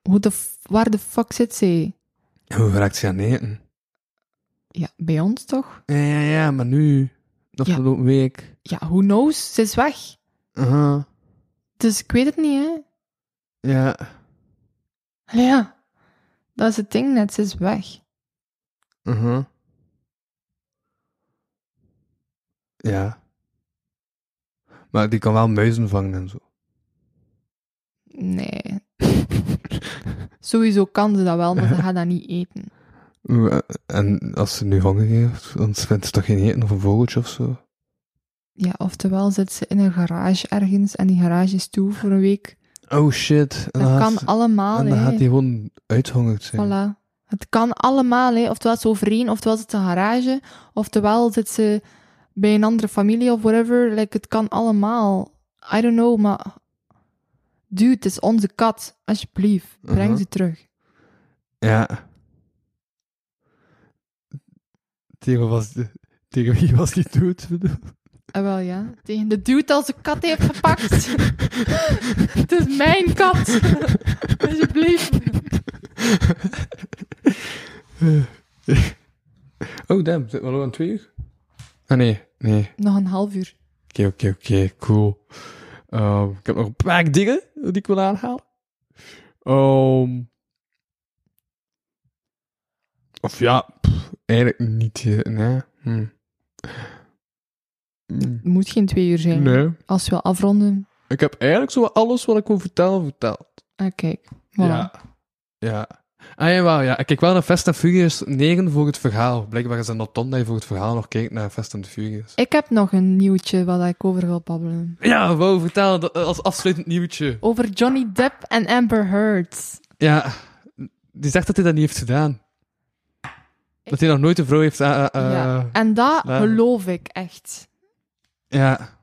hoe de f- waar de fuck zit zij? En Hoe raakt ze aan eten? Ja, bij ons toch? Ja, ja, ja, maar nu. De Ja. afgelopen week. Ja, who knows? Ze is weg. Aha. Dus ik weet het niet, hè. Ja. Allee, ja. Dat is het ding net, ze is weg. Aha. Ja. Maar die kan wel muizen vangen en zo. Nee. Sowieso kan ze dat wel, maar ze gaat dat niet eten. Oeh, Eh, En als ze nu honger heeft, dan vindt ze toch geen eten of een vogeltje of zo? Ja, oftewel zit ze in een garage ergens en die garage is toe voor een week. Oh shit. En Dat dan kan gaat, allemaal, en dan hè. gaat die gewoon uithongerd zijn. Voilà. Het kan allemaal, hè. Oftewel is ze overeen, oftewel zit ze in een garage, oftewel zit ze bij een andere familie of whatever. Like, het kan allemaal. I don't know, maar... Dude, het is onze kat. Alsjeblieft, breng Mhm. ze terug. Ja. Tegen, was, tegen wie was die dood? bedoel? Ah, wel ja. Tegen de dude als de kat heeft gepakt. het is mijn kat. Alsjeblieft. Oh, damn. Zit we al aan twee uur? Ah, nee. Nee. Nog een half uur. Oké, oké, oké. Cool. Ehm, ik heb nog een paar dingen die ik wil aanhalen. Ehm, of ja, pff, eigenlijk niet. eh, Nee. Hm. Hm, Het moet geen twee uur zijn. Nee. Als we wil afronden... Ik heb eigenlijk zo wat alles wat ik wil vertellen verteld. Ah, kijk. Voilà. Ja. Ja. Ah, jawel, ja. Ik kijk wel naar Fast and Furious 9 voor het verhaal. Blijkbaar is dat not done dat je voor het verhaal nog kijkt naar Fast and Furious. Ik heb nog een nieuwtje wat ik over wil babbelen. Ja, wou vertel dat eh, als afsluitend nieuwtje. Over Johnny Depp en Amber Heard. Ja, die zegt dat hij dat niet heeft gedaan. Dat hij nog nooit een vrouw heeft... eh, eh, eh, ja. En dat nou. geloof ik echt. ja.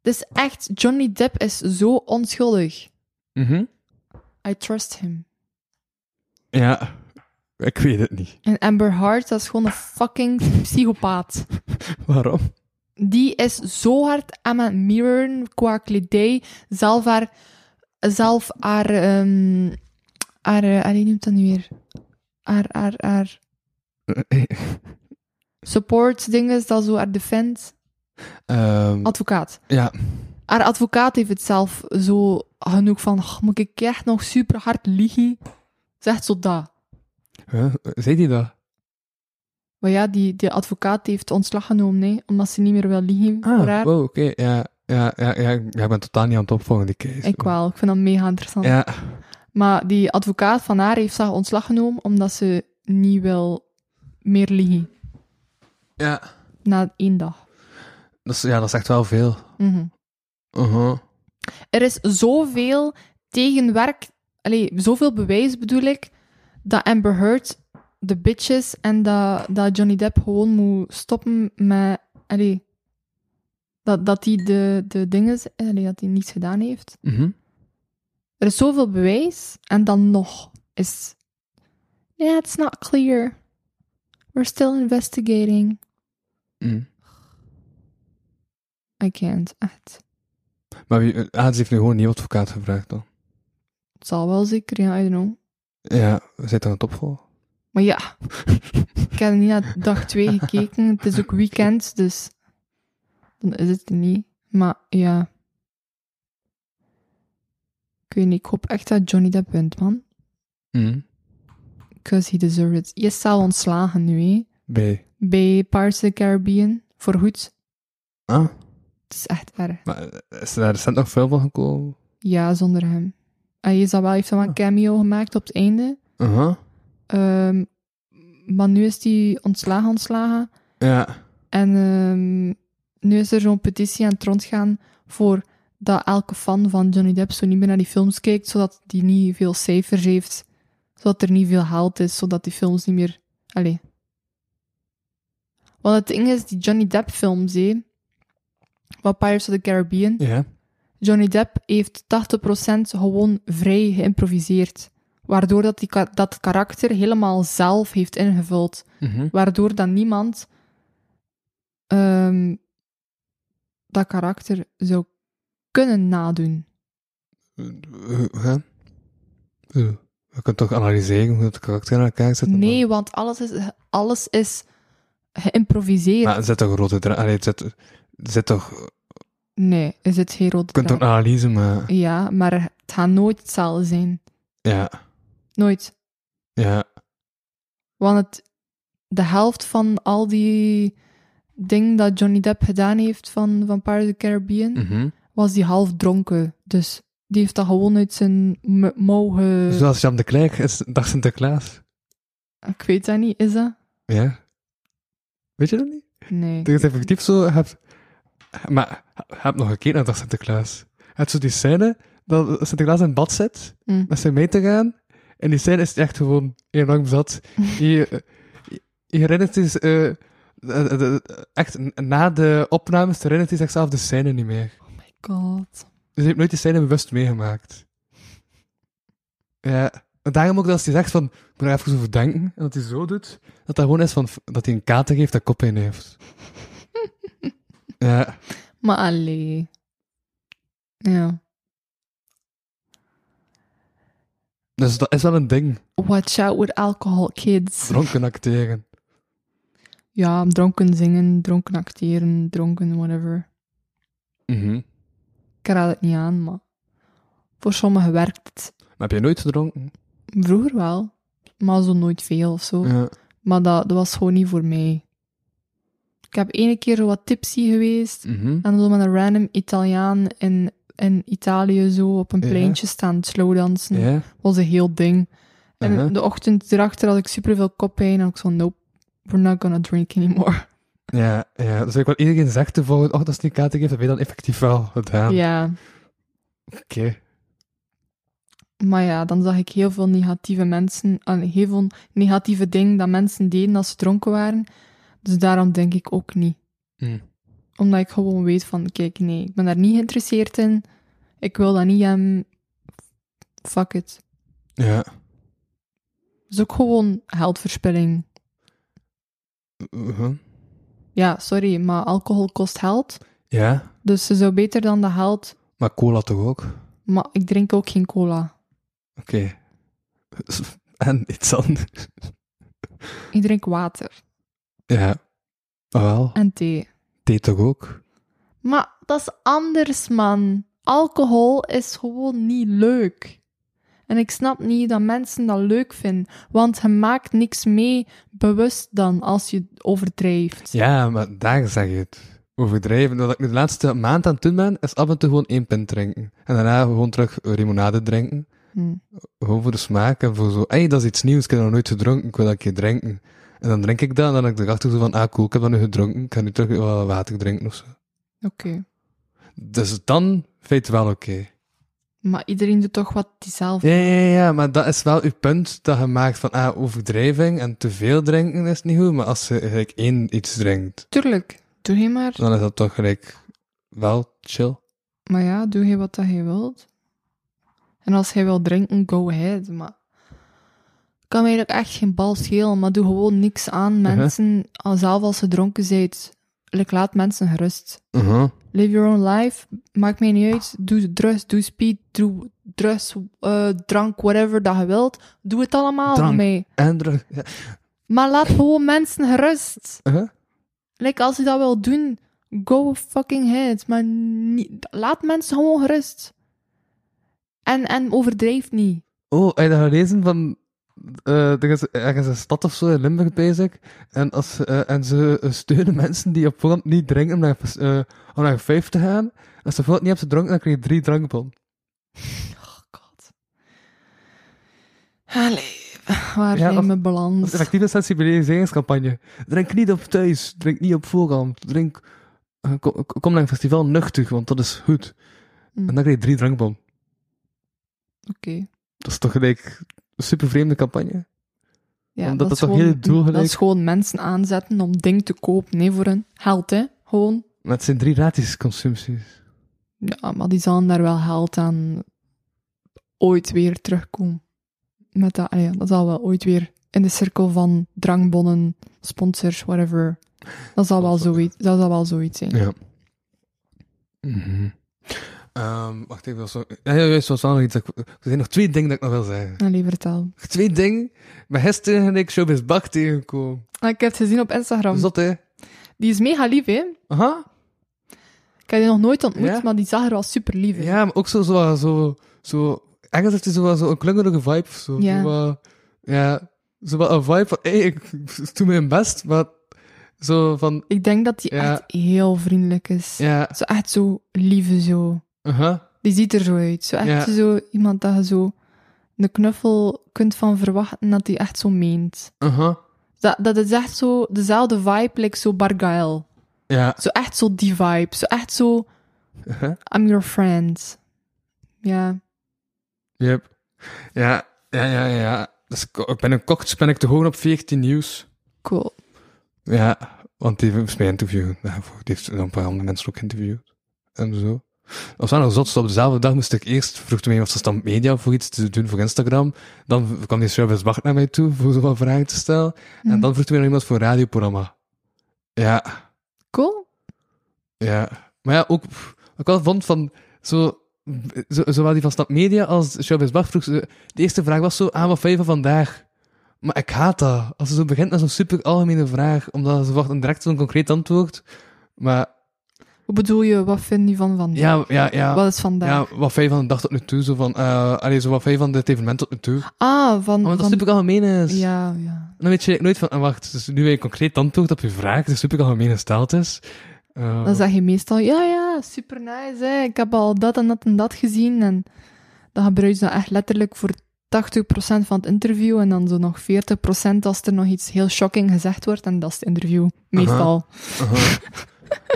Dus echt, Johnny Depp is zo onschuldig. Mhm. I trust him. Ja. Ik weet het niet. En Amber Heard, dat is gewoon een fucking psychopaat. Waarom? Die is zo hard aan het mirroren qua kledij. Zelf haar... Zelf haar... ehm haar... eh, allee, noemt dat nu weer? Haar... haar, haar support dinges, dat zo haar defense. Ehm, Advocaat. ja. Haar advocaat heeft het zelf zo genoeg van, "Oh, moet ik echt nog super hard liegen? Zegt zo dat. Huh? Zei hij dat? Maar ja, die, die advocaat heeft ontslag genomen, nee, omdat ze niet meer wil liegen Ah, Ah. voor haar. wow, oké. Ja, ja, ja, ja, ja, ik ben totaal niet aan het opvolgen, die case. Ik wel, ik vind dat mega interessant. Ja. Maar die advocaat van haar heeft haar ontslag genomen omdat ze niet wil meer liegen. Ja. Na één dag. Dat is, ja, dat is echt wel veel. Mhm. Uh-huh. Er is zoveel tegenwerk, allee, zoveel bewijs bedoel ik, dat Amber Heard de bitches en dat, dat Johnny Depp gewoon moet stoppen met, allee, dat, dat hij de, de dingen, allee, dat hij niets gedaan heeft. Mhm. Er is zoveel bewijs en dan nog is, yeah, it's not clear. We're still investigating. Mm. I can't, echt. Maar wie, ah, ze heeft nu gewoon een nieuw advocaat gevraagd dan. Het zal wel zeker, ja, I don't know. Ja, we zitten aan het opvolgen. Maar ja, ik heb niet naar dag 2 gekeken. Het is ook weekend, dus dan is het er niet. Maar ja. Ik weet niet, ik hoop echt dat Johnny dat wint, man. Mm. Cause he deserves it. Je is zelf ontslagen nu, hè. B. Bij Pirates of the Caribbean. Voorgoed. Ah, Het is echt erg. maar eh, is er recent nog veel van gekomen? Ja, zonder hem. Hij is al wel, heeft wel een cameo gemaakt op het einde. Aha. Ehm, maar nu is hij ontslagen, ontslagen. Ja. En ehm, nu is er zo'n petitie aan het rondgaan voor dat elke fan van Johnny Depp zo niet meer naar die films kijkt, zodat die niet veel cijfers heeft, zodat er niet veel haalt is, zodat die films niet meer... Allee. Want het ding is, die Johnny Depp-films, hé... Wat Pirates of the Caribbean... Ja. Johnny Depp heeft 80% gewoon vrij geïmproviseerd. Waardoor dat, die, ka- dat karakter helemaal zelf heeft ingevuld. Waardoor dan niemand ehm, dat karakter zou kunnen nadoen. Huh? Eh, Je kunt toch analyseren hoe het karakter in elkaar zit? Nee, want alles is, alles is geïmproviseerd. Maar er zit toch een rode draad? Allee, er zit, er zit toch... Je nee, is het geen rode kunt toch draad. analyse, maar... Ja, maar het gaat nooit hetzelfde zijn. Ja. Nooit. Ja. Want het, de helft van al die dingen dat Johnny Depp gedaan heeft van, van Pirates of the Caribbean, Mhm. was die half dronken. Dus die heeft dat gewoon uit zijn m- mouw ge- Zoals Jan Dus de Klerk, is dag Sinterklaas. Ik weet dat niet, is dat? Ja. Weet je dat niet? Nee. Ik denk dat het effectief zo... je Hebt, maar je hebt nog gekeken naar dag Sinterklaas. Je hebt zo die scène dat Sinterklaas in bad zit, Mm. met zijn mee te gaan. En die scène is echt gewoon enorm zat. Je, eh, je herinnert je... eh, de- de- de- echt, n- na de opnames herinnert hij zichzelf de scène niet meer. God. Dus je hebt nooit die scène bewust meegemaakt. Ja. En daarom ook dat als hij zegt van, ik moet er even over denken, en dat hij zo doet, dat dat gewoon is van, dat hij een kater heeft dat kop in heeft. ja. Maar allee. Ja. Dus dat is wel een ding. Watch out with alcohol, kids. Dronken acteren. Ja, dronken zingen, dronken acteren, dronken whatever. Mhm. Ik raad het niet aan, maar... Voor sommigen werkt het. Maar heb je nooit gedronken? Vroeger wel, maar zo nooit veel of zo. Ja. Maar dat, dat was gewoon niet voor mij. Ik heb ene keer zo wat tipsy geweest. Mhm. En zo met een random Italiaan in, in Italië zo op een Ja. pleintje staan slowdansen. Ja. was een heel ding. En Aha. de ochtend erachter had ik superveel koppijn. En ik zo, nope, we're not gonna drink anymore. Ja, ja. Dus ik wat iedereen zegt de volgende oh, ochtend als hij een kater heeft, heb je dan effectief wel Ja. gedaan. Oké. Maar ja, dan zag ik heel veel negatieve mensen... en heel veel negatieve dingen dat mensen deden als ze dronken waren. Dus daarom denk ik ook niet. Hm. Omdat ik gewoon weet van, kijk, nee, ik ben daar niet geïnteresseerd in. Ik wil dat niet hebben. Fuck it. Ja. Het is ook gewoon geldverspilling. Mhm. Ja, sorry, maar alcohol kost geld. Ja. Dus ze zou beter dan de geld... Maar cola toch ook? Maar ik drink ook geen cola. Oké. En iets anders. Ik drink water Ja. Ah, Wel, en thee. thee toch ook? Maar dat is anders, man. Alcohol is gewoon niet leuk. En ik snap niet dat mensen dat leuk vinden. Want je maakt niks mee bewust dan als je overdrijft. Ja, maar daar zeg je het. Overdrijven. Wat ik nu de laatste maand aan het doen ben, is af en toe gewoon één pint drinken. En daarna gewoon terug limonade drinken. Hm. Gewoon voor de smaak en voor zo... Hé, dat is iets nieuws, ik heb dat nog nooit gedronken, ik wil dat een keer drinken. En dan drink ik dat en dan heb ik erachter zo van... Ah, cool, ik heb dat nu gedronken, ik ga nu terug wat water drinken of zo. Oké. Dus dan vind je het wel oké. Maar iedereen doet toch wat die zelf... Ja, ja, ja, maar dat is wel uw punt dat je maakt van ah, overdrijving en te veel drinken is niet goed, maar als je gelijk één iets drinkt, Tuurlijk, doe je maar. dan is dat toch gelijk wel chill. Maar ja, doe je wat dat je wilt. En als hij wil drinken, go ahead. Maar kan mij ook echt geen bal schelen, maar doe gewoon niks aan mensen, al zelf als ze dronken zijt. Like, laat mensen gerust. Live your own life, maakt mij niet uit. Doe drugs, doe speed, doe drugs, eh, drank, whatever dat je wilt. Doe het allemaal Drank. voor mij. En druk. Ja. Maar laat gewoon mensen gerust. Uh-huh. Like, als je dat wil doen, go fucking ahead. Maar niet, laat mensen gewoon gerust. En, en overdrijft niet. Oh, heb je dat gelezen van... eh er is ergens een stad of zo in Limburg bezig. En, als, ze, eh, en ze eh, steunen mensen die op Holland niet drinken om naar, eh, om naar vijf te gaan. Als ze Holland niet hebben ze dronken, dan krijg je drie drankbon. Oh god. Allee, waar Ja, zijn dat- mijn Dat is balans? een effectieve sensibiliseringscampagne. Drink niet op thuis, drink niet op voorhand, drink... eh, Kom, kom naar een festival nuchter, want dat is goed. Hm, En Oké. dan krijg je drie drankbon. Dat is toch gelijk een super vreemde campagne. Ja, Omdat is dat toch gewoon- heel doelgelijk- Dat is gewoon mensen aanzetten om ding te kopen, nee, voor hun geld, hè. Gewoon. Maar het zijn drie gratis consumpties. Ja, maar die zullen daar wel geld aan ooit weer terugkomen. Met dat, allee, ja, dat zal wel ooit weer in de cirkel van drangbonnen, sponsors, whatever. Dat zal wel Sponsor. zoiets, dat zal wel zoiets zijn. Ja. Ehm, wacht even, was er- ja, ja, juist, er was wel nog iets. dat ik- Er zijn nog twee dingen dat ik nog wil zeggen. Allee, vertel. Nog Twee dingen. Maar gisteren heb ik Showbiz Bak tegengekomen. Ah, Ik heb het gezien op Instagram. Zot, hè? Die is mega lief, hè? Aha. Ik heb die nog nooit ontmoet, Ja? maar die zag er wel super lief uit. Ja, maar ook zo, zo, zo, zo ergens heeft hij zo, wat- zo een klungerige vibe of zo. Ja. Zo, wat- ja, zo wat een vibe van, hey, ik doe mijn best, maar zo van, Ik denk dat die Ja. echt heel vriendelijk is. ja, Zo echt zo lieve zo. aha. Die ziet er zo uit. Zo echt Ja. zo iemand dat je zo een knuffel kunt van verwachten dat die echt zo meent. Aha. Dat, dat is echt zo dezelfde vibe, like zo Bargail. Ja. Zo echt zo die vibe. Zo echt zo, Aha. I'm your friend. Ja. Yep. Ja, ja, ja, ja. Dus ik- ik ben een kocht, ben ik te hoog op 14 nieuws. Cool. Ja, want die heeft mij interviewen. Daarvoor. Die heeft een paar andere mensen ook interviewd. En zo. Als we nog zot, op dezelfde dag moest ik eerst, vroeg toen mij of ze stand media voor iets te doen voor Instagram. Dan kwam die service Bart naar mij toe voor zoveel vragen te stellen. En dan vroeg toen mij nog iemand voor een radioprogramma. Ja, Cool? ja. Maar ja, ook, pff, wat ik wel vond van, zo, zo, zowel die van stand media als service Bart vroeg ze, de eerste vraag was zo, aan wat vind je van vandaag? Maar ik haat dat. Als ze zo begint met zo'n super algemene vraag, omdat ze wacht een direct zo'n concreet antwoord. Maar Wat bedoel je, wat vind je van vandaag? ja, ja, ja. Wat is vandaag? ja, wat vind je van de dag tot nu toe? Zo van, eh allee, zo wat vind je van dit evenement tot nu toe? Ah, van... Omdat Oh, dat van super algemeen is. ja, ja. Dan weet je nooit van, ah, wacht, dus nu weet je concreet antwoord op je vraag, dus super algemeen gesteld is. Eh, Dan zeg je meestal, ja, ja, super nice, hè. ik heb al dat en dat en dat gezien. En dan gebruik je dat echt letterlijk voor 80% van het interview en dan zo nog 40% als er nog iets heel shocking gezegd wordt. En dat is het interview, meestal. Aha.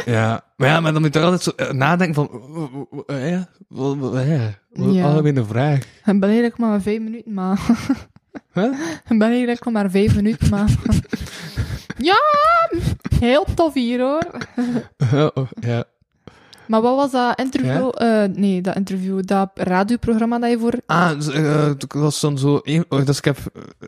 ja. Maar ja, maar dan moet je er altijd zo eh, nadenken van, eh, eh, eh, ja, wat, wat, eh, wat een Ja. algemene vraag. Ik ben eigenlijk maar vijf minuten, maar... Huh? Ik ben eigenlijk nog maar vijf minuten, maar... ja! Heel tof hier, hoor. Eh, oh, ja. Maar wat was dat interview... eh, nee, dat interview, dat radioprogramma dat je voor... Ah, dus, eh, het was dan zo. een- oh, dus ik heb,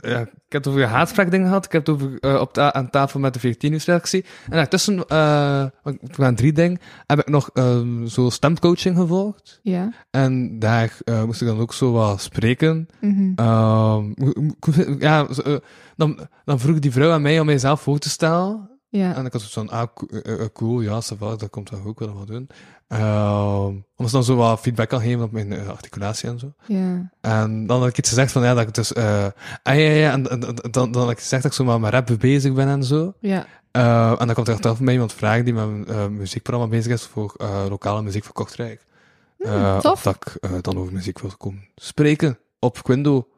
eh, ja, ik heb het over haatsprekdingen gehad. Ik heb het over, eh, op ta- aan tafel met de 14-uur-selectie. En daartussen, eh want ik aan drie dingen, heb ik nog ehm, zo stemcoaching gevolgd. Ja. En daar eh, moest ik dan ook zo wat spreken. Mhm. Ehm, hoe- hoe- ja, zo, eh, dan, dan vroeg die vrouw aan mij om mijzelf voor te stellen. Ja. En ik had zoiets van, ah, co- eh, eh, cool, ja, ça va, dat komt wel goed, ik wil dat wel doen. Ehm omdat ze dan zo wat feedback kan geven op mijn eh, articulatie en zo. Ja. En dan had ik iets gezegd van, ja, dat ik dus... eh ah, ja, ja, en, en- en- dan, dan had ik gezegd dat ik zo met mijn rap bezig ben en zo. Ja. Eh, en dan komt er achteraf mij iemand vragen die met een eh, muziekprogramma bezig is voor eh, lokale muziek voor Kortrijk. Eh, Hmm, tof. Of dat ik eh, dan over muziek wil komen spreken op Quindo.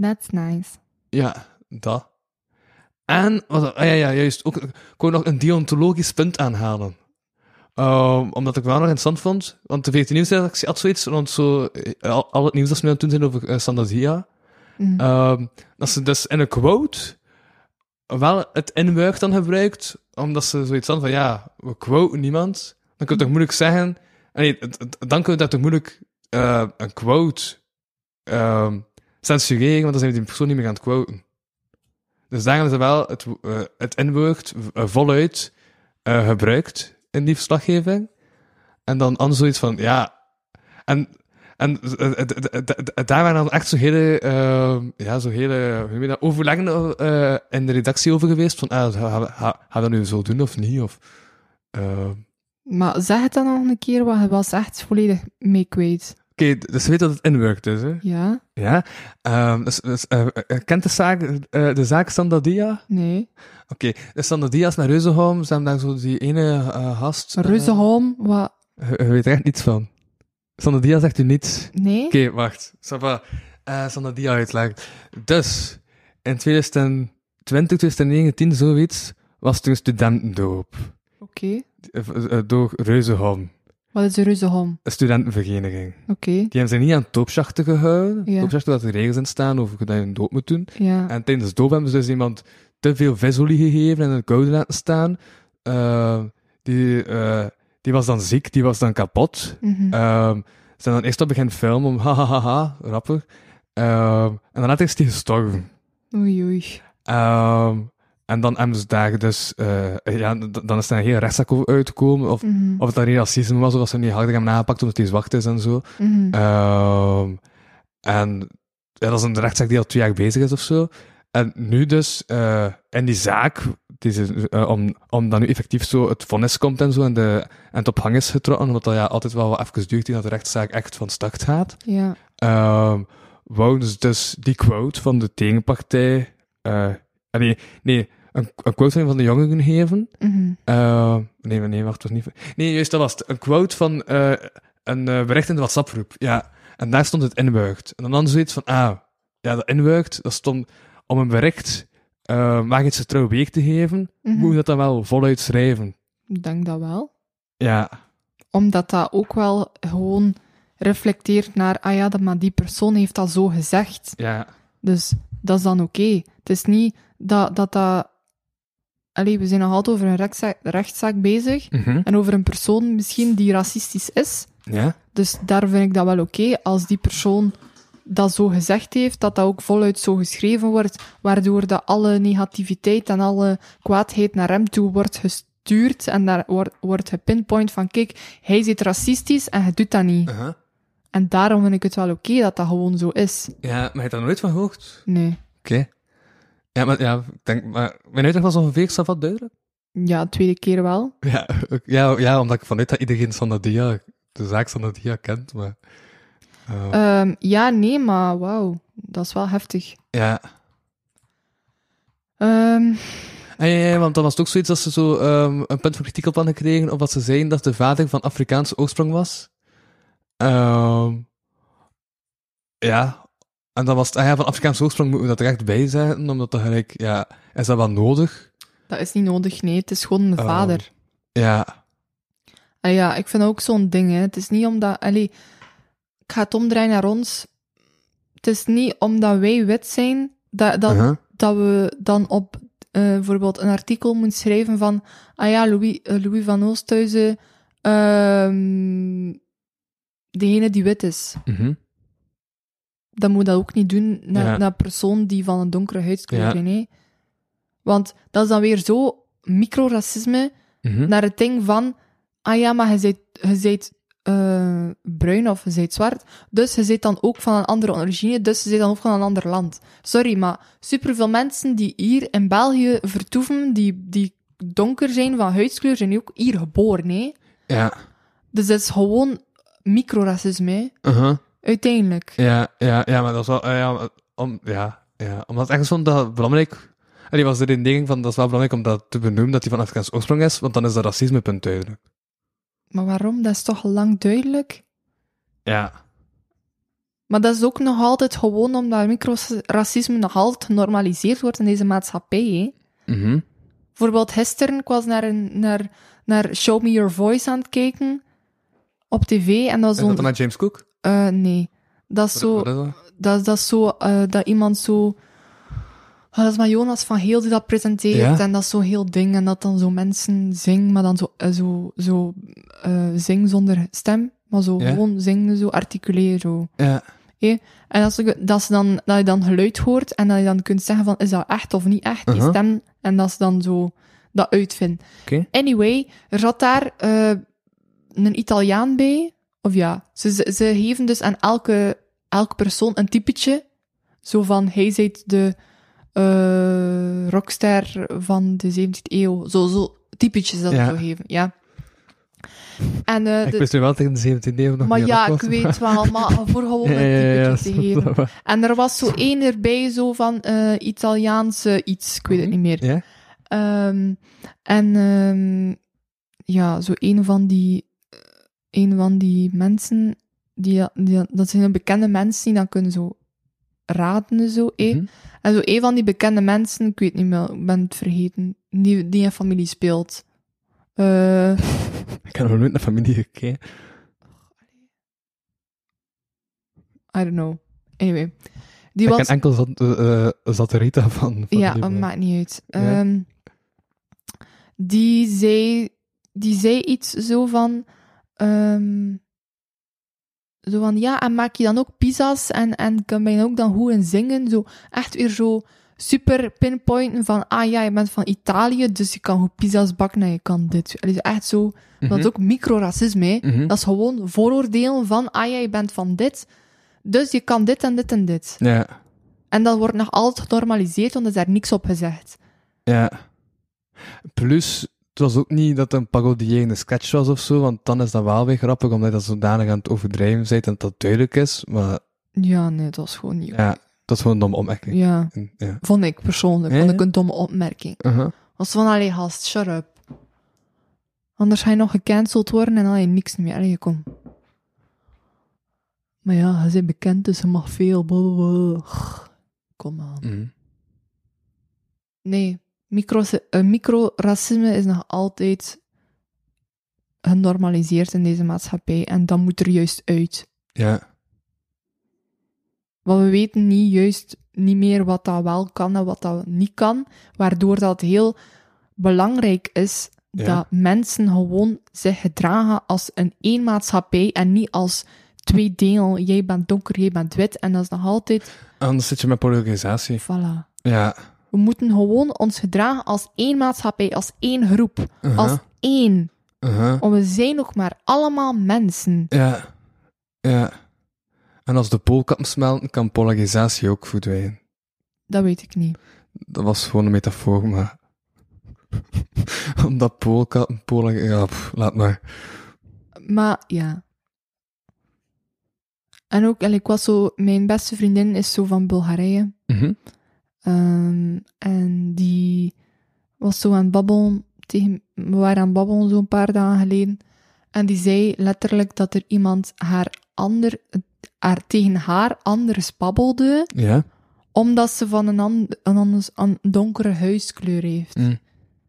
That's nice. Ja, dat. En, wat, ah, ja, ja, juist. Ook, ik wou nog een deontologisch punt aanhalen. Ehm, omdat ik wel nog interessant vond. Want de 14 Nieuwsredactie had zoiets rond zo, eh, al, al het nieuws dat ze nu aan het doen zijn over eh, Sandasia. Mhm. Ehm, dat ze dus in een quote wel het inwerk dan gebruikt. Omdat ze zoiets hadden van, ja, we quoten niemand. Dan kun je toch moeilijk zeggen... Nee, het- het- dan kun je dat toch moeilijk eh, een quote ehm censureren, want dan zijn we die persoon niet meer aan het quoten. Dus daarom is er wel het, wo- eh, het N-woord v- eh, voluit eh, gebruikt in die verslaggeving. En dan anders zoiets van, ja... En, en eh, eh, eh, eh, eh, eh, daar waren dan echt zo hele, eh, ja, zo hele hoe noem je dat, overleggen eh, in de redactie over geweest. Van, ah, gaan we- gaan we dat nu zo doen of niet? Of, eh, Maar zeg het dan nog een keer, want je was echt volledig mee kwijt. dus je weet dat het inwerkt dus, hè? Ja? Ja. Ehm, dus, dus, eh, eh, kent de zaak, eh, de zaak Sandadia? Nee. Oké, dus Sandadia is naar Reuzenholm. Ze hebben daar zo die ene eh, gast... eh, Reuzenholm, wat? Je je weet er echt niets van. Sandadia zegt u niets. Nee? Oké, wacht. Sava, eh Sandadia uitlegt. Dus, in 2020, 2019, zoiets, was er een studentendoop. Oké. Eh, eh, Door Reuzenholm, Wat is de Reuzenholm? een studentenvereniging. Oké. Die hebben zich niet aan doopschachten gehouden. Ja. Doopschachten dat er regels in staan over dat je een doop moet doen. Ja. En tijdens de doop hebben ze dus iemand te veel visolie gegeven en in het koude laten staan. Eh, die, eh, die was dan ziek, die was dan kapot. Mhm. Ehm, ze zijn dan eerst op begin filmen om ha ha ha ha, rapper. Ehm, en dan is die gestorven. Oei, oei. Ehm, en dan hebben ze daar dus, eh, ja, d- dan is er een hele rechtszaak over uitgekomen. Of, Mhm. of het dan geen racisme was, of dat ze hem niet harder hebben aangepakt omdat hij zwart is en zo. Mhm. Ehm, en ja, dat is een rechtszaak die al twee jaar bezig is of zo. En nu dus, eh, in die zaak, die ze, eh, om, om dan nu effectief zo het vonnis komt en zo, en, de, en het op hang is getrokken, omdat dat ja altijd wel wat even duurt dat de rechtszaak echt van start gaat. Ja. Ehm wouden ze dus die quote van de tegenpartij, eh, ah, nee, nee, een, een quote van de jongeren geven, Mhm. eh, nee, nee, wacht, was niet. Nee, juist, dat was het. Een quote van eh, een eh, bericht in de WhatsApp-groep. Ja. En daar stond het inbuigt. En dan dan zoiets van, ah, ja, dat inbuigt, dat stond om een bericht, eh mag iets trouw week te geven, Mhm. moet je dat dan wel voluit schrijven. Ik denk dat wel. Ja. Omdat dat ook wel gewoon reflecteert naar, ah ja, dat- maar die persoon heeft dat zo gezegd. Ja. Dus dat is dan oké. Het is niet dat dat... dat... Allee, we zijn nog altijd over een rechtszaak, rechtszaak bezig. Mhm. En over een persoon misschien die racistisch is. Ja? Dus daar vind ik dat wel oké. Als die persoon dat zo gezegd heeft, dat dat ook voluit zo geschreven wordt, waardoor dat alle negativiteit en alle kwaadheid naar hem toe wordt gestuurd en daar wordt, wordt gepinpoint van kijk, hij zit racistisch en je doet dat niet. Uh-huh. En daarom vind ik het wel oké dat dat gewoon zo is. Ja, maar je hebt daar nooit van gehoord? Nee. Oké. Ja, maar ja, ik denk, maar mijn uitleg was ongeveer, staat wat duidelijk? Ja, tweede keer wel. Ja, ook- ja, ja, omdat ik vanuit dat iedereen Sandadia, de zaak Sandadia kent, maar... eh, Ehm, ja, nee, maar wauw. Dat is wel heftig. Ja. Ehm, Ah, ja, ja, want dan was het ook zoiets dat ze zo ehm, een punt van kritiek op hadden gekregen, of dat ze zeiden dat de vader van Afrikaanse oorsprong was. Ehm, ja. En dan was het, ah ja, van Afrikaanse oorsprong moeten we dat er echt bij zetten, omdat dat gelijk, ja, is dat wel nodig? dat is niet nodig, nee. Het is gewoon een Ehm, vader. Ja. Ah ja, ik vind dat ook zo'n ding. Hè. Het is niet omdat. Allee, ik ga het omdraaien naar ons. Het is niet omdat wij wit zijn dat, dat, Uh-huh. dat we dan op eh, bijvoorbeeld een artikel moeten schrijven van. Ah ja, Louis, eh, Louis van Oosthuizen, ehm, degene die wit is. Mhm. Dan moet dat ook niet doen naar, Ja. naar persoon die van een donkere Ja. huidskleur is. hè. Want dat is dan weer zo microracisme Mhm. naar het ding van, ah ja, maar je zijt, je zijt eh, bruin of je zijt zwart, dus je zijt dan ook van een andere origine, dus je zijt dan ook van een ander land. Sorry, maar superveel mensen die hier in België vertoeven, die, die donker zijn van huidskleur, zijn ook hier geboren, hè. Ja. Dus dat is gewoon microracisme, hè, Uh-huh. uiteindelijk. Ja, ja, ja, maar dat is wel, eh, ja, om, ja, ja, omdat het ergens vond dat het belangrijk, en die was er in ding van, dat is wel belangrijk om dat te benoemen, dat hij van Afrikaanse oorsprong is, want dan is dat racismepunt duidelijk. Maar waarom? Dat is toch al lang duidelijk? Ja. Maar dat is ook nog altijd gewoon omdat microracisme nog altijd genormaliseerd wordt in deze maatschappij, hè. Mhm. Bijvoorbeeld gisteren, ik was naar, een, naar, naar Show Me Your Voice aan het kijken op tv en dat Is dat was dan zo... met James Cook? eh nee, dat is zo... Wat is dat? Dat, is- dat is zo eh, dat iemand zo... Ah, dat is maar Jonas van Heel die dat presenteert Ja. en dat is zo'n heel ding en dat dan zo mensen zingen, maar dan zo, eh, zo, zo eh, zing zonder stem, maar zo Ja. gewoon zingen, zo articuleren, zo. Ja. En als ik, dat, ze dan, dat je dan geluid hoort en dat je dan kunt zeggen van, is dat echt of niet echt, die Uh-huh. stem. En dat ze dan zo dat uitvinden. Oké. Anyway, er zat daar eh, een Italiaan bij. Of ja, ze, ze, ze geven dus aan elke, elke persoon een typetje. Zo van, hij zijt de eh, rockster van de 17e eeuw. Zo, zo typetjes dat ze Ja. zo geven, ja. En, eh, ik de- wist nu wel tegen de 17e eeuw nog maar meer ja, ik oplossen, weet wel, maar voor gewoon een Ja, ja, ja, typetje te dat is geven. wel waar. En er was zo één erbij, zo van eh, Italiaanse iets, ik weet het niet meer. Mhm. Ja? Ehm, en ehm, ja, zo een van die, een van die mensen, die, die, dat zijn bekende mensen die dan kunnen zo raden en zo. eh. Mhm. En zo een van die bekende mensen, ik weet niet meer, ik ben het vergeten, die, die in familie speelt. Eh, Ik heb nog nooit naar familie gekeken. I don't know. Anyway. Die Ik was... ken enkel zat, eh, eh, zat Rita van. van Ja, die- dat maakt niet uit. Ja. Ehm, die, zei, die zei iets zo van... ehm, zo van, ja, en maak je dan ook pizza's en, en kan ben je dan ook dan goed in zingen? Zo, echt weer zo super pinpointen van, ah ja, je bent van Italië, dus je kan goed pizza's bakken en je kan dit. Het is echt zo... Dat is ook microracisme, hè. Mhm. Dat is gewoon vooroordelen van, ah ja, je bent van dit, dus je kan dit en dit en dit. Ja, En dat wordt nog altijd genormaliseerd, want er is daar niks op gezegd. ja. Plus, het was ook niet dat het een parodierende sketch was of zo, want dan is dat wel weer grappig, omdat je dat zodanig aan het overdrijven bent en dat dat duidelijk is. Maar Ja, nee, dat was gewoon niet. Ja, ja, dat is gewoon een domme opmerking. Ja. vond ik persoonlijk. Ja, Vond ik ja. een domme opmerking. Uh-huh. Als van, allee, gast, shut up. Anders ga je nog gecanceld worden en allee, niks meer. Allee, kom. Maar ja, hij is bekend, dus hij mag veel. blablabla. Kom aan. Mhm. Nee, micro, eh, microracisme is nog altijd genormaliseerd in deze maatschappij. En dat moet er juist uit. Ja. Want we weten niet juist niet meer wat dat wel kan en wat dat niet kan, waardoor dat heel belangrijk is Ja. dat mensen gewoon zich gedragen als een één maatschappij en niet als twee delen. Jij bent donker, jij bent wit en dat is nog altijd, Anders zit je met polarisatie. voilà. Ja. We moeten gewoon ons gedragen als één maatschappij, als één groep, Uh-huh. als één. Uh-huh. Want we zijn nog maar allemaal mensen. Ja. Ja. En als de pool kan smelten, kan polarisatie ook verdwijnen. Dat weet ik niet. Dat was gewoon een metafoor, maar... Omdat poolkappen, polen... Ja, pff, laat maar. Maar ja. En ook, en ik was zo, mijn beste vriendin is zo van Bulgarije. Mhm. Ehm, en die was zo aan het babbelen, tegen, we waren aan het babbelen zo'n paar dagen geleden. En die zei letterlijk dat er iemand haar ander, haar, tegen haar anders babbelde, Ja? omdat ze van een, an- een, anders, een donkere huiskleur heeft. Mm.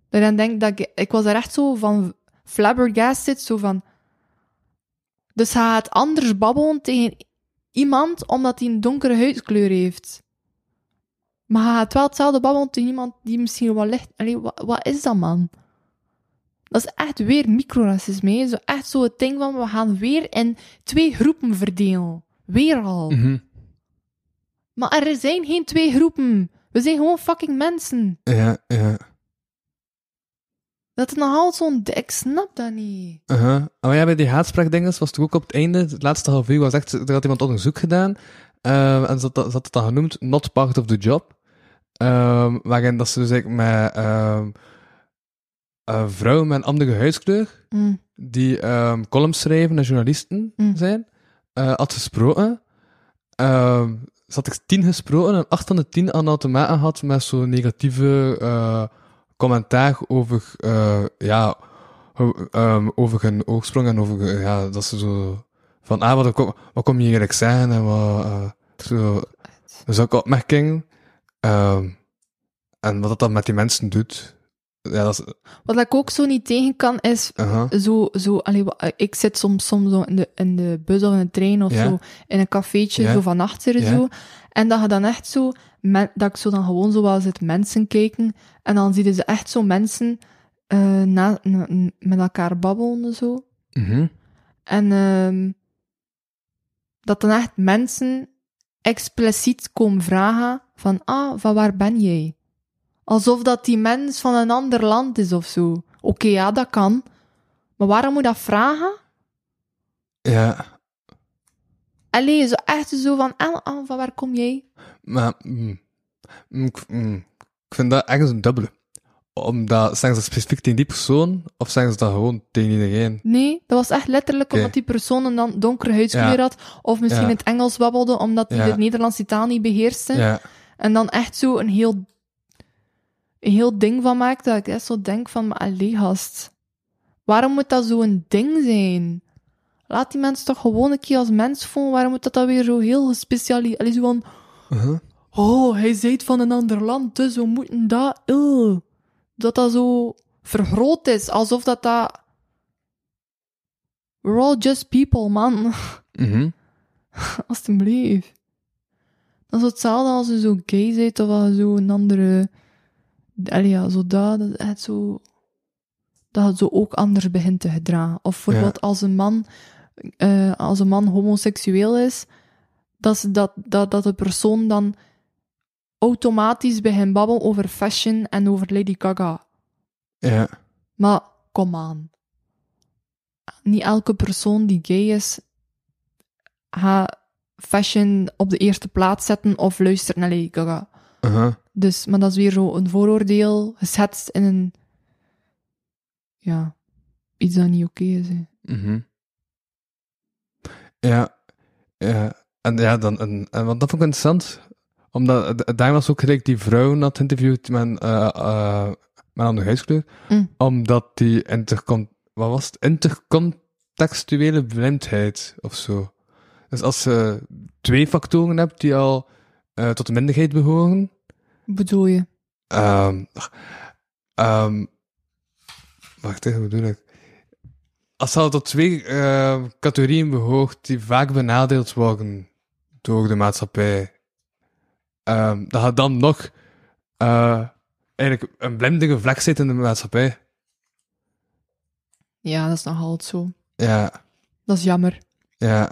En dan denk ik dat ik, ik was er echt zo van flabbergasted, zo van. Dus hij gaat anders babbelen tegen iemand omdat hij een donkere huidskleur heeft. Maar hij gaat wel hetzelfde babbelen tegen iemand die misschien wel licht. Allee, wat, wat is dat, man? Dat is echt weer microracisme. hè. Zo echt zo het ding van we gaan weer in twee groepen verdelen. Weer al. Mhm. Maar er zijn geen twee groepen. We zijn gewoon fucking mensen. Ja, ja. Dat is nog altijd zo'n... d- Ik snap dat niet. Uh-huh. Maar ja, bij die haatspraakdinges was het ook op het einde, het laatste half uur, was echt, er had iemand onderzoek gedaan, eh, en ze had, dat- ze had het dan genoemd Not Part of the Job, Ehm, waarin dat ze dus eigenlijk met ehm, eh, vrouwen met een andere huidskleur, Mm. die ehm, columns schrijven en journalisten Mm. zijn, eh, had gesproken. Ehm, ze had er tien gesproken en acht van de tien aan de te maken had met zo'n negatieve eh, commentaar over, eh, ja, ho- ehm, over hun oorsprong en over, eh, ja, dat ze zo van, ah, wat kom, wat kom je eigenlijk zijn en wat, eh, zo, zulke opmerkingen. Ehm, en wat dat dan met die mensen doet. Ja, dat is, eh, Wat ik ook zo niet tegen kan, is... aha, Zo, zo, allee, wa- eh, ik zit soms, soms zo in, de, in de bus of in de trein of Ja. zo, in een cafeetje, Ja. zo van achteren Ja. zo. En dat je dan echt zo, men- dat ik zo dan gewoon zo wel zit mensen kijken. En dan zie je ze echt zo mensen eh, na, na- met elkaar babbelen en zo. mhm, En ehm, dat dan echt mensen expliciet komen vragen van, ah, van waar ben jij? Alsof dat die mens van een ander land is of zo. Oké, ja, dat kan. Maar waarom moet dat vragen? ja. Allee, zo echt zo van, ah, ah, van waar kom jij? Maar mm, mm, ik, mm, ik vind dat ergens een dubbele. Omdat, zeggen ze dat specifiek tegen die persoon, of zeggen ze dat gewoon tegen iedereen? Nee, dat was echt letterlijk Oké. omdat die persoon een dan donkere huidskleur Ja. had. Of misschien Ja. het Engels babbelde, omdat hij Ja. het Nederlandse taal niet beheerste. Ja. En dan echt zo een heel, een heel ding van maakt dat ik echt zo denk van, maar allee, gast. Waarom moet dat zo'n ding zijn? Laat die mensen toch gewoon een keer als mens voelen. Waarom moet dat dan weer zo heel gespecialiseerd... Allee, zo van... Uh-huh. Oh, hij zijt van een ander land, dus we moeten dat... il." Dat dat zo vergroot is, alsof dat dat... We're all just people, man. Mhm. Alsjeblieft. Dat is hetzelfde als je zo gay bent of als je zo een andere... Allee, ja, zo dat, dat is echt zo... Dat het zo ook anders begint te gedragen. Of bijvoorbeeld als een man... eh, als een man homoseksueel is, dat, ze dat, dat, dat de persoon dan automatisch begint babbelen over fashion en over Lady Gaga. Ja. Maar kom aan. Niet elke persoon die gay is, gaat fashion op de eerste plaats zetten of luistert naar Lady Gaga. Uh-huh. Dus, maar dat is weer zo een vooroordeel, geschetst in een... Ja, iets dat niet oké is. hè. Mhm. Ja, ja. En ja, dan, en, en, want dat vond ik interessant. Omdat eh, daar was ook gelijk die vrouw had interviewd met, een, eh eh met een andere huidskleur. Mm. Omdat die intercon... Wat was het? Intercontextuele blindheid of zo. Dus als je twee factoren hebt die al eh, tot de minderheid behoren, Bedoel je? Ehm ehm, wacht even, hoe bedoel ik? Als dat tot twee eh, categorieën behoort die vaak benadeeld worden door de maatschappij, ehm, dat gaat dan nog eh, eigenlijk een blindige vlek zit in de maatschappij. Ja, dat is nog altijd zo. Ja, Dat is jammer. ja.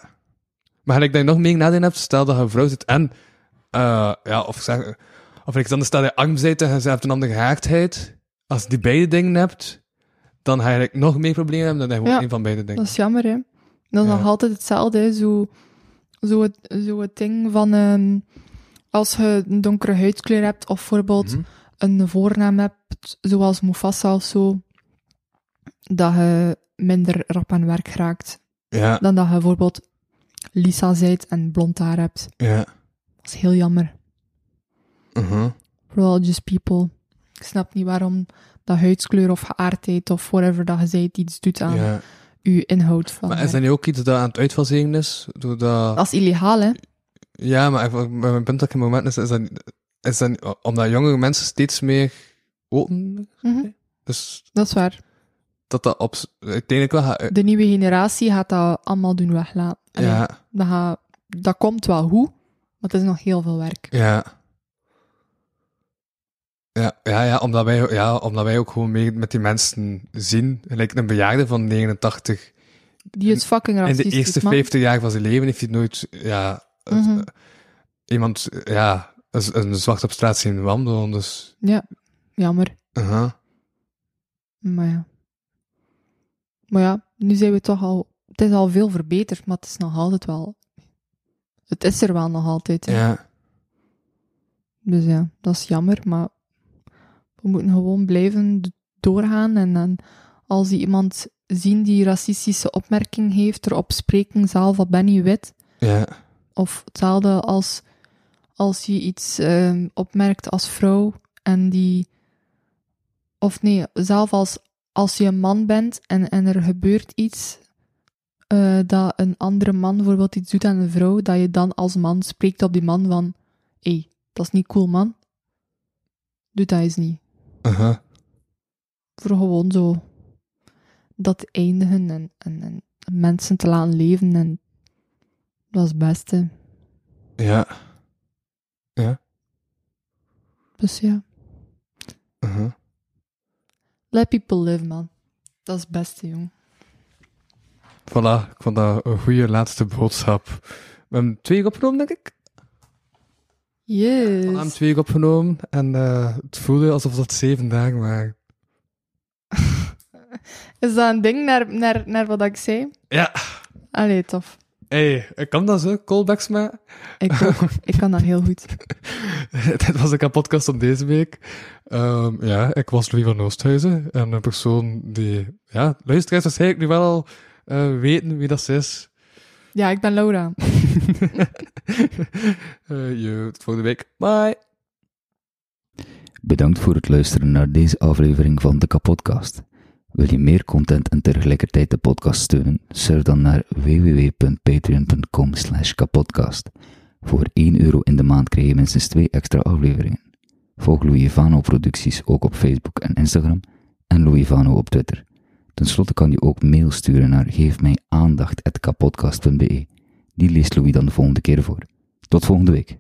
Maar ik denk nog meer nadeel hebt, stel dat je een vrouw zit en, eh, ja, of zeg, of ik dan stel dat je arm zit en je hebt een andere geaardheid. Als je die beide dingen hebt, dan ga je eigenlijk nog meer problemen hebben dan dat je gewoon Ja, één van beide dingen. Dat is jammer, hè. Dat is Ja. nog altijd hetzelfde, hè. Zo, zo, het, zo het ding van... ehm, als je een donkere huidskleur hebt, of bijvoorbeeld Mhm. een voornaam hebt, zoals Mufasa of zo, dat je minder rap aan werk raakt Ja, dan dat je bijvoorbeeld Lisa zijt en blond haar hebt. ja. Dat is heel jammer. Mhm. Vooral just people. Ik snap niet waarom dat huidskleur of geaardheid of whatever dat je zijt iets doet aan ja. uw inhoud van Maar is werk. dat nu ook iets dat aan het uitfaseren is? Doordat... Dat is illegaal, hè? Ja, maar even- maar mijn punt dat ik in het moment is, is dat, is dat omdat jongere mensen steeds meer open, Mhm, dus Dat is waar. dat dat op, uiteindelijk wel gaat... De nieuwe generatie gaat dat allemaal doen weglaten. Allee, Eh, Ja. dat, gaat- dat komt wel hoe, maar het is nog heel veel werk. Ja. Ja, ja, ja, omdat wij, ja, omdat wij ook gewoon mee met die mensen zien. Gelijk een bejaarde van 89. Die is fucking In de racistisch, eerste Eh, man. 50 jaar van zijn leven heeft hij nooit, ja, het- Mhm. iemand, ja, een, een zwart op straat zien wandelen. Dus, Jammer. uh-huh. Maar ja. Maar ja, nu zijn we toch al... Het is al veel verbeterd, maar het is nog altijd wel... Het is er wel nog altijd. hè. ja. Dus ja, dat is jammer, maar we moeten gewoon blijven d- doorgaan. En dan als die iemand zien die racistische opmerking heeft, erop spreken, zelf al ben je wit. Ja, Of hetzelfde als als je iets ehm, opmerkt als vrouw en die. Of nee, zelf als, als je een man bent en, en er gebeurt iets eh, dat een andere man bijvoorbeeld iets doet aan een vrouw, dat je dan als man spreekt op die man van: hé, hey, dat is niet cool, man. Doe dat eens niet. uh-huh. Voor gewoon zo dat te eindigen en, en, en mensen te laten leven en dat is het beste. ja, Dus ja. uh-huh. Let people live, man. Dat is het beste, jong. Voilà, ik vond dat een goede laatste boodschap. We hebben twee uur opgenomen, denk ik. We hebben Yes. twee uur opgenomen en eh, het voelde alsof dat zeven dagen waren. Is dat een ding naar, naar, naar wat ik zei? Ja. Allee, tof. hey, ik kan dat zo, callbacks maken. Ik, ook. ik kan dat heel goed. Dit was een podcast van deze week. Ehm, ja, ik was Louis van Oosthuizen. En een persoon die... Ja, luisteraars waarschijnlijk nu wel al eh, weten wie dat is. Ja, ik ben Laura. Eh, je, tot volgende week. Bye! Bedankt voor het luisteren naar deze aflevering van de Kapodcast. Wil je meer content en tegelijkertijd de podcast steunen? Surf dan naar www.patreon.com kapodcast. Voor 1 euro in de maand krijg je minstens 2 extra afleveringen. Volg Louis Vano producties ook op Facebook en Instagram en Louis Vano op Twitter. Ten slotte kan je ook mail sturen naar geefmijaandacht.kapodcast.be. Die leest Louis dan de volgende keer voor. Tot volgende week.